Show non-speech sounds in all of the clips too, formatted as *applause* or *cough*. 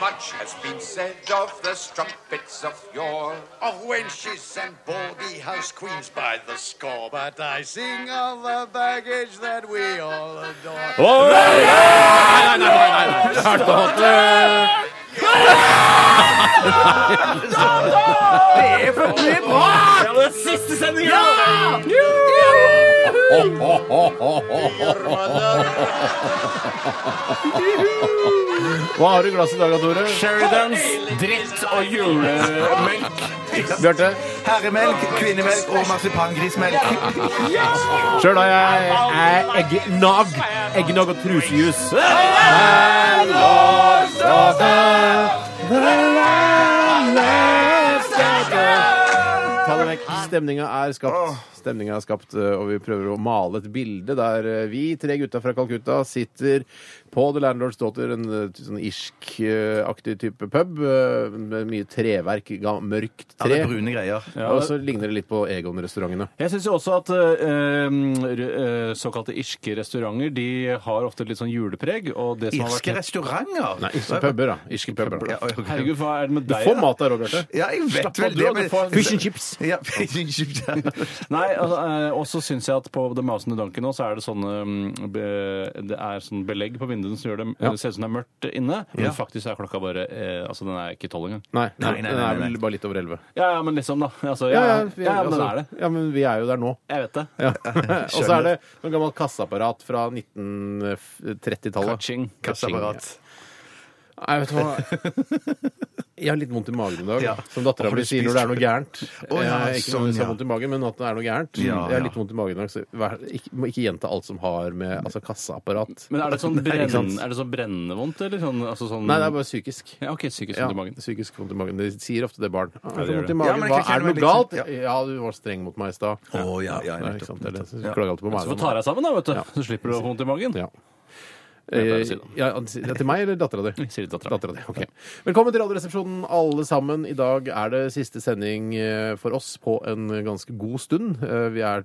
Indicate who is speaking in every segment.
Speaker 1: Much has been said of the strumpets of yore, of wenches and baldy house queens by the score. But I sing of the baggage that we all adore.
Speaker 2: Hva har du i glasset i dag, Tore? Sheridans, dritt og julemelk. Bjarte?
Speaker 3: Herremelk, kvinnemelk og marsipangrismelk.
Speaker 2: Sjøl har jeg eh, eggnog. Eggnog og trusejus. Ta det vekk. Stemninga er skapt. Stemninga er skapt, eh, og vi prøver å male et bilde der eh, vi, tre gutta fra Calcutta, sitter på The Landlords Daughter, en eh, sånn irsk-aktig type pub, eh, med mye treverk, ga- mørkt
Speaker 3: Ja, det
Speaker 2: tre.
Speaker 3: er brune greier.
Speaker 2: Og så ligner det litt på Egon-restaurantene.
Speaker 4: Jeg syns jo også at eh, um, r- eh, såkalte irske restauranter de har ofte et litt sånn julepreg. Og det som
Speaker 3: Irske
Speaker 4: har vært
Speaker 3: restauranter?
Speaker 2: Nei, irske sånn puber, da. Irske puber.
Speaker 3: Ja,
Speaker 2: da.
Speaker 3: ok.
Speaker 4: Herregud, hva er det med deg?
Speaker 2: Få
Speaker 4: da?
Speaker 2: mat der òg, Bjarte.
Speaker 3: Ja, jeg vet
Speaker 4: Slapp av,
Speaker 3: vel
Speaker 4: du,
Speaker 3: det,
Speaker 4: og du
Speaker 3: men
Speaker 4: får-
Speaker 2: Fish and chips.
Speaker 3: Ja, fish and chips, ja.
Speaker 4: Nei, altså, eh, og så syns jeg at på The Mouse and the Donkey nå så er det sånne mm, be, Det er sånn belegg på vinduene som gjør det
Speaker 2: Ja.
Speaker 4: det ser ut som det er mørkt inne, men faktisk er klokka bare eh, Altså, den er ikke tolv engang.
Speaker 2: Nei, nei,
Speaker 3: Nei, nei,
Speaker 2: den
Speaker 3: nei,
Speaker 2: er
Speaker 3: nei.
Speaker 2: vel bare litt over elleve.
Speaker 4: Ja, ja, men liksom, da. Altså, ja, ja,
Speaker 2: vi-
Speaker 4: men den
Speaker 2: altså,
Speaker 4: er det.
Speaker 2: ja, men vi er jo der nå.
Speaker 4: Jeg vet det.
Speaker 3: *laughs*
Speaker 2: Ja. og så er det noe gammelt kasseapparat fra 1930-tallet.
Speaker 4: Kaching.
Speaker 3: Kasseapparat.
Speaker 2: Nei, vet du hva? Jeg har litt vondt i magen i dag,
Speaker 3: Ja.
Speaker 2: som dattera
Speaker 3: Har
Speaker 2: mi
Speaker 3: du
Speaker 2: sier når
Speaker 3: spist-
Speaker 2: det er noe gærent.
Speaker 3: Å, ja,
Speaker 2: Eh, ikke når
Speaker 3: sånn,
Speaker 2: det
Speaker 3: ja.
Speaker 2: er vondt i magen, men at det er noe gærent.
Speaker 3: Ja,
Speaker 2: Jeg har
Speaker 3: ja.
Speaker 2: litt vondt i magen i dag, så vær, ikke, må ikke gjenta alt som har med altså, kasseapparat
Speaker 4: Men er det
Speaker 2: *laughs*
Speaker 4: sånn,
Speaker 2: ikke
Speaker 4: brenn,
Speaker 2: sant.
Speaker 4: er det sånn brennende vondt, eller sånn, altså, sånn
Speaker 2: Nei, det er bare psykisk.
Speaker 4: ja, OK, psykisk
Speaker 2: Ja,
Speaker 4: vondt i magen.
Speaker 2: psykisk vondt i magen. De sier ofte det, barn. Ah,
Speaker 4: gjør
Speaker 2: vondt i
Speaker 4: det.
Speaker 3: Ja,
Speaker 2: magen.
Speaker 3: men
Speaker 2: Hva,
Speaker 3: jeg kjenner
Speaker 2: er det
Speaker 3: meg
Speaker 2: noe
Speaker 3: litt
Speaker 2: galt?
Speaker 3: sånn,
Speaker 2: Ja, du var streng mot meg i stad.
Speaker 3: Å, ja, ja, nettopp,
Speaker 2: Nei, ikke sant, det er det. Så
Speaker 3: nettopp.
Speaker 2: Klager alltid på
Speaker 4: Så får
Speaker 2: magen.
Speaker 4: du ta deg sammen, da, vet du. Så slipper du å få vondt i magen.
Speaker 2: Ja.
Speaker 4: pleier
Speaker 2: Eh,
Speaker 4: å si det.
Speaker 2: ja, han sier- ja, til meg eller dattera
Speaker 4: *laughs*
Speaker 2: di?
Speaker 4: Sier det til datteren.
Speaker 2: Datteren din, ok. Velkommen til Radioresepsjonen, alle sammen. I dag er det siste sending eh, for oss på en ganske god stund. Eh, Vi er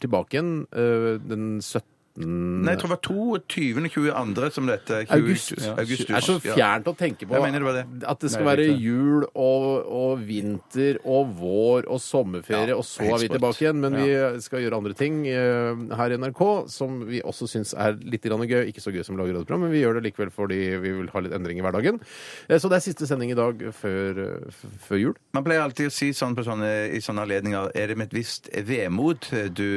Speaker 2: tilbake igjen eh, den 17.
Speaker 3: Nei, jeg tror det var 22. 22. som dette. 20,
Speaker 2: August.
Speaker 3: august.
Speaker 2: Det er så fjernt å tenke på
Speaker 3: Jeg mener det var det.
Speaker 2: at det skal
Speaker 4: Nei,
Speaker 2: være
Speaker 4: det er
Speaker 2: jul og, og vinter og vår og sommerferie, og så er vi tilbake igjen. Men vi skal gjøre andre ting eh, her i NRK som vi også syns er litt grann gøy. Ikke så gøy som å lage radioprogram, men vi gjør det likevel fordi vi vil ha litt endring i hverdagen. Eh, Så det er siste sending i dag før, eh, f- før jul.
Speaker 3: Man pleier alltid å si sånn på sånne, i sånne anledninger Er det med et visst vemod du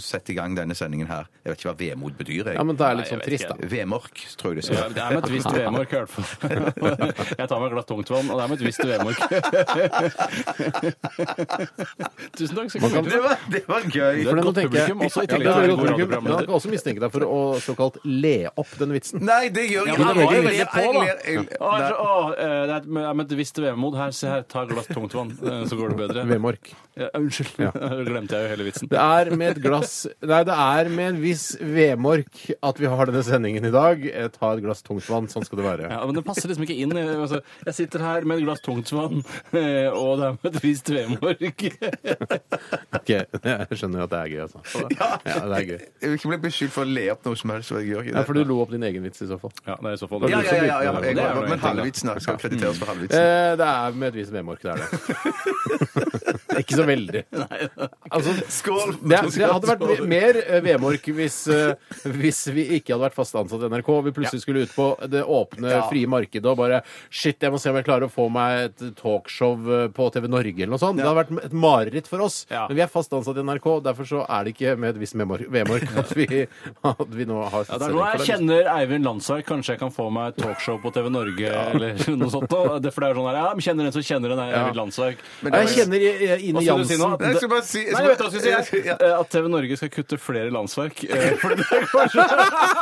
Speaker 3: setter i gang denne sendingen her? Jeg vet ikke hva vemod betyr, jeg.
Speaker 2: Ja, men det er litt
Speaker 4: Nei,
Speaker 2: sånn
Speaker 4: jeg vet
Speaker 2: trist, da.
Speaker 3: Vemork, tror jeg det
Speaker 4: Ja,
Speaker 3: skal
Speaker 4: det er med et visst vemork, i hvert fall. *laughs* Jeg tar meg et glass tungtvann, og det er med et visst vemork. *laughs* Tusen takk. Skal
Speaker 3: Det var, det var gøy!
Speaker 4: er
Speaker 2: For
Speaker 4: et
Speaker 2: nå
Speaker 4: godt
Speaker 2: tenker jeg-
Speaker 4: publikum
Speaker 2: Ja,
Speaker 4: også, i
Speaker 2: det
Speaker 4: tillegg
Speaker 2: er et
Speaker 4: til å
Speaker 2: godt
Speaker 4: være god
Speaker 2: publikum. Man
Speaker 4: radioprogramleder.
Speaker 2: kan også mistenke deg for å såkalt le opp den vitsen.
Speaker 3: Nei, det gjør
Speaker 4: Ja,
Speaker 3: jeg ikke.
Speaker 4: men han var jo
Speaker 3: Jeg-
Speaker 4: veldig på, da.
Speaker 3: jeg- jeg-
Speaker 4: Å, jeg
Speaker 3: Nei.
Speaker 4: tror- å, eh, det er et- det er med et visst vemod. Her, se her, ta et glass tungtvann, eh, så går det bedre.
Speaker 2: Vemork.
Speaker 4: Ja, unnskyld. *laughs* Glemte jeg jo hele vitsen.
Speaker 2: Det er med et glass Nei, det er med en viss vemork at vi har denne sendingen i dag. Eh, Ta et glass tungtvann. Sånn skal det være.
Speaker 4: Ja, men det passer liksom ikke inn. Jeg, altså, jeg sitter her med et glass tungtvann, eh, og det er med et visst vemork.
Speaker 2: Ok, *laughs* Jeg skjønner jo at det er gøy, altså. Ja, det er gøy.
Speaker 3: Jeg vil ikke bli beskyldt for å le opp noe som helst. så Jeg gjør ikke det.
Speaker 2: Ja, for du lo opp din egen vits i så fall.
Speaker 4: Ja, det er i så fall
Speaker 3: ja, ja, ja, ja,
Speaker 2: Det
Speaker 3: jeg,
Speaker 4: er jo
Speaker 3: men
Speaker 4: en ting, da.
Speaker 3: halvvitsen da. skal krediteres for halvvitsen.
Speaker 2: Eh, det er med et visst vemork, det er det. *laughs* Det er Ikke så veldig. Altså,
Speaker 3: Skål!
Speaker 2: det, det hadde vært me- mer eh, vemork hvis, eh, hvis vi ikke hadde vært fast ansatt i NRK. Vi plutselig skulle ut på det åpne, frie markedet og bare Shit, jeg må se om jeg klarer å få meg et talkshow eh, på TV Norge eller noe sånt. Det hadde vært et mareritt for oss.
Speaker 4: Ja.
Speaker 2: Men vi er fast ansatt i NRK, derfor så er det ikke med et visst memor- vemork at vi, *laughs* at vi nå har
Speaker 4: Ja, det er nå jeg kjenner Eivind Landsverk. Kanskje jeg kan få meg et talkshow på TV
Speaker 3: *laughs*
Speaker 4: Norge eller noe sånt. nå. Det, for det er jo sånn her, ja, men kjenner en som kjenner en er Eivind Landsverk.
Speaker 2: Jeg kjenner eh, Ine
Speaker 4: Hva skulle du si nå?
Speaker 2: Jansen.
Speaker 3: Nei, jeg skal bare si
Speaker 4: Nei, jeg vet hva jeg skulle
Speaker 3: *laughs*
Speaker 4: si. jeg. Eh, At TV Norge skal kutte flere landsverk. eh, For det er kanskje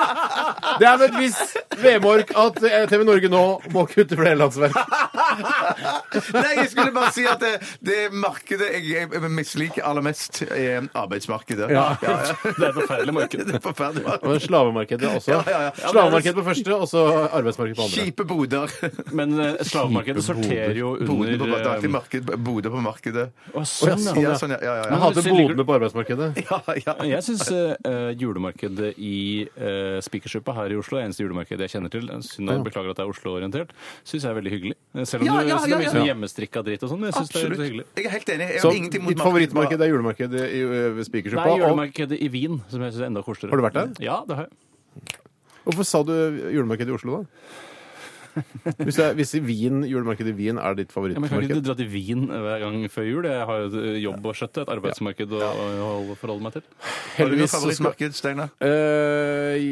Speaker 4: *laughs*
Speaker 2: Det er med et visst vemork at eh, TV Norge nå må kutte flere landsverk.
Speaker 3: Nei, jeg skulle bare si at det, det markedet jeg, jeg misliker aller mest, er arbeidsmarkedet.
Speaker 2: Ja.
Speaker 4: Det er et forferdelig marked.
Speaker 3: *laughs* Det er forferdelig.
Speaker 2: Og slavemarkedet også.
Speaker 3: Ja, ja, ja.
Speaker 2: Slavemarkedet på første, og så arbeidsmarkedet på andre.
Speaker 3: Kjipe boder.
Speaker 4: Men eh, slavemarkedet sorterer jo
Speaker 3: Boder på, det
Speaker 4: under
Speaker 3: er alltid
Speaker 4: eh,
Speaker 3: marked, boder på markedet.
Speaker 4: å, sånn, ja.
Speaker 3: Ja, sånn, ja, ja, ja.
Speaker 2: Jeg hater bodene på arbeidsmarkedet.
Speaker 3: ja, ja.
Speaker 4: Jeg syns julemarkedet i uh, Spikersuppa her i Oslo, det eneste julemarkedet jeg kjenner til, synd jeg beklager at det er Oslo-orientert, syns jeg er veldig hyggelig. Eh, Selv om
Speaker 3: Ja,
Speaker 4: du-
Speaker 3: ja,
Speaker 4: så det er
Speaker 3: ja,
Speaker 4: mye sånn
Speaker 3: ja.
Speaker 4: hjemmestrikka dritt og sånn, men jeg syns det er
Speaker 3: Absolutt.
Speaker 4: veldig hyggelig.
Speaker 3: Jeg er helt enig. Jeg
Speaker 2: Så
Speaker 3: har ingenting mot
Speaker 2: ditt favorittmarked er julemarkedet i ø, ved
Speaker 4: Nei,
Speaker 2: Spikersuppa. og-
Speaker 4: julemarkedet i Wien, som jeg syns er enda koseligere.
Speaker 2: Har du vært der?
Speaker 4: Ja, det har jeg.
Speaker 2: Hvorfor sa du julemarkedet i
Speaker 4: *laughs*
Speaker 2: Oslo, da? Hvis, det er, hvis i Wien, julemarkedet i Wien er ditt
Speaker 4: Ja, men jeg kan ikke
Speaker 2: favorittmarked?
Speaker 4: dra til Wien hver gang før jul. Jeg har jo et eh, jobb å skjøtte, et arbeidsmarked å å holde- forholde meg til.
Speaker 3: Har du noe
Speaker 2: Heldigvis så skal
Speaker 3: favorittmarked, Steinar?
Speaker 2: Eh,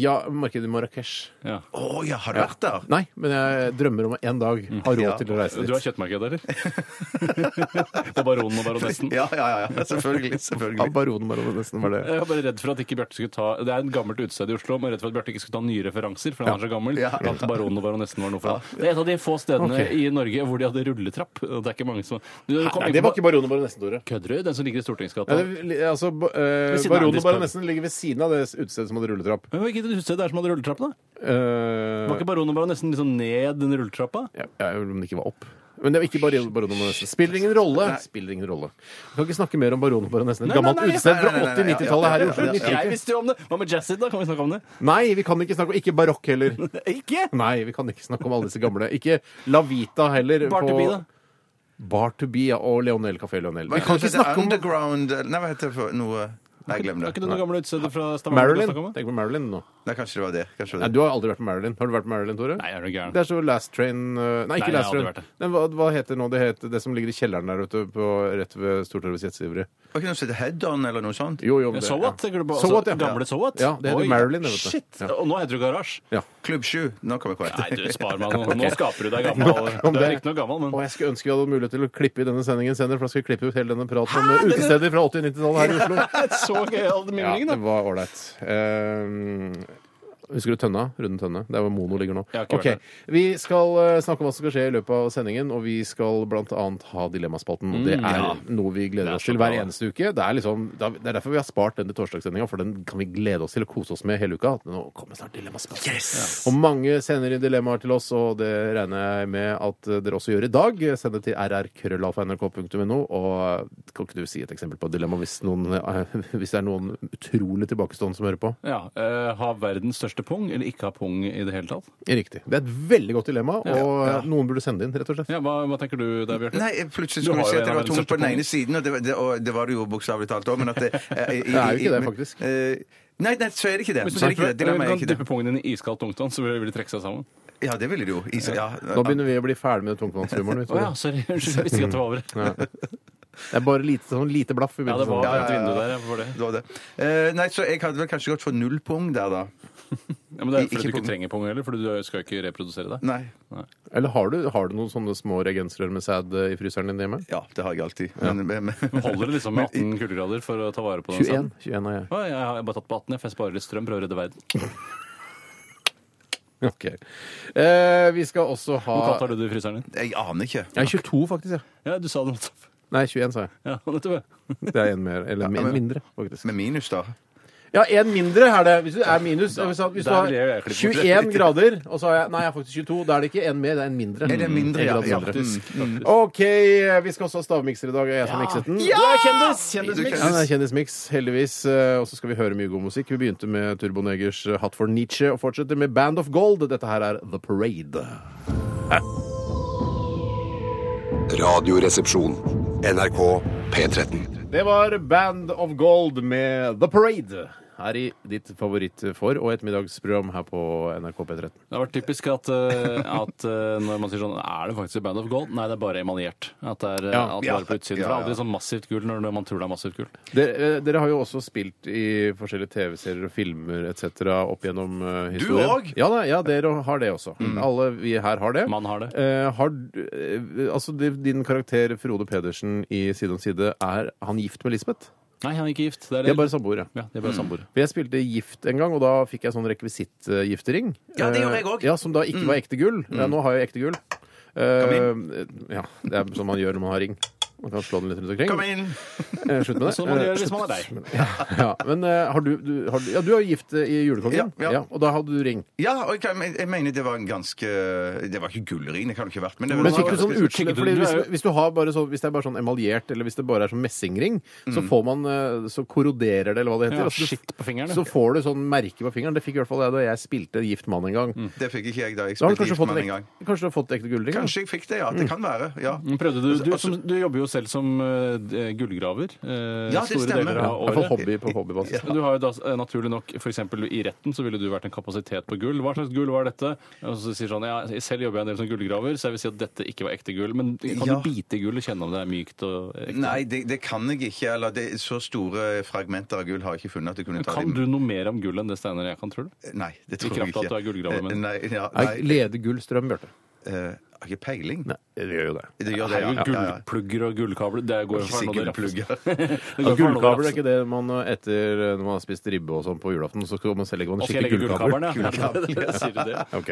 Speaker 2: Ja, markedet i Marrakech.
Speaker 4: Ja.
Speaker 3: Å ja, har du vært der?
Speaker 2: Nei, men jeg drømmer om en dag ha råd
Speaker 3: Ja.
Speaker 2: til å reise
Speaker 4: Mm. Du har
Speaker 2: dit.
Speaker 4: kjøttmarked, eller? *laughs* På Baronen og Baronessen?
Speaker 3: Ja, ja, ja. ja. Selvfølgelig.
Speaker 2: Ja,
Speaker 3: selvfølgelig.
Speaker 2: Baronen var det nesten var det.
Speaker 4: Jeg var bare redd for at ikke Bjarte skulle ta Det er en gammelt utested i Oslo, men jeg er redd for at Bjarte ikke skulle ta nye referanser, for han er så gammel.
Speaker 3: Ja.
Speaker 4: At baronen og baronessen var noe for ham. Det er et av de få stedene
Speaker 2: Ok.
Speaker 4: i Norge hvor de hadde rulletrapp. og Det er ikke mange som du, kom
Speaker 2: Nei,
Speaker 4: inn
Speaker 2: det var
Speaker 4: på-
Speaker 2: ikke Baronen og baronessen, Tore.
Speaker 4: Kødder du? Den som ligger i Stortingsgata?
Speaker 2: Ja, det, li- altså, ba- eh,
Speaker 4: Ved siden av
Speaker 2: baronen
Speaker 4: Andy's
Speaker 2: og baronessen ligger ved siden av det utestedet som hadde rulletrapp.
Speaker 4: Men var ikke det utestedet der som hadde rulletrapp, da?
Speaker 2: Eh,
Speaker 4: Var ikke baronen og baronessen liksom ned den rulletrappa?
Speaker 2: Ja, ja, om det ikke var opp. Men det var ikke Baron Baron og Baronessen. Spiller ingen rolle. Spiller ingen rolle. Vi kan ikke snakke mer om Baron og Baronessen. Et
Speaker 4: Nei, nei,
Speaker 2: gammelt
Speaker 4: nei.
Speaker 2: utested fra
Speaker 3: Nei, nei, nei,
Speaker 2: 80-90-tallet her i Oslo.
Speaker 3: Ja, ja,
Speaker 4: Jeg visste jo om det! Hva med Jazzid, da? Kan vi snakke om det?
Speaker 2: Nei, vi kan ikke snakke om Ikke barokk heller.
Speaker 4: *laughs* Ikke?
Speaker 2: Nei, vi kan ikke snakke om alle disse gamle. Ikke La Vita heller.
Speaker 4: Bar to
Speaker 2: på-
Speaker 4: be, da.
Speaker 2: Bar to be, ja, og Leonel Café Leonel.
Speaker 3: Hva
Speaker 2: Vi kan
Speaker 3: heter
Speaker 2: ikke
Speaker 3: det?
Speaker 2: snakke om
Speaker 3: Underground Nei, hva heter det for noe Nei, glem
Speaker 4: Er
Speaker 3: det.
Speaker 4: ikke det noe gamle utested fra Stavanger? vi kan snakke
Speaker 2: Marilyn.
Speaker 4: om, da?
Speaker 2: Tenk på Marilyn nå.
Speaker 3: Nei, kanskje det var det. Kanskje det
Speaker 2: Nei,
Speaker 3: var det.
Speaker 2: du har aldri vært på Marilyn. Har du vært på Marilyn, Tore?
Speaker 4: Nei, er du gæren.
Speaker 2: Det er så Last Train uh, Nei, ikke
Speaker 4: jeg har
Speaker 2: Last
Speaker 4: aldri
Speaker 2: Train.
Speaker 4: vært det.
Speaker 2: Men hva, hva heter nå det heter det som ligger i kjelleren der ute på, rett ved Stortorvets Gjetsiveri?
Speaker 3: Var ikke noe som het Head On, eller noe sånt?
Speaker 2: Jo, jo, men det-
Speaker 4: So what?
Speaker 2: ja.
Speaker 4: Tenker du på
Speaker 2: So
Speaker 4: altså,
Speaker 2: what, ja.
Speaker 4: gamle So what?
Speaker 2: Ja, det heter
Speaker 4: Oi,
Speaker 2: Marilyn, det, vet du.
Speaker 4: Shit!
Speaker 2: Ja.
Speaker 4: Og nå heter du Garasje.
Speaker 2: Ja.
Speaker 3: Klubb 7. Nå kommer jeg på
Speaker 4: Nei,
Speaker 3: etter.
Speaker 4: du, spar meg nå.
Speaker 2: *laughs*
Speaker 4: Nå skaper du deg gammel.
Speaker 2: om
Speaker 4: Du er
Speaker 2: det.
Speaker 4: ikke noe gammel,
Speaker 2: Og
Speaker 4: men
Speaker 2: jeg skulle ønske vi hadde mulighet til å klippe i denne sendingen senere, for da skal vi klippe ut hele denne praten om utesteder fra 80- og 90-tallet her i Oslo.
Speaker 4: *laughs* så gøyal
Speaker 2: Ja,
Speaker 4: mimring,
Speaker 2: det
Speaker 4: da.
Speaker 2: var ålreit. Eh, husker du Tønna? Rune Tønne? Der hvor Mono ligger nå.
Speaker 4: Jeg har ikke vært
Speaker 2: Ok, Vi skal eh, snakke om hva som skal skje i løpet av sendingen, og vi skal bl.a. ha Dilemmaspalten. Og
Speaker 4: Mm,
Speaker 2: det er noe vi gleder oss til hver eneste uke. Det er, liksom, det er derfor vi har spart den til torsdagssendinga, for den kan vi glede oss til og kose oss med hele uka. Nå kommer snart Dilemmaspalten. Og mange sender inn dilemmaer til oss, og det regner jeg med at dere også gjør i dag. Send det til rrkrøllalfa.nrk.no. Og kan ikke du si et eksempel på et dilemma hvis, noen, eh, *laughs* hvis det er noen utrolig tilbakestående som hører på?
Speaker 4: Ja, eh, Ha verdens største pung, eller ikke ha pung i det hele tatt?
Speaker 2: Riktig. Det er et veldig godt dilemma, og noen burde sende det inn, rett og slett.
Speaker 4: Ja, Hva, hva tenker du der, Bjarte?
Speaker 3: Nei, jeg plutselig
Speaker 4: Du
Speaker 3: skulle du
Speaker 4: har
Speaker 3: si
Speaker 4: jo
Speaker 3: at det
Speaker 4: en av
Speaker 3: var tungt
Speaker 4: verdens
Speaker 3: på
Speaker 4: største
Speaker 3: den ene siden, og det, var- det, og det var det jo bokstavelig talt òg, men at
Speaker 4: *laughs*
Speaker 3: det eh, i-
Speaker 2: Det er jo ikke
Speaker 3: i-
Speaker 2: det,
Speaker 3: men-
Speaker 2: faktisk.
Speaker 3: eh, Nei, nei, så er det ikke det. Så er det ikke det.
Speaker 4: Du
Speaker 3: Dilemma er
Speaker 4: kan
Speaker 3: ikke det.
Speaker 4: dyppe pungen din i iskaldt tungtvann, så vil det trekke seg sammen.
Speaker 3: Ja, det ville det jo. Is, ja.
Speaker 2: Nå begynner vi å bli ferdig med tungtvannshumoren. vet du.
Speaker 4: Å ja, altså. sorry. *laughs* Unnskyld, jeg visste ikke at det var over.
Speaker 2: Det er bare lite, sånn lite blaff. vi
Speaker 4: Ja, det
Speaker 2: begynte sånn.
Speaker 4: var et vindu der. Jeg for det.
Speaker 3: *laughs* Det var det. Eh, nei, så jeg hadde vel kanskje gått for null pung der, da.
Speaker 4: Ja, men det er
Speaker 3: Ikke
Speaker 4: fordi du ikke
Speaker 3: pung.
Speaker 4: trenger pung heller, for du skal ikke reprodusere deg.
Speaker 3: Nei.
Speaker 2: Eller har du, har du noen sånne små reagensrør med sæd eh, i fryseren din hjemme?
Speaker 3: Ja, det har jeg alltid. Men, men, men,
Speaker 4: Holder det liksom med 18 kuldegrader for å ta vare på den?
Speaker 2: 21. 21 Sånn? har jeg. *laughs*
Speaker 4: Å, jeg har bare tatt på 18, jeg, for jeg sparer litt strøm, prøver å redde verden.
Speaker 2: Ok. Eh, vi skal også ha
Speaker 4: Hvor kaldt har du det i fryseren din?
Speaker 3: *laughs* jeg aner ikke.
Speaker 2: Jeg er 22, faktisk. Ja.
Speaker 4: Ja, du sa det nettopp.
Speaker 2: Nei, 21, sa jeg.
Speaker 4: Ja, *laughs* nettopp. ja.
Speaker 2: Det er en mer, eller en mindre, faktisk.
Speaker 3: Med minus, da.
Speaker 2: Ja, en mindre er det. Hvis du er minus Hvis du- hvis du
Speaker 4: der
Speaker 2: har
Speaker 4: vil jeg klippe bort
Speaker 2: 21 grader, og så har jeg Nei, jeg har faktisk 22. Da er det ikke en mer, det er en mindre.
Speaker 3: Er det mindre,
Speaker 2: En
Speaker 3: ja,
Speaker 2: grad
Speaker 3: ja.
Speaker 2: mindre.
Speaker 3: Faktisk, Mm.
Speaker 2: OK, vi skal også ha stavmikser i dag. og Jeg som mikset den. Ja!
Speaker 3: Kjendismiks.
Speaker 2: Ja, det er Kjendismiks, heldigvis. Eh, Og så skal vi høre mye god musikk. Vi begynte med Turbo Negers eh, Hot for Nietzsche og fortsetter med Band of Gold. Dette her er The Parade.
Speaker 5: Radioresepsjon. NRK P13.
Speaker 2: Det var Band of Gold med The Parade. Her i ditt favoritt for- og ettermiddagsprogram her på NRK P13.
Speaker 4: Det har vært typisk at, eh, at eh, når man sier sånn Er det faktisk et Band of Gold? Nei, det er bare emaljert. At det er eh,
Speaker 2: Ja.
Speaker 4: alt
Speaker 3: Ja.
Speaker 4: bare på utsiden. For det er aldri sånn massivt gull når man tror det er massivt gull.
Speaker 2: Dere, eh, dere har jo også spilt i forskjellige TV-serier og filmer etc. opp gjennom eh, historien.
Speaker 3: òg?
Speaker 2: Ja, da, ja, dere har det også.
Speaker 3: Mm.
Speaker 2: Alle vi her har det.
Speaker 4: Man har det.
Speaker 2: Eh, har, du- eh, altså, di- din karakter Frode Pedersen i Side om side, er han gift med Lisbeth?
Speaker 4: Nei, han er ikke gift. Det er,
Speaker 2: De er bare samboere.
Speaker 4: ja, de er bare samboere.
Speaker 2: For Jeg spilte gift en gang, og da fikk jeg sånn rekvisittgiftering.
Speaker 3: Ja, det gjorde jeg også. Mm.
Speaker 2: Ja, som da ikke var ekte gull. Ja, nå har jeg ekte gull. Eh, Eh, ja, det er som man gjør når man har ring. Man kan slå den litt rundt omkring.
Speaker 3: Kom inn! Sånn
Speaker 2: Eh, Slutt
Speaker 3: *laughs*
Speaker 2: med det.
Speaker 4: Som man
Speaker 2: Eh,
Speaker 4: gjør hvis
Speaker 2: slutt.
Speaker 4: man er deg.
Speaker 2: Ja, ja. Men eh, har du, du, har, du- ja, du er jo gift eh, i Julekongen,
Speaker 3: Ja, ja.
Speaker 2: og da hadde du ring.
Speaker 3: Ja, og jeg, kan- jeg mener det var en ganske Det var ikke gullring, det kan det ikke ha vært. Men det var
Speaker 2: Men fikk du
Speaker 3: ganske-
Speaker 2: sånn utslett, fordi
Speaker 4: Du er
Speaker 2: hvis,
Speaker 4: jo-
Speaker 2: hvis, du har bare så, hvis det er bare sånn emaljert, eller hvis det bare er sånn messingring, så får man eh, Så korroderer det, eller hva det heter.
Speaker 4: Ja,
Speaker 2: Altså, du-
Speaker 4: skitt på fingeren, ja.
Speaker 2: Så får du sånn merke på fingeren. Det fikk i hvert fall jeg da jeg spilte Gift mann en gang.
Speaker 3: Det fikk ikke jeg da jeg
Speaker 2: Da
Speaker 3: spilte
Speaker 2: har du kanskje
Speaker 3: gift
Speaker 2: fått,
Speaker 3: mann
Speaker 2: en
Speaker 3: en gang.
Speaker 2: ek, kanskje du har fått ekte gullring? da?
Speaker 3: Kanskje jeg fikk det, ja. Det kan være. ja.
Speaker 4: Men Prøvde du, du,
Speaker 3: Altså-
Speaker 4: som, du jobber jo selv som eh, gullgraver. eh,
Speaker 3: Ja, det
Speaker 4: store
Speaker 3: stemmer.
Speaker 4: deler
Speaker 2: Ja,
Speaker 4: av
Speaker 2: I hvert fall
Speaker 4: året.
Speaker 2: hobby på hobbybasis.
Speaker 4: Men Du har jo da eh, naturlig nok for eksempel i retten så ville du vært en kapasitet på gull. Hva slags gull var dette? Og så sier sånn, ja, selv jobber jeg en del som gullgraver, så jeg vil si at dette ikke var ekte gull. Men kan
Speaker 3: Ja.
Speaker 4: du bite i gull og kjenne om det er mykt og ekte?
Speaker 3: Nei, det, det kan jeg ikke. Eller det, så store fragmenter av gull har jeg ikke funnet at jeg kunne ta
Speaker 4: Kan
Speaker 3: dem.
Speaker 4: du noe mer om gull enn det Steinar og jeg kan, tror du?
Speaker 3: Nei, det
Speaker 4: I
Speaker 3: tror jeg
Speaker 4: kraft av
Speaker 3: ikke. Eh,
Speaker 4: at du er gullgraver, men-
Speaker 3: Nei, ja, nei,
Speaker 2: Nei, Lede gullstrøm, Bjarte.
Speaker 3: eh, jeg har ikke peiling.
Speaker 2: Nei, det gjør jo det.
Speaker 3: Det gjør det, ja.
Speaker 4: Herregud,
Speaker 3: ja, ja, ja.
Speaker 4: gullplugger og gullkabler, det går jo
Speaker 3: Ikke
Speaker 4: for
Speaker 3: si
Speaker 4: noe det
Speaker 3: *laughs*
Speaker 4: rafses.
Speaker 3: gullplugger.
Speaker 4: Det
Speaker 2: Ja,
Speaker 4: går for noe
Speaker 2: gullkabel er
Speaker 4: rafses.
Speaker 2: ikke det man eh, etter eh, når man har spist ribbe og sånn på julaften, så skal man selv legge man en
Speaker 4: Og skal jeg
Speaker 2: skikkelig
Speaker 4: legge
Speaker 2: gullkabel.
Speaker 4: gullkabelen, ja. *laughs* Sier du det?
Speaker 2: Ok.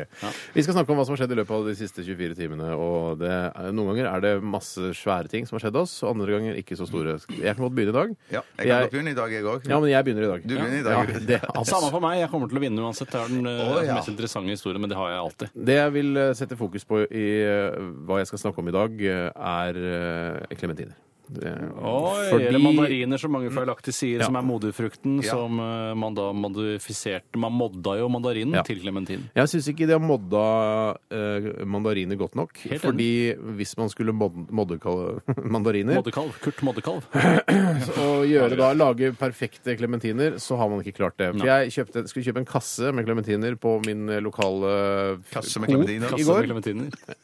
Speaker 2: Vi skal snakke om hva som har skjedd i løpet av de siste 24 timene. og det, er- Noen ganger er det masse svære ting som har skjedd oss, og andre ganger ikke så store. Jeg kan godt begynne i dag.
Speaker 3: Mm. Ja, jeg kan godt begynne i dag, jeg òg.
Speaker 2: Ja, men jeg begynner i dag.
Speaker 3: Du begynner i dag.
Speaker 2: Ja, det,
Speaker 4: Samme for meg, jeg kommer til å vinne uansett. Det er den eh,
Speaker 3: Å, ja.
Speaker 4: mest interessante historien, men det har jeg alltid.
Speaker 2: Det jeg vil eh, sette fokus på i eh, hva jeg skal snakke om i dag, eh, er eh, klementiner.
Speaker 4: Oi, Eller mandariner, som mange feilaktig sier, som er moderfrukten som eh, man da modifiserte Man modda jo mandarinen
Speaker 2: Ja.
Speaker 4: til klementin.
Speaker 2: Jeg syns ikke de har modda eh, mandariner godt nok.
Speaker 4: Helt enig.
Speaker 2: fordi hvis man skulle mod modde kal- *laughs* mandariner
Speaker 4: Moddekalv. Kurt Moddekalv.
Speaker 2: og gjøre da, lage perfekte klementiner, så har man ikke klart det. For jeg kjøpte, skulle kjøpe en kasse med klementiner på min eh, lokale eh,
Speaker 3: Kasse med
Speaker 2: Coop
Speaker 3: klementiner.
Speaker 2: i
Speaker 4: Kasse med
Speaker 2: går.
Speaker 4: klementiner.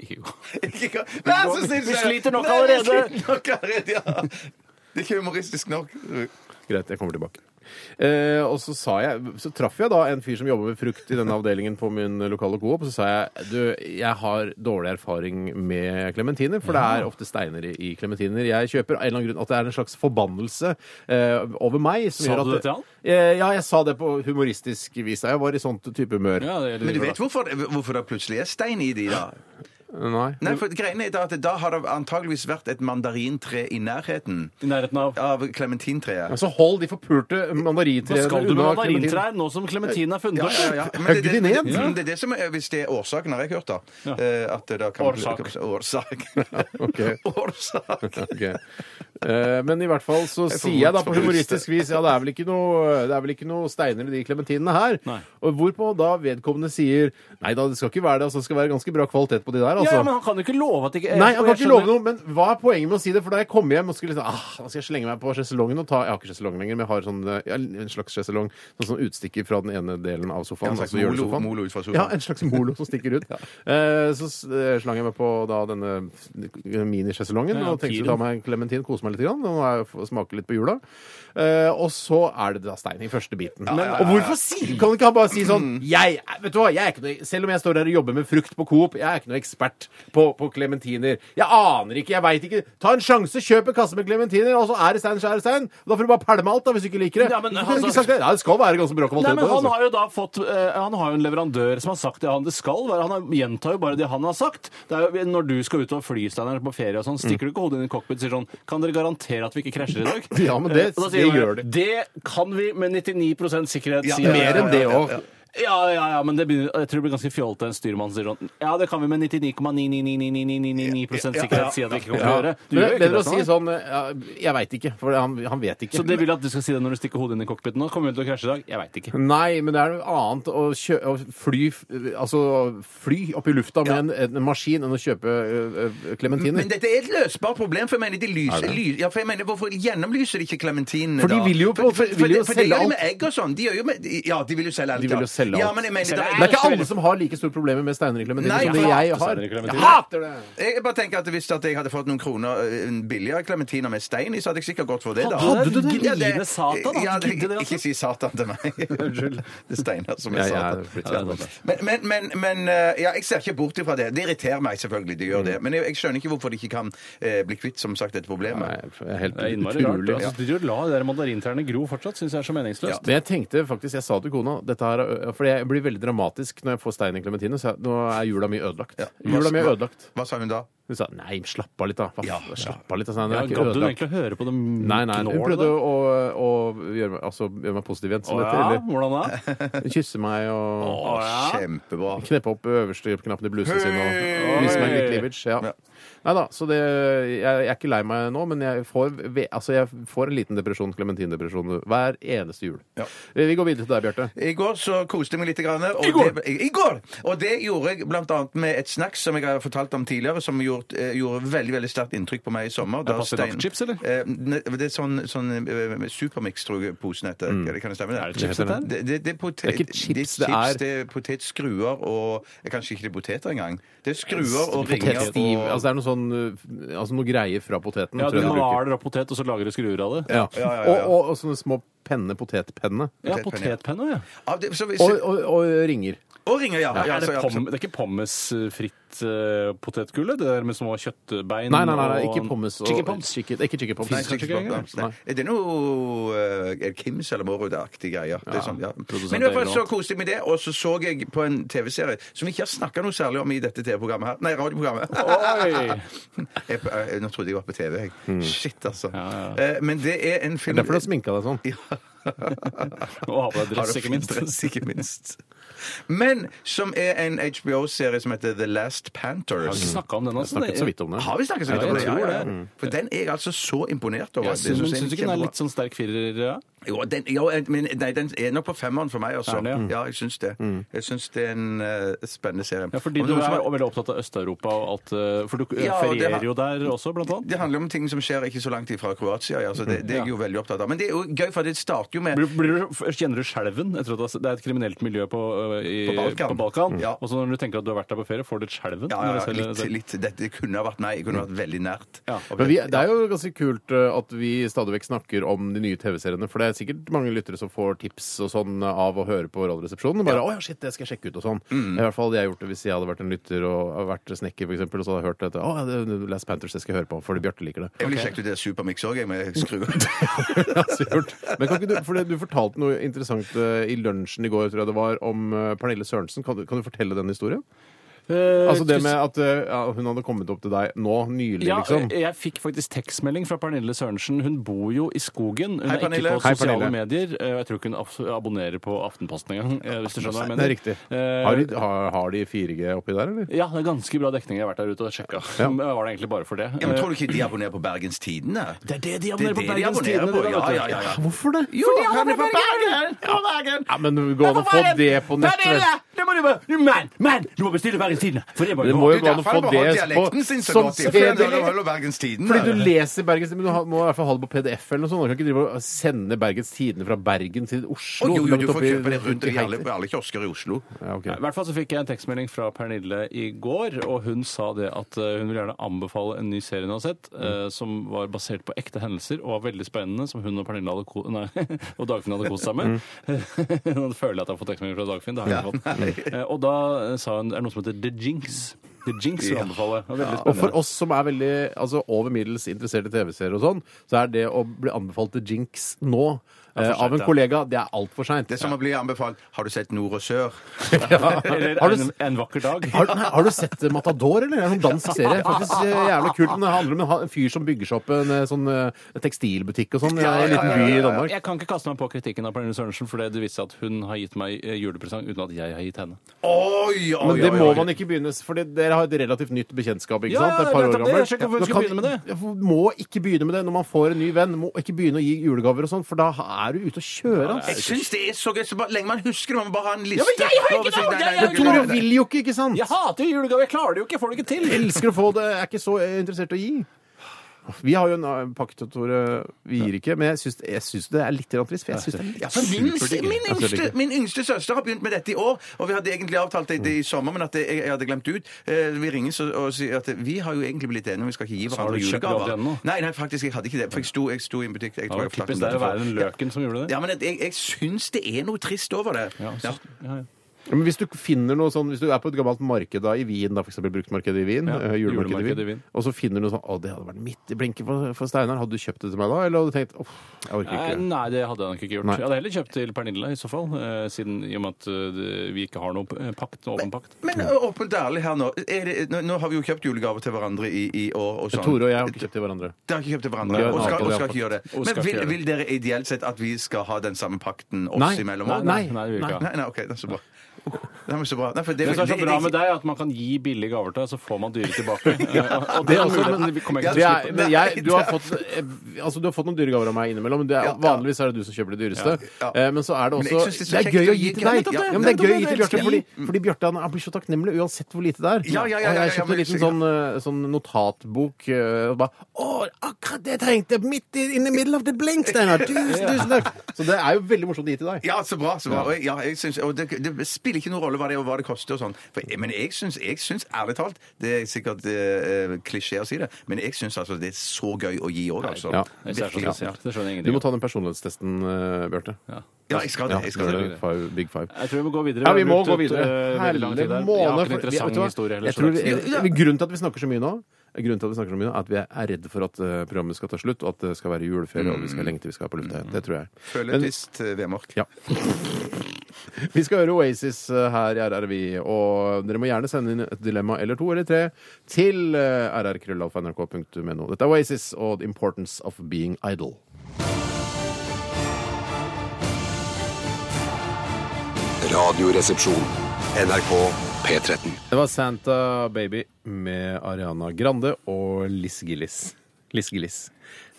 Speaker 4: Ikke god.
Speaker 3: Vær så snill!
Speaker 4: Vi
Speaker 3: Sven!
Speaker 4: sliter nok
Speaker 3: Nei, vi
Speaker 4: allerede.
Speaker 3: sliter nok allerede, ja. Det er ikke humoristisk nok.
Speaker 2: Greit, jeg kommer tilbake. Eh, og så, sa jeg, så traff jeg da en fyr som jobber med frukt i denne avdelingen på min lokale Coop, og så sa jeg du, jeg har dårlig erfaring med klementiner, for det er ofte steiner i- i klementiner. Jeg kjøper av en eller annen grunn at det er en slags forbannelse eh, over meg. Som
Speaker 4: Sa
Speaker 2: gjør at,
Speaker 4: du det til han?
Speaker 2: Eh, ja, jeg sa det på humoristisk vis. Jeg var i sånt type humør.
Speaker 4: Ja, det er
Speaker 3: Men du vet
Speaker 4: litt bra.
Speaker 3: hvorfor, hvorfor det plutselig er stein i de, da?
Speaker 2: Nei.
Speaker 3: Nei, for greiene er da at Da har det antageligvis vært et mandarintre i nærheten
Speaker 4: I nærheten av
Speaker 3: av klementintreet.
Speaker 2: Men så hold de forpulte
Speaker 4: Hva
Speaker 2: mandarintrærne
Speaker 4: skal du med
Speaker 2: klementin-
Speaker 4: mandarintrær nå som klementin er funnet
Speaker 3: Ja,
Speaker 4: opp?
Speaker 3: ja, ja. Men det,
Speaker 2: Hugg de
Speaker 3: det, det,
Speaker 2: ned?
Speaker 3: men det er det som er, Hvis det er årsaken, har jeg hørt, da. eh, At det da kan *laughs*
Speaker 4: Årsak.
Speaker 3: Årsak.
Speaker 2: Ok.
Speaker 3: *laughs* årsak.
Speaker 2: Ok. Eh, Men i hvert fall så
Speaker 3: Jeg får
Speaker 2: sier jeg da
Speaker 3: vondt
Speaker 2: på
Speaker 3: for brystet.
Speaker 2: humoristisk vis ja, det er vel ikke noe, det er vel ikke noe steiner i de klementinene her.
Speaker 4: Nei.
Speaker 2: Og hvorpå da vedkommende sier nei da, det skal ikke være det, altså, det skal være ganske bra kvalitet på de der,
Speaker 4: Ja,
Speaker 2: altså.
Speaker 4: ja, men han kan jo ikke love at ikke
Speaker 2: Nei, han
Speaker 4: Og
Speaker 2: kan
Speaker 4: jeg
Speaker 2: ikke love
Speaker 4: skjønner-
Speaker 2: noe, men hva er poenget med å si det? For da jeg kom hjem og skulle liksom, ah, nå skal jeg slenge meg på sjeselongen og ta Jeg har ikke sjeselong lenger, men jeg har sånn, eh, ja, en slags sjeselong. Sånn som utstikker fra den ene delen av sofaen.
Speaker 3: En slags
Speaker 2: altså hjørnesofaen.
Speaker 3: molo- molo ut fra sofaen.
Speaker 2: Ja, en slags molo som stikker
Speaker 4: *laughs*
Speaker 2: ut. Eh, så eh, slang jeg meg på da denne minisjeselongen
Speaker 4: Ja,
Speaker 2: og tenkte å
Speaker 4: piren.
Speaker 2: ta meg en klementin, kose meg litt grann, og er- få smake litt på jula. Eh, og så er det da stein i første biten. Og hvorfor sier Kan ikke han bare si
Speaker 4: Mm.
Speaker 2: sånn jeg, er- Vet du hva, jeg er ikke noe, Selv om jeg står her og jobber med frukt på Coop, jeg er ikke noe ekspert på på klementiner. Jeg aner ikke, jeg veit ikke. Ta en sjanse, kjøp en kasse med klementiner, og så er det stein, så er det stein. Og da får du bare pælme alt, da, hvis du ikke liker det.
Speaker 4: Ja, men
Speaker 2: Hvorfor
Speaker 4: han
Speaker 2: kunne du ikke
Speaker 4: sa-
Speaker 2: sagt det? Nei, det skal være ganske bra kvalitet
Speaker 4: Nei, men
Speaker 2: på det,
Speaker 4: han
Speaker 2: altså.
Speaker 4: har jo da fått eh, Han har jo en leverandør som har sagt det han det skal være. Han har- gjentar jo bare det han har sagt. Det er jo, når du skal ut og fly Steinar, på ferie og sånn,
Speaker 2: Mm.
Speaker 4: stikker du ikke hodet inn i cockpit og sier sånn Kan dere garantere at vi ikke krasjer i dag?
Speaker 2: *laughs* Ja, men det-
Speaker 4: Eh, og da
Speaker 2: det
Speaker 4: sier han,
Speaker 2: gjør de.
Speaker 4: Det kan vi med 99 sikkerhet, sier
Speaker 2: Mer enn det òg.
Speaker 4: Ja, ja, ja, men det begynner, jeg tror det blir ganske fjolte en styrmann sier sånn Ja, det kan vi med 99,99999 sikkerhet si at vi ikke kommer til å gjøre. Du gjør
Speaker 2: Men
Speaker 4: jo
Speaker 2: bedre
Speaker 4: ikke
Speaker 2: å
Speaker 4: det
Speaker 2: si
Speaker 4: sånn.
Speaker 2: sånn ja, Jeg veit ikke, for han, han vet ikke.
Speaker 4: Så det vil jeg at du skal si det når du stikker hodet inn i cockpiten nå? Kommer vi til å krasje i dag? Jeg veit ikke.
Speaker 2: Nei, men det er noe annet å, kjø å fly f- Altså fly opp i lufta med en, en maskin enn å kjøpe klementiner.
Speaker 3: Men dette er et løsbart problem, for jeg mener de lyser ly- ja, for jeg mener, Hvorfor gjennomlyser de ikke klementinene
Speaker 2: For de
Speaker 3: da?
Speaker 2: vil jo på-
Speaker 3: for, for,
Speaker 2: vil
Speaker 3: for,
Speaker 2: jo
Speaker 3: det- for det gjør
Speaker 2: selge
Speaker 3: de
Speaker 2: alt.
Speaker 3: med egg og sånn. De gjør jo med, ja, de vil jo selge alt.
Speaker 2: De vil jo
Speaker 3: ja.
Speaker 2: selge
Speaker 3: Ja,
Speaker 2: alt.
Speaker 3: men jeg mener,
Speaker 4: Selge
Speaker 3: det
Speaker 2: Det er
Speaker 3: er-
Speaker 2: ikke alle som har like store problemer med steiner i klementiner
Speaker 3: Nei,
Speaker 2: som det
Speaker 3: jeg
Speaker 2: jeg har.
Speaker 4: steiner i klementiner.
Speaker 2: Jeg hater det!
Speaker 3: Jeg bare tenker at Hvis at jeg hadde fått noen kroner eh, billigere klementiner med stein i, så hadde jeg sikkert gått for det. da
Speaker 4: Hadde du det?
Speaker 3: Ja,
Speaker 4: Gniene satan, da.
Speaker 3: Ja, det,
Speaker 4: Gidde det, altså?
Speaker 3: Ikke si Satan til meg. *laughs* Unnskyld. Det er Steinar som
Speaker 2: Ja,
Speaker 3: er
Speaker 2: jeg er
Speaker 3: Satan.
Speaker 2: blitt
Speaker 3: Ja,
Speaker 2: Satan.
Speaker 3: Men, men, men, men eh, ja, jeg ser ikke bort ifra det. Det irriterer meg selvfølgelig, det
Speaker 2: Mm.
Speaker 3: gjør det. Men jeg, jeg skjønner ikke hvorfor de ikke kan eh, bli kvitt som sagt, dette
Speaker 2: Nei,
Speaker 3: problemet.
Speaker 2: det er helt
Speaker 4: Det er innmari rart.
Speaker 2: utrolig.
Speaker 4: Altså, de la de der mandarintrærne gro fortsatt, syns jeg er så meningsløst.
Speaker 2: Men jeg tenkte faktisk, jeg sa til kona dette her er for jeg blir veldig dramatisk når jeg får Stein i klementine. Så jeg, nå er jula mi ødelagt. Jula mi er ødelagt.
Speaker 3: Hva sa hun da?
Speaker 2: Hun sa nei, slapp av litt, da. Hva,
Speaker 3: Ja,
Speaker 2: f- slapp av litt, da, Stein. Det
Speaker 4: Ja,
Speaker 2: er ikke
Speaker 4: Gadd hun
Speaker 2: ødelagt.
Speaker 4: egentlig å høre på dem
Speaker 2: Nei, nei, hun
Speaker 4: gnåle,
Speaker 2: prøvde
Speaker 4: da?
Speaker 2: å, å gjøre, meg, altså, gjøre meg positiv igjen, som
Speaker 4: Å
Speaker 2: det
Speaker 4: ja,
Speaker 2: heter.
Speaker 4: hvordan da?
Speaker 2: Eller kysse meg og
Speaker 4: Å ja.
Speaker 3: Kjempebra.
Speaker 2: kneppe opp øverste knappen i blusen sin og
Speaker 4: Hei!
Speaker 2: vise meg litt livage. Ja.
Speaker 3: Ja.
Speaker 2: Nei da, så det, jeg, jeg er ikke lei meg nå, men jeg får, ve- altså jeg får en liten depresjon, klementindepresjon, hver eneste jul.
Speaker 3: Ja.
Speaker 2: Eh, Vi går videre til deg, Bjarte.
Speaker 3: I går så koste jeg meg litt. Grann, og I, går. Det, I går! Og det gjorde jeg bl.a. med et snacks som jeg har fortalt om tidligere, som gjort, eh, gjorde veldig veldig sterkt inntrykk på meg i sommer. Da
Speaker 4: passer
Speaker 3: Stein-
Speaker 4: det chips, eller?
Speaker 3: Eh, ne- det er sånn, sånn eh, Supermix, tror jeg posen heter. Kan det stemme? det?
Speaker 4: Er det chips, dette her?
Speaker 3: Det, det, det, er potet,
Speaker 2: Det er ikke chips,
Speaker 3: det er,
Speaker 2: det er-
Speaker 3: chips, det er potetskruer og eh, Kanskje ikke det er poteter engang. Det er skruer og ringer
Speaker 2: Potetstiv.
Speaker 3: og
Speaker 2: Altså det er noe sånn uh, altså noe greie fra poteten.
Speaker 4: Ja,
Speaker 2: tror
Speaker 4: du
Speaker 2: jeg de bruker.
Speaker 4: maler opp potet, og så lager du skruer av
Speaker 2: ja.
Speaker 4: det?
Speaker 3: Ja, ja, ja, ja.
Speaker 2: Og, og, og sånne små penne, potetpenne.
Speaker 4: Ja,
Speaker 3: Potetpenne.
Speaker 4: potetpenne, ja.
Speaker 3: Ja, det- så-
Speaker 2: Og, og, og ringer.
Speaker 3: og ringer, ja. ja,
Speaker 4: Er
Speaker 2: altså,
Speaker 4: det,
Speaker 3: så- ja,
Speaker 4: pom, det er ikke pommesfritt uh, potetgull? Det der med små kjøttbein
Speaker 2: Nei, nei, nei, nei
Speaker 4: og-
Speaker 2: ikke pommes. Og,
Speaker 4: Chicken pommes.
Speaker 2: chicken- ikke chicken pommes.
Speaker 3: Nei,
Speaker 4: Fins det
Speaker 3: ikke
Speaker 4: ikke
Speaker 3: Bob
Speaker 4: engang?
Speaker 3: Dams, nei. Er det noe eh, er det Kims eller Morud-aktige greier? Det er sånn, ja.
Speaker 4: produsent
Speaker 3: Men i hvert fall
Speaker 4: Egeland.
Speaker 3: så koste jeg meg med det, og så så jeg på en TV-serie som vi ikke har snakka noe særlig om i dette TV-programmet her. Nei, radioprogrammet.
Speaker 4: Oi!
Speaker 3: *laughs* jeg, jeg, nå trodde jeg var på TV, jeg. Shit, altså. Eh, Men det er en film
Speaker 2: Derfor du har sminka deg sånn.
Speaker 4: Og ha på
Speaker 3: Har
Speaker 4: deg dress,
Speaker 3: du
Speaker 4: ikke minst.
Speaker 3: dress, ikke minst. Men som er en HBO-serie som heter The Last Panthers.
Speaker 4: Har vi ikke snakka om den? Altså.
Speaker 2: Snakket så vidt om det.
Speaker 3: Har vi snakket så vidt
Speaker 4: Ja,
Speaker 3: om det?
Speaker 4: jeg tror det.
Speaker 3: For den er jeg altså så imponert over.
Speaker 4: Ja,
Speaker 3: Det synes
Speaker 4: men
Speaker 3: jeg
Speaker 4: Syns du ikke den er litt sånn sterk firer? Ja?
Speaker 3: Jo, den, jo, eh, men, nei, den er nok på femmeren for meg, altså.
Speaker 4: Er den det,
Speaker 3: Ja, jeg syns det. Jeg syns det er en eh, spennende serie.
Speaker 4: Mm. Ja, fordi
Speaker 3: Om
Speaker 4: du
Speaker 3: noen som
Speaker 4: er
Speaker 3: har-
Speaker 4: veldig opptatt av Øst-Europa og alt eh, For du eh,
Speaker 3: Ja, og det har-
Speaker 4: ferierer jo der også, blant annet.
Speaker 3: det handler om ting som skjer ikke så langt ifra Kroatia. Ja, så det, det er jeg jo veldig opptatt av. Men det er jo gøy, for det starter jo med
Speaker 4: Blir, blir du, kjenner du skjelven? etter at du har sett- Det er et kriminelt miljø på, ø, i,
Speaker 3: På Balkan. Ja.
Speaker 4: Og så når du tenker at du har vært der på ferie, får du et skjelven?
Speaker 3: ja,
Speaker 4: når
Speaker 3: ja,
Speaker 4: du ser det-
Speaker 3: litt, litt Dette kunne ha vært nei, det kunne ha vært veldig nært.
Speaker 4: Ja.
Speaker 3: Og
Speaker 2: Men vi, det er jo ganske kult eh, at vi stadig vekk snakker om de nye TV-seriene. For det er sikkert mange lyttere som får tips og sånn av å høre på Radioresepsjonen. Og bare 'Å ja, shit, det skal jeg sjekke ut', og sånn. I hvert fall hadde jeg gjort det hvis jeg hadde vært en lytter og hadde vært snekker, for eksempel, og så hadde jeg hørt dette. 'Å, ja, det er Last Panthers, det skal jeg høre på', fordi Bjarte liker det.
Speaker 3: Jeg ville sjekket ut det Supermix òg, jeg, med skruer.
Speaker 2: *laughs*
Speaker 4: *laughs*
Speaker 2: Så gjort. Men kan ikke du, for det, du fortalte noe interessant eh, i lunsjen i går, tror jeg det var, om eh, Pernille Sørensen. Kan du, kan du fortelle den historien?
Speaker 4: Eh,
Speaker 2: Altså det med at eh, ja, hun hadde kommet opp til deg nå nylig,
Speaker 4: ja, eh,
Speaker 2: liksom.
Speaker 4: jeg fikk faktisk tekstmelding fra Pernille Sørensen. Hun bor jo i skogen. Hun
Speaker 3: Hei,
Speaker 4: er
Speaker 3: Pernille.
Speaker 4: ikke på
Speaker 2: Hei,
Speaker 4: sosiale
Speaker 2: Pernille.
Speaker 4: medier. Eh, Jeg tror ikke hun abs- abonnerer på Aftenposten engang. eh, Hvis du skjønner hva jeg
Speaker 2: Det
Speaker 4: mener.
Speaker 2: er riktig.
Speaker 4: Eh,
Speaker 2: Har de, har, har de 4G oppi der, eller?
Speaker 4: ja, det er ganske bra dekning. Jeg har vært der ute og sjekka. *laughs* Var det egentlig bare for det?
Speaker 3: Ja, men tror du ikke de abonnerer på Bergens Tidende?
Speaker 4: Eh, det er det de
Speaker 3: Det er det
Speaker 4: abonnerer på
Speaker 3: de
Speaker 4: Bergens
Speaker 3: abonnerer
Speaker 4: Tidende.
Speaker 3: på.
Speaker 4: det da,
Speaker 3: Ja,
Speaker 4: vet du.
Speaker 3: ja, ja, ja.
Speaker 2: Hvorfor det?
Speaker 3: Jo, han er fra Bergen! Ja.
Speaker 2: Ja, men det går an å få det på nettet.
Speaker 4: Det må du bare Men, men! Du må bestille Bergens Tidende! For det må
Speaker 2: Det
Speaker 4: du
Speaker 2: må jo
Speaker 3: Det
Speaker 2: gå
Speaker 3: er
Speaker 2: an å
Speaker 3: derfor
Speaker 2: få
Speaker 3: han
Speaker 2: det
Speaker 3: beholdt
Speaker 2: på
Speaker 3: dialekten sin
Speaker 4: Sånn
Speaker 3: så
Speaker 2: som
Speaker 3: godt. ja, for han
Speaker 2: sedelig.
Speaker 3: holder Bergens Tidende.
Speaker 2: Fordi du leser Bergens men du har- må i hvert fall ha det på PDF eller noe sånt. Du kan ikke drive og sende Bergens Tidende fra Bergen til Oslo.
Speaker 3: Å, jo, jo,
Speaker 2: langt
Speaker 3: du får
Speaker 2: oppi-
Speaker 3: kjøpe det rundt i alle, på alle kiosker i Oslo.
Speaker 2: Ja, ok.
Speaker 4: I hvert fall så fikk jeg en tekstmelding fra Pernille i går, og hun sa det at eh, hun vil gjerne anbefale en ny serie hun har sett, eh, som var basert på ekte hendelser og var veldig spennende, som hun og Pernille hadde ko nei, *laughs* og Dagfinn hadde kost seg med. *laughs* Nå føler jeg at jeg har fått tekstmelding fra Dagfinn, det har jeg ikke fått. *laughs* Eh, Og da eh, sa hun, er det noe som heter The Jinx? The Jinx vil jeg anbefale. Det var Veldig
Speaker 2: Og
Speaker 4: spennende.
Speaker 2: for oss som er veldig altså, over middels interessert i TV-serier og sånn, så er det å bli anbefalt til Jinx nå eh, av en kollega, det er altfor seint.
Speaker 3: Det er som å bli anbefalt Har du sett Nord og Sør? *laughs*
Speaker 4: Eller
Speaker 2: Har du
Speaker 4: en, en vakker dag.
Speaker 2: Har, nei, har du sett eh, Matador, eller? Det er en dansk serie. Faktisk eh, jævla kult. Men det handler om en ha- en fyr som bygger seg opp en eh, sånn eh, tekstilbutikk og sånn i en liten by i Danmark.
Speaker 4: Jeg kan ikke kaste meg på kritikken av Pernille Sørensen, for det det viser seg at hun har gitt meg eh, julepresang uten at jeg har gitt henne.
Speaker 3: Oi, oi,
Speaker 2: Men det
Speaker 3: oi,
Speaker 2: må
Speaker 3: oi.
Speaker 2: man ikke begynne For dere har et relativt nytt bekjentskap, ikke
Speaker 4: Ja,
Speaker 2: sant? Det er et par
Speaker 4: nettopp
Speaker 2: år
Speaker 4: det. Jeg
Speaker 2: gammelt. Nå
Speaker 4: skjønner ikke hvorfor vi skal
Speaker 2: kan-
Speaker 4: begynne med det.
Speaker 2: Ja, for- Må ikke begynne med det når man får en ny venn. Må ikke begynne å gi julegaver og sånn, for da er du ute å kjøre,
Speaker 3: Jeg
Speaker 2: altså.
Speaker 3: syns det er så gøy. Så bare, lenge man husker det, man må bare ha en liste.
Speaker 4: Ja, men jeg har ikke
Speaker 3: over seg.
Speaker 4: noe!
Speaker 3: Nei,
Speaker 4: Jeg-
Speaker 3: nei,
Speaker 4: jeg-
Speaker 3: nei,
Speaker 2: Tore
Speaker 3: nei, nei.
Speaker 2: vil jo ikke, ikke sant?
Speaker 4: Jeg hater jo julegave! Jeg klarer det jo ikke! Jeg får det ikke til!
Speaker 2: Elsker å få det, er ikke så interessert i å gi. Vi har jo en eh, pakt, Tore. Vi gir ikke. Men jeg syns, jeg syns det er litt grann trist. For jeg syns det er litt
Speaker 3: Ja, Altså, for min, min,
Speaker 2: Jeg skjønner
Speaker 3: yngste,
Speaker 2: ikke.
Speaker 3: min yngste søster har begynt med dette i år, og vi hadde egentlig avtalt det i sommer, men at det, jeg, jeg hadde glemt ut. Eh, Vi ringer og, og sier at vi har jo egentlig blitt enige, vi skal ikke gi
Speaker 4: har du
Speaker 3: hverandre
Speaker 4: ikke kjøpt
Speaker 3: julegaver.
Speaker 4: gave ennå?
Speaker 3: Nei, nei, faktisk, jeg hadde ikke det. For jeg sto, jeg sto i en butikk jeg tror
Speaker 4: Det
Speaker 3: jeg
Speaker 4: var
Speaker 3: har fortalt
Speaker 4: typisk
Speaker 3: om
Speaker 4: deg å
Speaker 3: dette
Speaker 4: være den
Speaker 3: før.
Speaker 4: løken som
Speaker 3: Ja,
Speaker 4: gjorde det.
Speaker 3: men jeg, jeg syns det er noe trist over det.
Speaker 4: Ja,
Speaker 3: Ja.
Speaker 4: så, ja, ja.
Speaker 2: Ja, Men hvis du finner noe sånn, hvis du er på et gammelt marked da, i Wien, da, for eksempel bruktmarkedet i Wien,
Speaker 4: Ja,
Speaker 2: eh, julemarkedet
Speaker 4: julemarkedet
Speaker 2: i
Speaker 4: i
Speaker 2: Wien,
Speaker 4: Wien.
Speaker 2: og så finner du noe sånn Å, det hadde vært midt i blinken for, for Steinar. Hadde du kjøpt det til meg da, eller hadde du tenkt Uff, jeg orker
Speaker 4: Eh,
Speaker 2: ikke.
Speaker 4: Nei, det hadde jeg nok ikke gjort.
Speaker 2: Nei.
Speaker 4: Jeg hadde heller kjøpt til Pernille i så fall, eh, siden i og med at eh, vi ikke har noen p- eh, pakt, noen åpen pakt.
Speaker 3: Men ø, åpent ærlig her nå. Er det, nå. Nå har vi jo kjøpt julegaver til hverandre i, i år. Og sånn.
Speaker 2: Tore og jeg har ikke kjøpt til hverandre.
Speaker 3: Dere har ikke kjøpt til hverandre.
Speaker 2: Nei,
Speaker 3: og,
Speaker 2: nei,
Speaker 3: skal,
Speaker 2: det
Speaker 3: og
Speaker 2: har
Speaker 3: skal ikke gjøre det.
Speaker 4: Og
Speaker 3: Men
Speaker 4: skal ikke
Speaker 3: vil,
Speaker 4: gjøre det.
Speaker 3: vil dere ideelt sett at vi skal ha den samme pakten oss
Speaker 2: Nei,
Speaker 3: imellom?
Speaker 2: nei,
Speaker 3: også?
Speaker 2: nei.
Speaker 4: nei det vil vi ikke ha.
Speaker 3: nei, nei, ok, det er så bra. Nei, men så bra. Nei, for det,
Speaker 4: Det som er så
Speaker 3: det-
Speaker 4: bra
Speaker 3: det-
Speaker 4: med deg, er at man kan gi billige gaver til deg, så får man dyre
Speaker 2: *laughs*
Speaker 4: tilbake. Eh, og- og
Speaker 2: Det er
Speaker 4: det er
Speaker 2: også-
Speaker 4: muligheten vi kommer ikke
Speaker 2: Det
Speaker 4: til å
Speaker 2: er,
Speaker 4: slippe.
Speaker 2: men jeg, du, har fått, eh, altså, du har fått noen dyregaver av meg innimellom. Men det er,
Speaker 3: Ja, ja.
Speaker 2: vanligvis er det du som kjøper det dyreste.
Speaker 3: Ja, ja.
Speaker 2: Eh, Men så er det
Speaker 3: Men jeg
Speaker 2: også
Speaker 3: synes det er så
Speaker 2: Det er
Speaker 3: kjekt
Speaker 2: gøy
Speaker 3: å
Speaker 2: å gi
Speaker 3: gi-
Speaker 2: til deg!
Speaker 3: Nettopp det,
Speaker 2: Ja, men det er
Speaker 3: nettopp det,
Speaker 2: gøy å
Speaker 3: det
Speaker 2: gi til Bjarte,
Speaker 3: elsker
Speaker 2: fordi,
Speaker 3: jeg.
Speaker 2: fordi Bjarte han, han blir så takknemlig uansett hvor lite det er.
Speaker 3: Ja, ja, ja, ja,
Speaker 2: Og jeg
Speaker 3: ja,
Speaker 2: kjøpte
Speaker 3: men
Speaker 2: en liten
Speaker 3: sikkert.
Speaker 2: sånn, eh, sånn notatbok eh, og bare Å, akkurat det jeg trengte! Midt i- in the middle of the blink,
Speaker 3: *laughs*
Speaker 2: Steinar! Tusen, tusen takk! Så det er jo veldig morsomt å gi til deg.
Speaker 3: Ja, så bra. så bra. Og, jeg- ja, jeg synes, og det, det spiller ikke noen rolle hva det er og hva det koster. og sånn. For, men jeg syns, jeg syns ærlig talt Det er sikkert eh, klisjé å si det, men jeg syns altså, det er så gøy å gi òg, altså.
Speaker 2: Ja.
Speaker 4: Det er så
Speaker 3: Virkelig.
Speaker 4: spesielt. Det skjønner jeg
Speaker 2: Du
Speaker 4: ingenting
Speaker 2: må
Speaker 4: av.
Speaker 2: ta den personlighetstesten, eh, Bjarte.
Speaker 4: Ja.
Speaker 3: Ja, jeg skal det. Jeg skal
Speaker 2: gjør
Speaker 3: det.
Speaker 2: det. Five, big five.
Speaker 4: Jeg tror vi må gå videre.
Speaker 2: Ja, vi
Speaker 4: har
Speaker 2: må
Speaker 4: brukt
Speaker 2: gå
Speaker 4: ut,
Speaker 2: videre.
Speaker 4: eh, veldig lang tid her. Vi har ikke en
Speaker 2: for- vet
Speaker 4: interessant
Speaker 2: du hva?
Speaker 4: historie heller.
Speaker 2: Jeg
Speaker 4: så
Speaker 2: tror,
Speaker 4: langt.
Speaker 2: vi- grunnen til at vi snakker så mye nå Grunnen til at vi snakker så mye nå er at vi er redde for at eh, programmet skal ta slutt, og at det skal være juleferie, og vi
Speaker 4: Mm.
Speaker 2: skal lenge til vi skal på lufta igjen. Det tror jeg.
Speaker 3: Føler
Speaker 2: Men-
Speaker 3: et visst eh, vemork.
Speaker 2: Ja. *laughs* Vi skal høre Oasis eh, her i RRV, og dere må gjerne sende inn et dilemma eller to eller tre til eh, rrkrøllalfa.nrk.no. Dette er Oasis og The Importance of Being Idle.
Speaker 5: Radioresepsjon. NRK P13.
Speaker 2: Det var Santa Baby med Ariana Grande og Liss Gillis. Liss Gillis.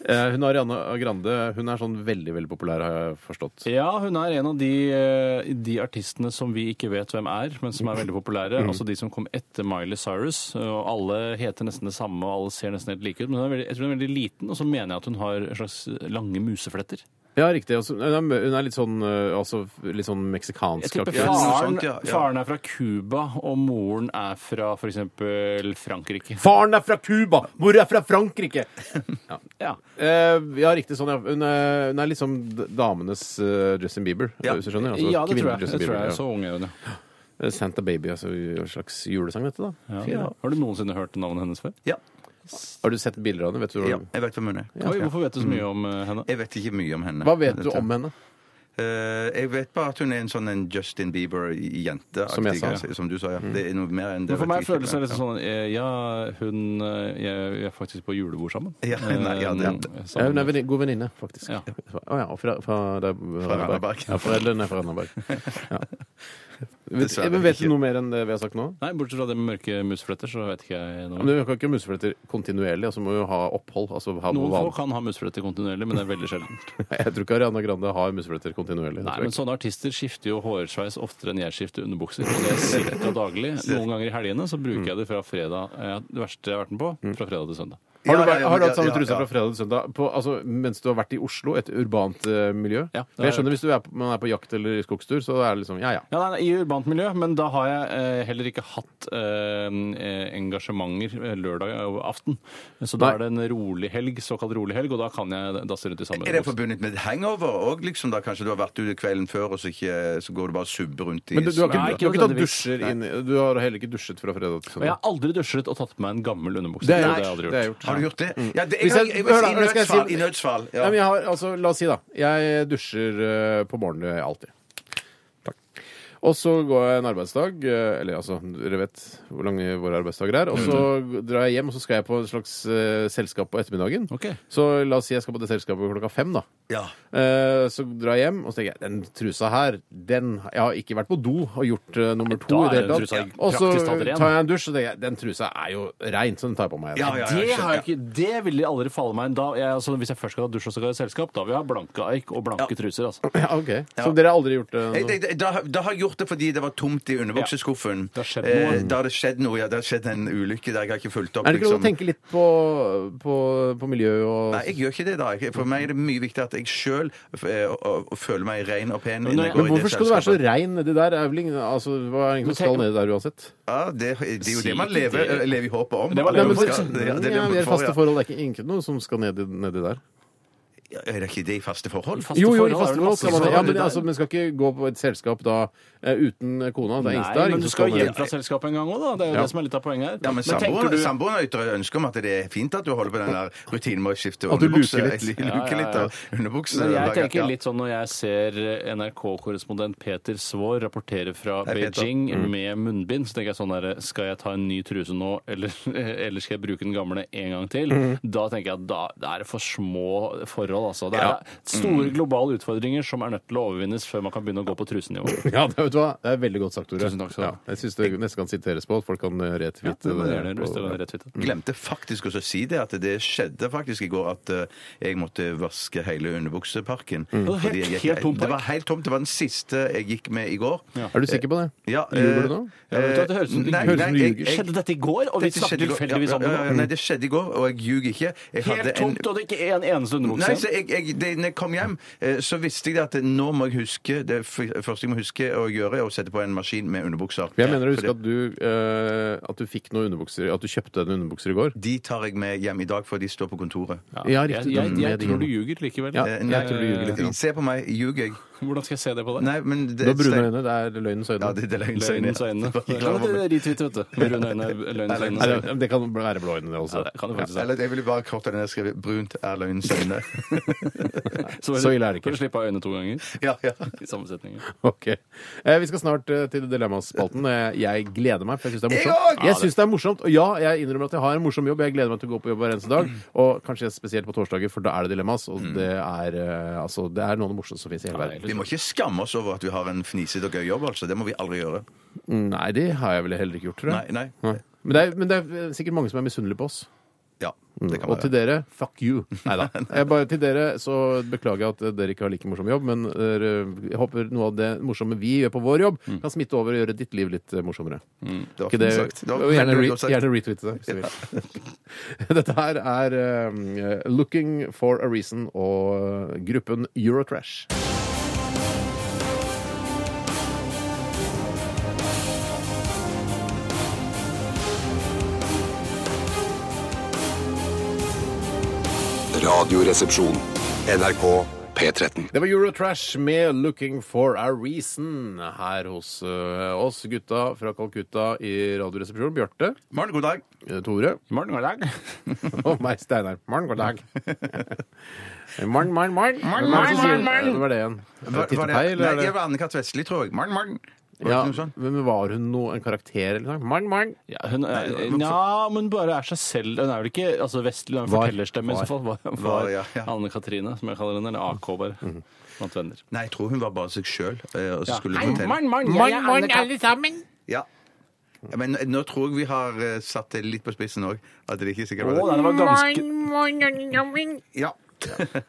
Speaker 2: Eh, Hun Ariana Grande hun er sånn veldig veldig populær, har jeg forstått.
Speaker 4: Ja, hun er en av de, eh, de artistene som vi ikke vet hvem er, men som er veldig populære. Altså de som kom etter Miley Cyrus. eh, Og alle heter nesten det samme, og alle ser nesten helt like ut. Men hun er veldig, jeg tror hun er veldig liten, og så mener jeg at hun har en slags lange musefletter.
Speaker 2: Ja, riktig. Altså, Hun er hun er litt sånn, eh, altså, litt sånn
Speaker 4: Jeg
Speaker 2: meksikansk
Speaker 4: tipper
Speaker 2: aktig.
Speaker 4: faren,
Speaker 3: sånt, ja, ja.
Speaker 4: faren er fra Cuba, og moren er fra f.eks. Frankrike.
Speaker 2: Faren er fra Cuba! Mor er fra Frankrike! Ja,
Speaker 4: Ja.
Speaker 2: Eh, ja riktig. Sånn, ja. Hun er, hun er liksom d- damenes eh, Justin Bieber,
Speaker 3: Ja.
Speaker 2: hvis du skjønner? Altså,
Speaker 4: Ja, det tror
Speaker 2: kvinnelig
Speaker 4: jeg.
Speaker 2: Justin
Speaker 4: Det tror
Speaker 2: Bieber,
Speaker 4: jeg.
Speaker 2: ja.
Speaker 4: Så ung er hun, ja.
Speaker 2: Eh, Santa Baby, altså en slags julesang, dette, da.
Speaker 4: ja.
Speaker 2: Fint, da.
Speaker 4: Har du noensinne hørt navnet hennes før?
Speaker 3: Ja.
Speaker 2: Mm. Har du sett bilder av henne? Vet du, hva-
Speaker 3: ja. Jeg vet hvem hun er.
Speaker 4: Oi, hvorfor vet du så mye om eh, henne?
Speaker 3: Jeg vet ikke mye om henne.
Speaker 2: Hva vet du om henne?
Speaker 3: Eh, jeg vet bare at hun er en sånn en Justin Bieber-jente.
Speaker 2: Som jeg sa, Mm. ja.
Speaker 3: Som du sa, ja. Det er noe mer enn det.
Speaker 4: Men for
Speaker 3: vet
Speaker 4: meg
Speaker 3: jeg ikke.
Speaker 4: føles det litt sånn eh, Ja, hun eh, Jeg vi er faktisk på julebord sammen.
Speaker 3: Ja, *laughs* nei, ja, det-
Speaker 4: Eh,
Speaker 2: Ja, hun er
Speaker 4: sammen.
Speaker 2: venni- god venninne, faktisk.
Speaker 4: Ja.
Speaker 2: Å ja, og fra, fra, det er, fra
Speaker 3: Randaberg.
Speaker 2: Ja, foreldrene er fra Randaberg.
Speaker 4: *laughs*
Speaker 2: Ja. Vet,
Speaker 3: Dessverre
Speaker 2: men vet du
Speaker 3: ikke.
Speaker 2: noe mer enn det vi har sagt nå?
Speaker 4: Nei, bortsett fra det med mørke musefletter, så vet ikke jeg
Speaker 2: Men
Speaker 4: noe.
Speaker 2: Du kan ikke ha musefletter kontinuerlig, altså må jo ha opphold. Altså ha
Speaker 4: Noen få
Speaker 2: van-
Speaker 4: kan ha musefletter kontinuerlig, men det er veldig
Speaker 3: *laughs*
Speaker 4: sjeldent.
Speaker 2: *laughs* Jeg tror ikke Ariana Grande har musefletter kontinuerlig. det
Speaker 4: Nei,
Speaker 2: tror jeg
Speaker 4: men sånne artister skifter jo hårsveis oftere enn jeg skifter underbukser. Og det er ca. daglig.
Speaker 3: *laughs*
Speaker 4: Noen ganger i helgene så bruker jeg det fra fredag eh, Det verste jeg har vært med på,
Speaker 3: Mm.
Speaker 4: fra fredag til søndag.
Speaker 2: ikke. Har du,
Speaker 3: Ja,
Speaker 2: vært-
Speaker 3: ja,
Speaker 2: har du
Speaker 3: ja,
Speaker 2: hatt samme
Speaker 3: ja,
Speaker 2: truse
Speaker 3: ja.
Speaker 2: fra fredag til søndag på, altså, mens du har vært i Oslo, et urbant eh, miljø?
Speaker 4: Ja,
Speaker 2: For jeg
Speaker 4: det har jeg
Speaker 2: skjønner Hvis du er, på- man er på jakt eller skogstur, så er det liksom ja ja.
Speaker 4: Ja, nei, nei, I urbant miljø, men da har jeg eh, heller ikke hatt eh, eh, engasjementer eh, lørdag og aften. Så da
Speaker 2: Nei.
Speaker 4: er det en rolig helg, såkalt rolig helg, og da kan jeg dasse rundt i samme
Speaker 3: Er det forbundet med hangover òg? Liksom, da kanskje du har vært ute kvelden før, og så, ikke, så går du bare og subber rundt i
Speaker 2: Men du, du, har ikke,
Speaker 4: Nei, ikke
Speaker 2: du har ikke tatt
Speaker 4: nødvendigvis.
Speaker 2: dusjer inn i- Du har heller ikke dusjet fra fredag til
Speaker 4: Og jeg
Speaker 2: søndag?
Speaker 4: har aldri dusjet og tatt på meg en gammel underbukse.
Speaker 2: Det er
Speaker 4: Jo,
Speaker 2: gjort.
Speaker 4: har jeg aldri
Speaker 2: Det er
Speaker 4: gjort.
Speaker 2: gjort.
Speaker 3: Har du gjort det? Ja, det
Speaker 2: Mm. Hvis
Speaker 3: jeg,
Speaker 2: jeg-
Speaker 3: jeg, jeg,
Speaker 2: hør da,
Speaker 3: I
Speaker 2: nå skal jeg si-
Speaker 3: nødsfall. I nødsfall
Speaker 2: Nei,
Speaker 3: ja.
Speaker 2: men jeg har, altså, la oss si, da. Jeg dusjer eh, på morgenen eh, alltid. Og så går jeg en arbeidsdag, eh, eller altså, dere vet hvor lange våre arbeidsdager er. Og så drar jeg hjem, og så skal jeg på et slags eh, selskap på ettermiddagen.
Speaker 4: Ok.
Speaker 2: Så la oss si jeg skal på det selskapet klokka fem, da.
Speaker 3: Ja.
Speaker 2: Eh, så drar jeg hjem og så tenker jeg, den trusa her den, Jeg har ikke vært på do og gjort eh, nummer to.
Speaker 4: da
Speaker 2: i det
Speaker 4: er
Speaker 2: hele
Speaker 4: trusa
Speaker 2: tatt. Og så
Speaker 4: praktisk talt ren.
Speaker 2: tar jeg en dusj og tenker jeg, den trusa er jo rein, så den tar jeg på meg.
Speaker 3: Ja, ja, ja,
Speaker 4: Det,
Speaker 3: skjønner,
Speaker 4: har jeg
Speaker 3: ja.
Speaker 4: ikke, det ville aldri falle meg inn. Da, jeg, altså, hvis jeg først skal ha dusj og skal ha selskap, da vil jeg ha blanke ark og blanke truser. Altså.
Speaker 2: *laughs* Ja, ok. Så dere har aldri gjort eh, det?
Speaker 3: Jeg- jeg- Da, da har jeg gjort det fordi det var tomt i underbukseskuffen.
Speaker 4: Det har skjedd noe.
Speaker 3: Eh, da har det skjedd noe, ja. Det har skjedd en ulykke der jeg har ikke fulgt opp.
Speaker 2: Er det ikke lov å tenke litt på, på, på miljø og
Speaker 3: Liksom- Nei, jeg gjør ikke det da. Jeg- For meg er det mye viktig at jeg sjøl føler meg ren og pen.
Speaker 4: Men
Speaker 3: innen jeg
Speaker 4: når-
Speaker 3: går
Speaker 2: Men
Speaker 3: i det
Speaker 2: hvorfor skal du være så
Speaker 3: selskapet.
Speaker 2: rein nedi der? Er vel ingen, altså, hva er det ingen som
Speaker 4: Men tenk-
Speaker 2: skal nedi der uansett?
Speaker 3: Ja, det, det er jo
Speaker 4: Si
Speaker 3: det man
Speaker 4: ikke
Speaker 3: lever, eh,
Speaker 4: det.
Speaker 3: lever i håpet om.
Speaker 4: Det var
Speaker 3: At
Speaker 4: det
Speaker 3: man
Speaker 4: man
Speaker 3: skal-
Speaker 2: det,
Speaker 3: ja, det er det man
Speaker 2: er
Speaker 3: får,
Speaker 2: faste
Speaker 3: ja.
Speaker 2: forhold. Det er ikke ingen noe som skal nedi, nedi der.
Speaker 3: Er det ikke det i faste forhold?
Speaker 4: Faste
Speaker 2: Jo, jo, i
Speaker 4: forhold er
Speaker 2: faste
Speaker 4: det
Speaker 2: forhold
Speaker 4: masse
Speaker 2: skal man det. Ja, men,
Speaker 4: forhold.
Speaker 2: altså, men skal ikke gå på et selskap da eh, uten kona. Det er ingen
Speaker 4: Nei,
Speaker 2: der.
Speaker 4: men du
Speaker 2: ingen som
Speaker 4: skal jo
Speaker 2: med.
Speaker 4: hjem fra selskapet en gang òg, da. Det er jo det som er litt av poenget her.
Speaker 3: Ja, men
Speaker 4: tenker du-
Speaker 3: samboeren samboeren ytrer ønske om at det er fint at du holder på den der rutinen med å skifte
Speaker 2: At du
Speaker 3: underbukse.
Speaker 2: luker litt.
Speaker 3: *laughs* Luke
Speaker 4: Ja, ja, ja.
Speaker 3: litt av underbukse.
Speaker 4: Men jeg
Speaker 3: hver gang.
Speaker 4: tenker
Speaker 3: Ja.
Speaker 4: litt sånn når jeg ser eh, NRK-korrespondent Peter Svaar rapportere fra
Speaker 3: Hei, Peter. Mm.
Speaker 4: Beijing med munnbind, så tenker jeg sånn der Skal jeg ta en ny truse nå, eller, *laughs* eller skal jeg bruke den gamle en gang til?
Speaker 3: Mm.
Speaker 4: Da tenker jeg at da det er det for små forhold, altså. Det
Speaker 3: Mm.
Speaker 4: er store globale utfordringer som er nødt til å overvinnes før man kan begynne å gå på trusenivå.
Speaker 2: *laughs* Ja, det, vet du hva? det er veldig godt sagt, Tore.
Speaker 4: Tusen takk skal du
Speaker 2: ja,
Speaker 4: ha.
Speaker 2: jeg syns det nesten kan siteres på, at folk kan eh, retwitte
Speaker 4: Det må du gjøre
Speaker 2: det
Speaker 4: hvis det
Speaker 2: på-
Speaker 4: var en rett tweet.
Speaker 3: Glemte faktisk også å si det, at det skjedde faktisk i går at eh, jeg måtte vaske hele underbukseparken.
Speaker 4: var helt-
Speaker 3: fordi jeg gikk-
Speaker 4: helt tom park.
Speaker 3: det var helt tomt. Det var den siste jeg gikk med i går. Ja.
Speaker 2: Er du sikker på det?
Speaker 3: eh,
Speaker 2: Ljuger du nå?
Speaker 4: Ja, vet du hva, det høres ut som du
Speaker 3: Nei,
Speaker 4: ljuger.
Speaker 3: nei, jeg- jeg-
Speaker 4: Skjedde dette i går, og vi
Speaker 3: Dette
Speaker 4: snakket
Speaker 3: skjedde i går.
Speaker 4: tilfeldigvis om
Speaker 3: Ja,
Speaker 4: det
Speaker 3: ja, ja,
Speaker 4: nå?
Speaker 3: Nei, det skjedde i går, og jeg ljuger ikke. Jeg
Speaker 4: Helt
Speaker 3: hadde en-
Speaker 4: tomt, og det er ikke en eneste underbukse
Speaker 3: Nei, så
Speaker 4: igjen.
Speaker 3: jeg, jeg, det, når jeg kom hjem, eh, så visste jeg det at nå må jeg huske Det f- første jeg må huske å gjøre, er å sette på en maskin med underbukser.
Speaker 2: For jeg mener å
Speaker 3: For
Speaker 2: huske at du, eh, at du fikk noen underbukser At du kjøpte en underbukser i går.
Speaker 3: det- De tar jeg med hjem i dag, for de står på kontoret.
Speaker 2: Ja,
Speaker 4: Jeg,
Speaker 2: riktig.
Speaker 4: jeg,
Speaker 2: den
Speaker 4: jeg
Speaker 2: med
Speaker 4: tror
Speaker 2: dingene.
Speaker 4: du ljuger likevel.
Speaker 2: Ja,
Speaker 3: Eh,
Speaker 2: jeg tror du ljuger litt. grann.
Speaker 3: Se på meg, ljuger jeg?
Speaker 4: Hvordan skal jeg se det på deg?
Speaker 3: Nei, men det
Speaker 2: Du har brune øyne. Det er løgnens øyne.
Speaker 3: Ja, det, det er løgnens øyne.
Speaker 4: Løgnens øyne. *laughs*
Speaker 3: Jeg var ikke
Speaker 4: Ja,
Speaker 3: klar
Speaker 4: men
Speaker 3: over
Speaker 4: det
Speaker 3: *laughs* det.
Speaker 4: er retweet, vet du. Med runde øyne, løgnens øyne.
Speaker 2: Nei, det, det kan være blå øyne, det
Speaker 4: Ja,
Speaker 2: også.
Speaker 4: det kan det faktisk være.
Speaker 3: Eller jeg ville bare korte den ned og skrevet 'brunt er løgnens øyne'.
Speaker 2: *laughs* Så ille er det ikke.
Speaker 4: For å slippe av øynene to ganger
Speaker 3: ja, ja.
Speaker 4: i samme setning.
Speaker 2: Ok. Eh, vi skal snart eh, til Dilemmaspalten. Eh, jeg gleder meg, for jeg syns det er
Speaker 3: Jeg
Speaker 2: morsomt.
Speaker 3: òg!
Speaker 2: Jeg synes det er morsomt, Og ja, jeg innrømmer at jeg har en morsom jobb. Jeg gleder meg til å gå på jobb hver eneste dag. Og kanskje spesielt på torsdager, for da er det dilemmas. Og det er, eh, altså, det er noe av det morsomste som fins i hele verden.
Speaker 3: Vi må ikke skamme oss over at vi har en fnisete og gøy jobb, altså. Det må vi aldri gjøre.
Speaker 2: Nei, det har jeg vel heller ikke gjort, tror jeg.
Speaker 3: Nei, nei.
Speaker 2: Men, det er, men det er sikkert mange som er misunnelige på oss.
Speaker 3: Ja, det kan
Speaker 2: Og til
Speaker 3: være.
Speaker 2: dere fuck
Speaker 3: *laughs*
Speaker 2: you. Nei *laughs* da. Bare til dere så beklager jeg at dere ikke har like morsom jobb, men dere, jeg håper noe av det morsomme vi gjør på vår jobb,
Speaker 3: Mm.
Speaker 2: kan smitte over og gjøre ditt liv litt eh, morsommere.
Speaker 3: Det var
Speaker 2: Ikke det,
Speaker 3: fint sagt. Det var
Speaker 2: og gjerne,
Speaker 3: veldig
Speaker 2: re,
Speaker 3: godt sagt.
Speaker 2: gjerne retweete det. hvis du vil. *laughs* Dette her er eh, Looking for a Reason og eh, gruppen Eurotrash.
Speaker 5: Radioresepsjon. NRK P13.
Speaker 2: Det var Eurotrash med 'Looking for a Reason' her hos eh, oss gutta fra Calcutta i Radioresepsjonen. Bjarte,
Speaker 3: Maren, god dag.
Speaker 2: eh, Tore
Speaker 4: Morgen, god dag.
Speaker 2: *laughs* og meg, Steinar. Morgen, god dag. Eh, Morgen, morgen, morgen.
Speaker 3: Morgen,
Speaker 2: Hvem er det
Speaker 3: morgen,
Speaker 2: som sier-
Speaker 3: morgen.
Speaker 2: Eh, Det var det igjen.
Speaker 3: Var,
Speaker 2: Titte
Speaker 3: var det,
Speaker 2: Pei, eller
Speaker 3: nei,
Speaker 2: er det-
Speaker 3: jeg var Anne-Kat. Vestli, tror jeg. Morn, morn. Var det
Speaker 2: Ja,
Speaker 3: ikke noe sånn? sånt?
Speaker 2: men var hun noe, en karakter eller noe? Morgen, morgen.
Speaker 4: Ja, hun er, ja, men bare er seg selv. Hun er vel ikke altså Vestlig, hun er en
Speaker 2: Var.
Speaker 4: fortellerstemme i så fall. Var, var
Speaker 3: Var, ja, ja.
Speaker 4: Anne Katrine, som jeg kaller henne, eller AK, bare. Blant venner.
Speaker 3: Nei, jeg tror hun var bare seg sjøl. Og så skulle hun fortelle.
Speaker 4: Morgen, morgen,
Speaker 2: Morgen, morgen, alle sammen.
Speaker 3: Ja. Ja, Men nå tror jeg vi har eh, satt det litt på spissen òg. At det ikke sikkert var det.
Speaker 4: det var ganske
Speaker 3: Ja.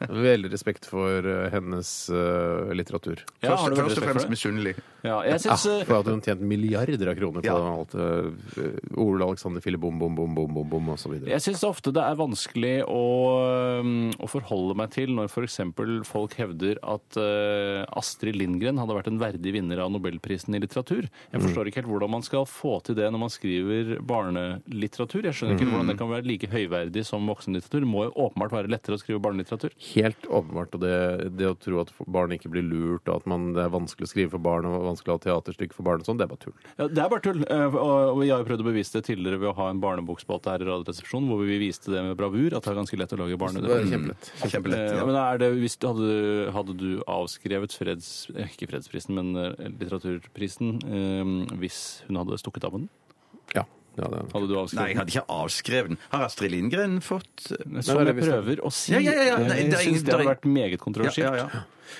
Speaker 2: Veldig respekt for eh, hennes eh, litteratur.
Speaker 4: Ja, har
Speaker 3: Først, først
Speaker 4: du veldig
Speaker 3: og
Speaker 4: respekt for
Speaker 3: fremst
Speaker 4: det?
Speaker 3: misunnelig.
Speaker 4: Ja, jeg synes,
Speaker 2: Ja,
Speaker 4: eh,
Speaker 2: for at hun tjente milliarder av kroner på
Speaker 3: Ja.
Speaker 2: alt eh, Ole Alexander Fille bom, bom, bom, bom, bom, bom, og så videre.
Speaker 4: Jeg syns ofte det er vanskelig å, øhm, å forholde meg til når f.eks. folk hevder at øh, Astrid Lindgren hadde vært en verdig vinner av Nobelprisen i litteratur. Jeg forstår ikke helt hvordan man skal få til det når man skriver barnelitteratur. Jeg skjønner ikke hvordan det kan være like høyverdig som voksenlitteratur. Det må jo åpenbart være lettere å skrive barnelitteratur.
Speaker 2: Helt åpenbart. Og det, det å tro at barn ikke blir lurt, og at man, det er vanskelig å skrive for barn og vanskelig å ha teaterstykke for barn og sånn, det er bare tull.
Speaker 4: Ja, det er bare tull. Eh, Og og jeg har jo prøvd å bevise det tidligere ved å ha en barnebokspalte her i Radioresepsjonen hvor vi viste det med bravur at det er ganske lett å lage barnelitteratur.
Speaker 2: kjempelett.
Speaker 3: Kjempelett.
Speaker 4: Eh,
Speaker 3: Ja.
Speaker 4: Men er det, hvis du hadde, hadde du avskrevet freds, eh, ikke fredsprisen, men eh, litteraturprisen eh, hvis hun hadde stukket av med den?
Speaker 2: Ja. ja det er.
Speaker 4: Hadde du
Speaker 3: Nei, jeg
Speaker 4: avskrevet den?
Speaker 3: hadde ikke avskrevet den. Har Astrid Lindgren fått eh,
Speaker 4: Som
Speaker 2: Nei, det
Speaker 4: jeg
Speaker 2: er hvis-
Speaker 4: prøver å si.
Speaker 3: Ja, ja, ja, ja. Nei,
Speaker 4: jeg
Speaker 3: det er ingen-
Speaker 4: syns det
Speaker 3: det
Speaker 4: hadde
Speaker 3: er-
Speaker 4: vært meget
Speaker 3: ja, ja,
Speaker 4: kontroversielt.
Speaker 3: ja.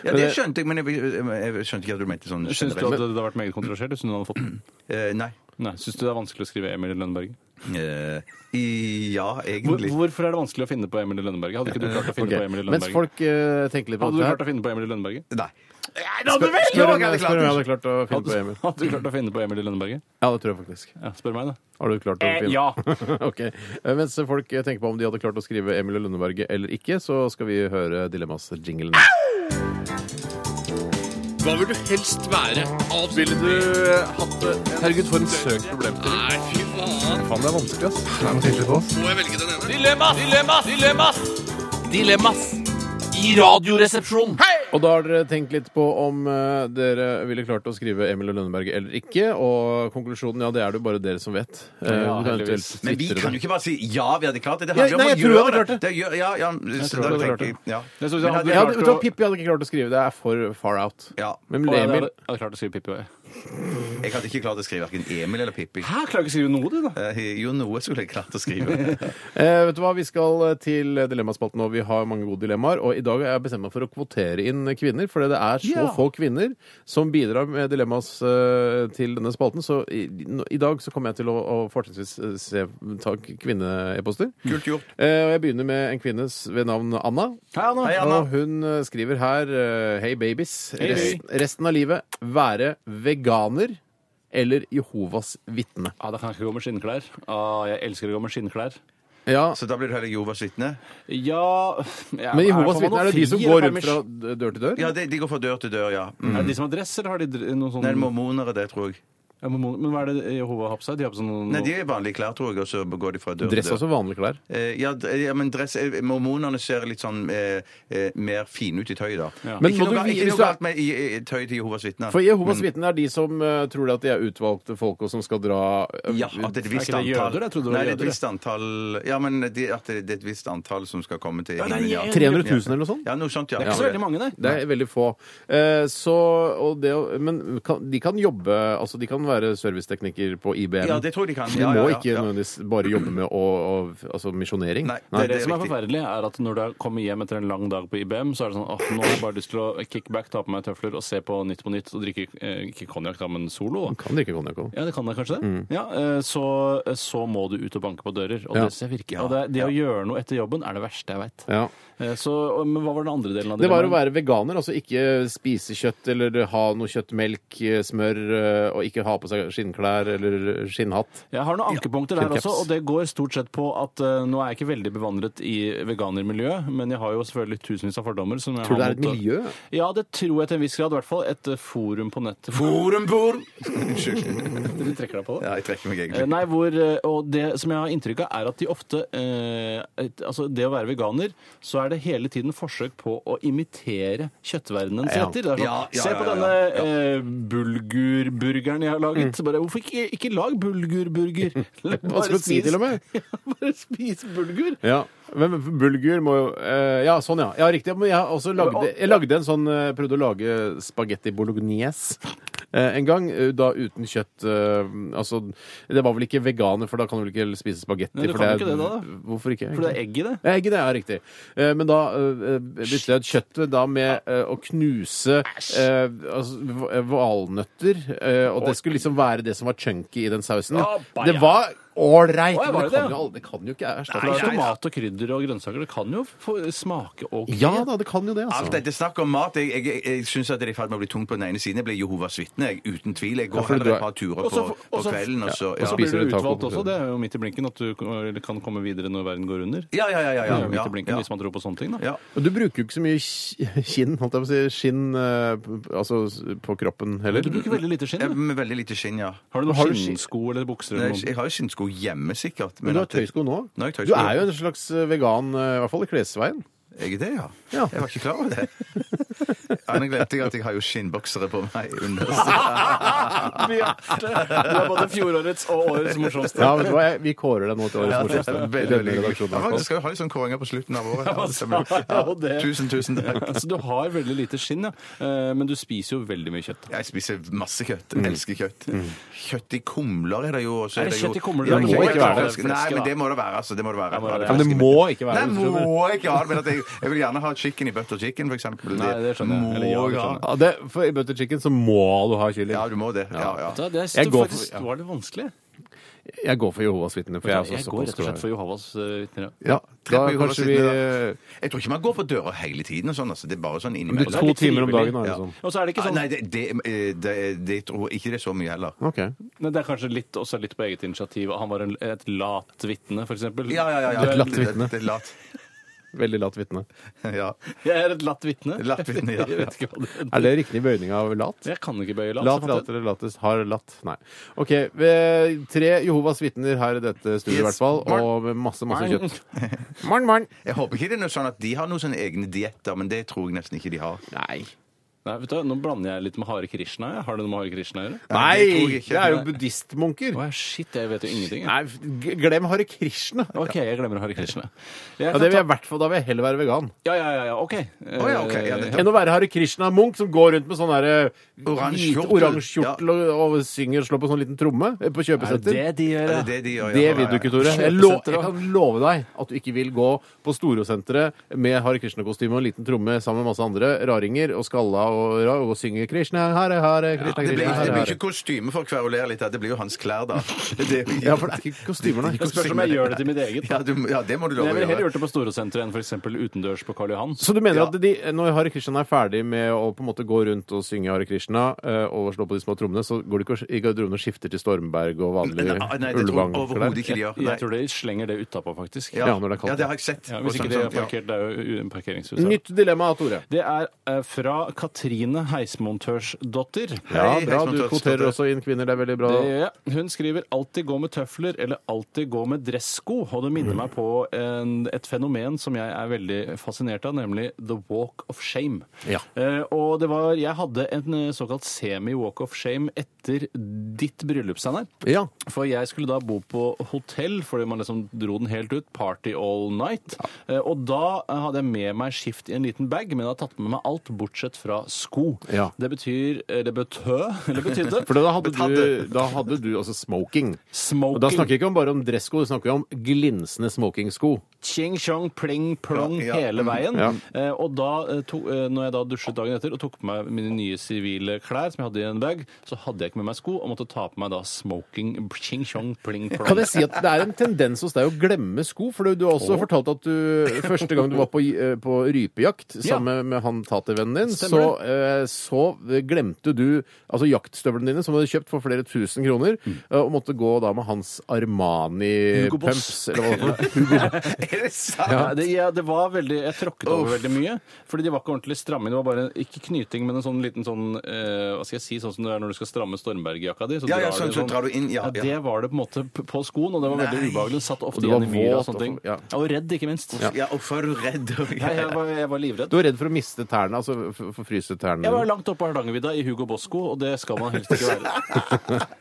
Speaker 3: ja, det skjønte jeg, men jeg, jeg skjønte ikke at du mente sånn
Speaker 4: Syns du
Speaker 3: generelt.
Speaker 4: at det hadde vært meget kontroversielt hvis hun hadde fått den?
Speaker 3: Eh, nei.
Speaker 4: Nei, Syns du det er vanskelig å skrive Emil i Lønneberget?
Speaker 3: Eh, i- ja,
Speaker 4: Hvor,
Speaker 3: egentlig.
Speaker 4: hvorfor er det vanskelig å finne på Emil i Lønneberget? Hadde ikke du klart å finne på
Speaker 2: Ok,
Speaker 4: Emil
Speaker 2: Mens
Speaker 4: i Lønneberget?
Speaker 2: folk eh, tenker litt på
Speaker 4: Hadde du klart
Speaker 2: dette
Speaker 4: å finne på Emil i Lønneberget?
Speaker 3: Nei.
Speaker 2: Spør om
Speaker 3: Jeg hadde
Speaker 2: jeg spør om jeg hadde
Speaker 3: klart det.
Speaker 2: klart å finne på
Speaker 4: Hadde,
Speaker 2: Emil.
Speaker 4: hadde du klart å finne på Emil i Lønneberget?
Speaker 2: Ja, det tror jeg faktisk.
Speaker 4: Ja, spør meg, da.
Speaker 2: Har du klart å
Speaker 3: Eh,
Speaker 2: finne
Speaker 4: ja.
Speaker 2: *laughs* ok. Eh, Mens folk eh, tenker på om de hadde klart å skrive Emil i Lønneberget eller ikke, så skal vi høre Dilemmas-jinglen.
Speaker 6: Hva vil du helst være? Ville du
Speaker 4: eh,
Speaker 6: hatt det? Herregud, for en søk problemstilling. Nei, fy faen.
Speaker 2: Faen, det er vanskelig, ass.
Speaker 6: Må jeg velge den ene? Dilemmas! Dilemmas! Dilemmas! Dilemmas! I radioresepsjonen!
Speaker 2: Og da har dere tenkt litt på om eh, dere ville klart å skrive Emil og Lønneberg eller ikke. Og konklusjonen ja, det er det jo bare dere som vet. Eh, du
Speaker 4: Ja,
Speaker 2: kan eventuelt
Speaker 4: heldigvis.
Speaker 3: Men vi
Speaker 2: twittre
Speaker 3: kan jo
Speaker 2: det.
Speaker 3: ikke bare si ja, vi hadde klart det. Det
Speaker 2: Ja,
Speaker 3: handler
Speaker 2: nei,
Speaker 3: om å
Speaker 2: jeg tror jeg hadde
Speaker 3: gjøre
Speaker 2: klart
Speaker 3: det. gjør- Ja, ja, så
Speaker 4: tror jeg
Speaker 3: da
Speaker 4: hadde klart
Speaker 3: tenker jeg- ja.
Speaker 4: Jeg synes
Speaker 3: Men
Speaker 4: jeg hadde-
Speaker 3: hadde-
Speaker 2: ja, det- vet du, hva,
Speaker 4: å-
Speaker 2: Pippi hadde ikke klart å skrive. Det er for far out.
Speaker 3: Ja.
Speaker 2: Men
Speaker 4: Å, ja, det
Speaker 2: Emil
Speaker 4: hadde- jeg hadde klart å skrive Pippi òg, jeg.
Speaker 3: Jeg hadde ikke klart å skrive hverken Emil eller Pippi.
Speaker 4: Hæ, klarer ikke å skrive noe, du, da?
Speaker 3: Eh, Jo, noe skulle jeg klart å skrive. *laughs*
Speaker 2: Eh, vet du hva, Vi skal eh, til Dilemmaspalten, og vi har mange gode dilemmaer. Og i dag har jeg bestemt meg for å kvotere inn kvinner, for det er så
Speaker 4: Ja.
Speaker 2: få kvinner som bidrar med dilemmas eh, til denne spalten. Så i, nå- i dag så kommer jeg til å, å fortrinnsvis eh, se, ta kvinne-e-poster.
Speaker 3: Kult gjort.
Speaker 2: Eh, og jeg begynner med en kvinne s- ved navn Anna.
Speaker 3: Hei,
Speaker 2: Og
Speaker 3: Anna.
Speaker 2: hun eh, skriver her eh, Hei, babies.
Speaker 4: Hei, hei.
Speaker 2: Resten, resten av livet være veganer eller Jehovas vitne.
Speaker 4: Ja, da kan jeg ikke gå med skinnklær. Ah, jeg elsker å gå med skinnklær.
Speaker 2: Ja,
Speaker 3: Så da blir du heller Jovas vitne?
Speaker 4: Ja jeg,
Speaker 2: men Jehovas
Speaker 4: får man
Speaker 2: vitne, er det de som
Speaker 4: noe
Speaker 2: går
Speaker 4: fri,
Speaker 2: rundt
Speaker 4: eller
Speaker 2: fra
Speaker 4: er
Speaker 2: d- dør til dør?
Speaker 3: Ja, de, de går fra dør til dør, ja. Mm.
Speaker 4: det de som har dress, eller har de dr- noe sånn
Speaker 3: Nei, mormonere, det tror jeg.
Speaker 4: Ja, men mo- Men hva er det Jehova har på seg? De har på sånn noe...
Speaker 3: Nei, de er i vanlige klær, tror jeg, og så går de fra dør
Speaker 2: Dress er
Speaker 3: til dør.
Speaker 2: også vanlige klær.
Speaker 3: Eh, Ja, d- ja, men dress, eh, mormonerne ser litt sånn eh, eh, mer fine ut i tøy, da.
Speaker 4: Ja.
Speaker 2: Men
Speaker 3: Ikke
Speaker 2: må
Speaker 3: noe
Speaker 2: du
Speaker 3: ga-
Speaker 2: vi-
Speaker 3: ikke
Speaker 2: hvis
Speaker 3: noe
Speaker 2: du er-
Speaker 3: galt med i, i, tøy til Jehovas vitner.
Speaker 2: For Jehovas vitner er de som eh, tror at de er utvalgte folk og som skal dra eh,
Speaker 3: Ja, at det er et visst
Speaker 4: Er ikke det
Speaker 3: antall.
Speaker 4: jøder? Jeg trodde det var
Speaker 3: Nei, det er et
Speaker 4: jøder,
Speaker 3: visst antall Ja, men de, at det det er et visst antall som skal komme til
Speaker 4: det er
Speaker 3: himmelen. Ja,
Speaker 2: 300 000 eller noe sånt?
Speaker 3: Ja, noe sånt, ja.
Speaker 4: Det er ikke så
Speaker 3: Ja.
Speaker 4: veldig mange, nei.
Speaker 2: Det er veldig få. Eh, så, og det, å- men kan, de kan jobbe altså De kan være serviceteknikker på IBM.
Speaker 3: Ja, det tror jeg de kan.
Speaker 2: De
Speaker 3: Ja, ja,
Speaker 2: må
Speaker 3: ja,
Speaker 2: ikke
Speaker 3: ja.
Speaker 2: nødvendigvis bare jobbe med å, å, altså misjonering.
Speaker 3: Nei,
Speaker 4: Det,
Speaker 3: Nei,
Speaker 4: er det,
Speaker 3: det er
Speaker 4: som er
Speaker 3: riktig.
Speaker 4: forferdelig, er at når du har kommet hjem etter en lang dag på IBM, så er det sånn at nå har jeg bare lyst til å kickback, ta på meg tøfler og se på Nytt på nytt og drikke eh, ikke konjakk, da, men solo. Da.
Speaker 2: Kan drikke konjakk òg.
Speaker 4: Ja, det kan jeg kanskje det. Ja, eh, så, så må du ut og banke på dører, og
Speaker 2: Mm. Ja.
Speaker 4: det ser virker.
Speaker 3: Ja,
Speaker 4: Og det, det å gjøre noe etter jobben er det verste jeg veit.
Speaker 2: Ja.
Speaker 4: Så, og- men hva var den andre delen av
Speaker 2: Det var å
Speaker 4: dilemmaet?
Speaker 2: være veganer, altså ikke spise kjøtt eller ha noe kjøtt, melk, smør, eh, og ikke ha på seg skinnklær eller skinnhatt.
Speaker 4: Jeg har noen ankepunkter der
Speaker 2: Kjøttkaps.
Speaker 4: også, og det går stort sett på at eh, nå er jeg ikke veldig bevandret i veganermiljøet, men jeg har jo selvfølgelig tusenvis av fordommer. Som jeg
Speaker 2: Tror du det
Speaker 4: har
Speaker 2: er et
Speaker 4: mot å-
Speaker 2: miljø?
Speaker 4: Ja, det tror jeg til en viss grad. I hvert fall et eh, forum på nettet.
Speaker 3: Borumbor! Unnskyld.
Speaker 4: Du trekker deg på det?
Speaker 3: Ja, jeg trekker meg
Speaker 4: Eh,
Speaker 3: egentlig.
Speaker 4: Nei, hvor, eh, og det som jeg har inntrykk av, er at de ofte eh, et, Altså, det å være veganer, så er det hele tiden forsøk på å imitere kjøttverdenens
Speaker 2: Ja. Mm.
Speaker 4: retter. Det er sånn,
Speaker 3: Ja, ja,
Speaker 4: Se på
Speaker 3: ja,
Speaker 4: denne
Speaker 3: ja,
Speaker 4: eh, bulgurburgeren jeg har laget. Så bare, hvorfor ikke, ikke lag bulgurburger?
Speaker 2: *laughs* Hva skal du si til og
Speaker 4: *laughs*
Speaker 2: med?
Speaker 4: Bare spis bulgur.
Speaker 2: Ja, men bulgur må jo eh, Ja, sånn, ja. ja riktig. Men jeg, har også lagde, jeg lagde en sånn eh, Prøvde å lage spagetti bolognese eh, en gang. eh, Da uten kjøtt eh, Altså, det var vel ikke veganer, for da kan du vel ikke spise spagetti?
Speaker 4: Nei, du
Speaker 2: for
Speaker 4: kan
Speaker 2: det er-
Speaker 4: jo ikke det da, da.
Speaker 2: Hvorfor ikke?
Speaker 4: For det er egg i det.
Speaker 2: Ja, Egg, det er riktig. Eh, Men da eh, bytter jeg ut kjøttet da med eh, å knuse eh, altså, v- eh, valnøtter. eh, Og det skulle liksom være det som var chunky i den sausen. Ja.
Speaker 4: Å,
Speaker 2: Det var ålreit,
Speaker 4: Å, ja,
Speaker 2: men
Speaker 4: var
Speaker 2: det
Speaker 4: det
Speaker 2: kan
Speaker 4: det?
Speaker 2: jo aldri- det kan jo ikke altså. erstatte
Speaker 4: For det er tomat og krydder og grønnsaker. Det kan jo få smake og
Speaker 2: Ja da, det kan jo det,
Speaker 3: Alt
Speaker 2: altså.
Speaker 3: dette snakket om mat Jeg, jeg, jeg, jeg syns det er i ferd med å bli tungt på den ene siden. Jeg blir Jehovas vitne, jeg, uten tvil. Jeg går
Speaker 2: for du
Speaker 3: heller
Speaker 2: er-
Speaker 3: et par turer
Speaker 4: Og så-
Speaker 3: på,
Speaker 4: og
Speaker 3: på
Speaker 4: så-
Speaker 3: kvelden, og så
Speaker 2: og så
Speaker 3: ja.
Speaker 4: Da blir
Speaker 2: Spiser
Speaker 4: du
Speaker 2: du taco
Speaker 4: utvalgt
Speaker 2: på
Speaker 4: også. Det er jo midt i blinken at du kan komme videre når verden går under.
Speaker 3: Ja, ja, ja. ja,
Speaker 4: Det
Speaker 3: ja,
Speaker 4: er jo midt i blinken
Speaker 3: ja,
Speaker 4: hvis man tror på sånne ting, da.
Speaker 3: ja.
Speaker 2: Og du bruker jo ikke så mye ki- kinn, holdt jeg på å si, skinn eh, p- altså s- på kroppen heller.
Speaker 4: Du bruker veldig lite skinn.
Speaker 3: Ja,
Speaker 4: da.
Speaker 3: Eh, Med veldig lite skinn, ja.
Speaker 4: Har du noen
Speaker 2: du skinn-
Speaker 4: skinnsko eller bukser?
Speaker 3: Nei,
Speaker 4: Eller
Speaker 3: Jeg,
Speaker 4: noe?
Speaker 3: jeg har jo skinnsko hjemme, sikkert.
Speaker 2: Men du har
Speaker 3: at det-
Speaker 2: tøysko nå.
Speaker 3: Nå har jeg tøysko.
Speaker 2: Du er jo en slags vegan, eh, i hvert fall i klesveien.
Speaker 3: Jeg er det, ja.
Speaker 2: Ja.
Speaker 3: Jeg var ikke klar over det.
Speaker 4: *laughs*
Speaker 3: Ja, Nå glemte jeg at jeg har jo skinnboksere på meg under.
Speaker 4: *laughs* Bjarte, du er både fjorårets og årets morsomste. *laughs*
Speaker 2: Ja, vet du hva, jeg, Vi kårer deg nå til årets morsomste. i
Speaker 3: Veldig,
Speaker 2: denne
Speaker 3: veldig gøy.
Speaker 2: redaksjonen,
Speaker 3: Ja,
Speaker 2: i hvert
Speaker 3: men
Speaker 2: fall.
Speaker 3: Du skal jo ha litt sånn kåringer på slutten av året.
Speaker 4: Ja,
Speaker 3: Ja,
Speaker 4: man
Speaker 3: det blir-
Speaker 4: skal jo Altså, det.
Speaker 3: Tusen, tusen takk.
Speaker 4: *laughs* Altså, du har veldig lite skinn, ja. Eh, men du spiser jo veldig mye kjøtt.
Speaker 3: Jeg spiser masse kjøtt.
Speaker 4: Mm.
Speaker 3: Jeg elsker kjøtt. Kjøtt i kumler er det jo. og så
Speaker 4: Er det
Speaker 3: jo-
Speaker 4: kjøtt i kumler?
Speaker 3: Ja,
Speaker 2: Det må
Speaker 3: kjøtt i
Speaker 2: ikke være
Speaker 4: det.
Speaker 3: kumler. Nei, men det må det være. altså. Det må det være.
Speaker 4: må det være.
Speaker 2: Ja, men det må ikke være
Speaker 3: Nei,
Speaker 2: det. skjønner du.
Speaker 3: må jeg ikke ha det. Men at jeg, jeg vil gjerne ha chicken i butter chicken, for eksempel.
Speaker 4: Nei, det skjønner jeg.
Speaker 3: Må
Speaker 4: Eller ja, det
Speaker 3: jeg ha.
Speaker 4: skjønner
Speaker 2: Ja, det, for I butter chicken så må du ha kylling.
Speaker 3: Ja, du må det. Ja, ja.
Speaker 4: Da, det
Speaker 2: Jeg
Speaker 4: jeg
Speaker 2: går
Speaker 4: går
Speaker 2: for-
Speaker 4: faktisk,
Speaker 2: ja.
Speaker 4: var det vanskelig.
Speaker 2: Jeg går for Jehovas vitner. For jeg, er også
Speaker 4: Jeg går rett og slett for Johavas eh, vitner. ja.
Speaker 2: Ja, da
Speaker 3: Treff på Jehovas
Speaker 2: kanskje vi eh,
Speaker 3: vitner, Jeg tror ikke man går på døra hele tiden. og sånn, altså. Det er bare sånn
Speaker 2: Du,
Speaker 3: innimellom.
Speaker 2: To timer om dagen, da.
Speaker 3: Ja.
Speaker 2: Liksom.
Speaker 4: Og så er det ikke
Speaker 3: Ah,
Speaker 4: sånn
Speaker 3: Nei, det, det, eh, det, det tror jeg ikke det er så mye heller.
Speaker 2: Ok.
Speaker 4: Nei, Det er kanskje litt, også litt på eget initiativ. Han var en, et lat vitne, f.eks.
Speaker 3: Ja, ja, ja. ja.
Speaker 2: Et latt vitne.
Speaker 3: Et- et latt. *laughs*
Speaker 2: Veldig latt vitne.
Speaker 3: Ja.
Speaker 4: Jeg er et latt vitne.
Speaker 3: Latt vitne, ja.
Speaker 4: *laughs* Jeg vet ikke hva det
Speaker 2: Er det riktig bøyning av lat?
Speaker 4: Jeg kan ikke bøye latt.
Speaker 2: Lat,
Speaker 4: så
Speaker 2: lat
Speaker 4: det-
Speaker 2: eller latest. Har latt. Nei. OK. vi- Tre Jehovas vitner her i dette studioet, i
Speaker 3: Yes.
Speaker 2: hvert fall.
Speaker 3: Morn.
Speaker 2: Og med masse, masse kjøtt. Morn, morn.
Speaker 3: Jeg håper ikke det er noe sånn at de har noen sånne egne dietter, men det tror jeg nesten ikke de har.
Speaker 2: Nei.
Speaker 4: Nei, vet du, hva, Nå blander jeg litt med Hare Krishna. jeg. Har det noe med Hare Krishna å gjøre?
Speaker 2: Nei!
Speaker 3: tror jeg ikke.
Speaker 2: Det er jo buddhistmunker.
Speaker 4: Å, shit, jeg vet jo ingenting. jeg.
Speaker 2: Nei, f- g- glem Hare Krishna.
Speaker 4: OK, jeg glemmer Hare Krishna. Jeg
Speaker 2: Ja,
Speaker 4: kan
Speaker 2: det vil
Speaker 4: ta-
Speaker 2: jeg i hvert fall, Da vil jeg heller være vegan.
Speaker 4: ja, ja, ja, ja, OK. Eh,
Speaker 3: Å, ja, ok, ja, det-
Speaker 2: Enn å være Hare Krishna-munk som går rundt med sånn derre
Speaker 3: Oransje
Speaker 2: hvit
Speaker 3: kjortel.
Speaker 2: oransje kjortel og, og synger og slår på sånn liten tromme eh, på
Speaker 4: Er det
Speaker 2: kjøpesenter.
Speaker 4: det de gjør,
Speaker 3: Det
Speaker 4: ja?
Speaker 3: er det de gjør. ja.
Speaker 2: Det vil du ikke, Tore. Jeg, lo
Speaker 4: Kjøpesenter,
Speaker 2: jeg
Speaker 4: da.
Speaker 2: kan love deg at du ikke vil gå på Storosenteret med Hare Krishna-kostyme og en liten tromme sammen med masse andre raringer og skalla og, ra- og synge Krishna, Hare, Hare, Krishna,
Speaker 3: Det blir,
Speaker 2: Krishna,
Speaker 3: det
Speaker 2: Hare,
Speaker 3: blir
Speaker 2: Hare.
Speaker 3: ikke kostyme for å kverulere litt her, det blir jo hans klær, da. *laughs* Det er jo-
Speaker 2: Ja, for det er ikke kostymer, nei.
Speaker 4: Det spørs om jeg gjør det til mitt eget.
Speaker 3: Ja,
Speaker 4: da.
Speaker 3: du, ja, det må du
Speaker 4: Men
Speaker 3: love
Speaker 4: jeg
Speaker 3: å
Speaker 4: ville heller
Speaker 3: gjøre.
Speaker 4: gjort det på Storosenteret enn f.eks. utendørs på Karl Johan.
Speaker 2: Så du mener at de, når Hare Krishna er ferdig med å på en måte gå rundt og synge Hare Krishna eh, og slå på de små trommene, så går de ikke og- i garderoben og skifter til Stormberg og vanlig
Speaker 3: Nei, nei, det tror jeg
Speaker 2: ulvang-klær?
Speaker 3: overhodet ikke de gjør. Nei.
Speaker 4: Jeg tror de slenger det utapå, faktisk.
Speaker 2: Ja, når det er kaldt.
Speaker 3: Ja, det har jeg sett.
Speaker 4: Ja, hvis
Speaker 3: Og
Speaker 4: ikke
Speaker 3: sånn,
Speaker 4: de har
Speaker 3: sånn, ja.
Speaker 4: parkert, det er jo u- parkeringshuset.
Speaker 2: Nytt dilemma, Tore.
Speaker 4: Det er eh, fra Katrine Heismontørsdotter.
Speaker 2: Ja,
Speaker 3: Hei,
Speaker 2: bra.
Speaker 3: Heismann
Speaker 2: Du
Speaker 3: Tøft,
Speaker 2: kvoterer
Speaker 3: Tore.
Speaker 2: også inn kvinner. Det er veldig bra.
Speaker 4: Det gjør jeg. Hun skriver 'alltid gå med tøfler' eller 'alltid gå med dressko'. Og det minner meg på en, et fenomen som jeg er veldig fascinert av, nemlig the walk of shame.
Speaker 2: Ja.
Speaker 4: Eh, og det var Jeg hadde en eh, såkalt semi-walk of shame etter ditt bryllup, Steinar.
Speaker 2: Ja.
Speaker 4: For jeg skulle da bo på hotell, fordi man liksom dro den helt ut. Party all night. Eh, Og da eh, hadde jeg med meg skift i en liten bag, men jeg hadde tatt med meg alt bortsett fra sko.
Speaker 2: Ja.
Speaker 4: Det betyr Eller betø *laughs* Eller betydde
Speaker 2: For da hadde du, da hadde du altså smoking.
Speaker 4: smoking.
Speaker 2: Og da snakker vi ikke om bare om dressko, da snakker vi om glinsende smokingsko.
Speaker 4: Ching chong, pling plong
Speaker 3: Ja, ja.
Speaker 4: hele veien.
Speaker 2: Ja.
Speaker 4: Eh, og da eh, to, eh, når jeg da dusjet dagen etter og tok på meg mine nye sivile klær, som jeg hadde i en bag, så hadde jeg ikke med meg sko og måtte ta på meg da smoking ching chong, pling plong.
Speaker 2: Kan jeg si at Det er en tendens hos deg å glemme sko. For du har også fortalt at du første gang du var på, eh, på rypejakt
Speaker 4: Ja.
Speaker 2: sammen med han tatervennen din, så,
Speaker 4: Stemmer
Speaker 2: eh, så glemte du altså jaktstøvlene dine, som du hadde kjøpt for flere tusen kroner, eh, og måtte gå da med hans
Speaker 4: Mm. Hugo
Speaker 2: Armani-pumps.
Speaker 4: Boss.
Speaker 2: eller hva det var.
Speaker 4: *laughs*
Speaker 2: Hugo-
Speaker 3: *laughs* Er det sant?
Speaker 4: Ja, det, ja, det var veldig, Jeg tråkket over veldig mye. Fordi de var ikke ordentlig stramme. Det var bare ikke knyting, men en sånn liten sånn eh, Hva skal jeg si, sånn som det er når du skal stramme Stormberg-jakka di. Så
Speaker 3: Ja, ja,
Speaker 4: drar
Speaker 3: sånn,
Speaker 4: du
Speaker 3: så drar du inn, ja,
Speaker 4: Ja,
Speaker 3: ja.
Speaker 4: Det var det på en måte p- på skoen, og det var veldig
Speaker 3: Nei.
Speaker 4: ubehagelig. Satt
Speaker 2: Og
Speaker 4: ofte
Speaker 2: du var
Speaker 4: igjen i myra
Speaker 2: våt,
Speaker 4: og sånne ting.
Speaker 2: og- ja.
Speaker 4: Ja, og redd, ikke minst.
Speaker 3: Ja, hvorfor er du redd?
Speaker 4: Nei, jeg, var, jeg var livredd.
Speaker 2: Du var redd for å miste tærne, altså for- for å fryse tærne.
Speaker 4: Jeg var langt oppe på Hardangervidda i Hugo Boss-sko, og det skal man helst ikke være.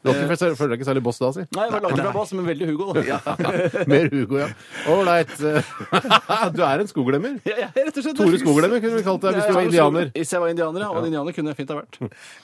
Speaker 2: Du var ikke, føler deg ikke særlig boss da,
Speaker 4: *laughs*
Speaker 2: si?
Speaker 4: Nei, jeg var langt fra Boss, men veldig Hugo, da. *laughs*
Speaker 2: Mer Hugo, ja. Ålreit. *laughs* Du er en skoglemmer.
Speaker 4: Jeg- jeg- rett og slett-
Speaker 2: Tore Skoglemmer kunne vi kalt deg hvis du var indianer.
Speaker 4: Hvis jeg var indianer, ja. Og en indianer kunne jeg fint ha vært.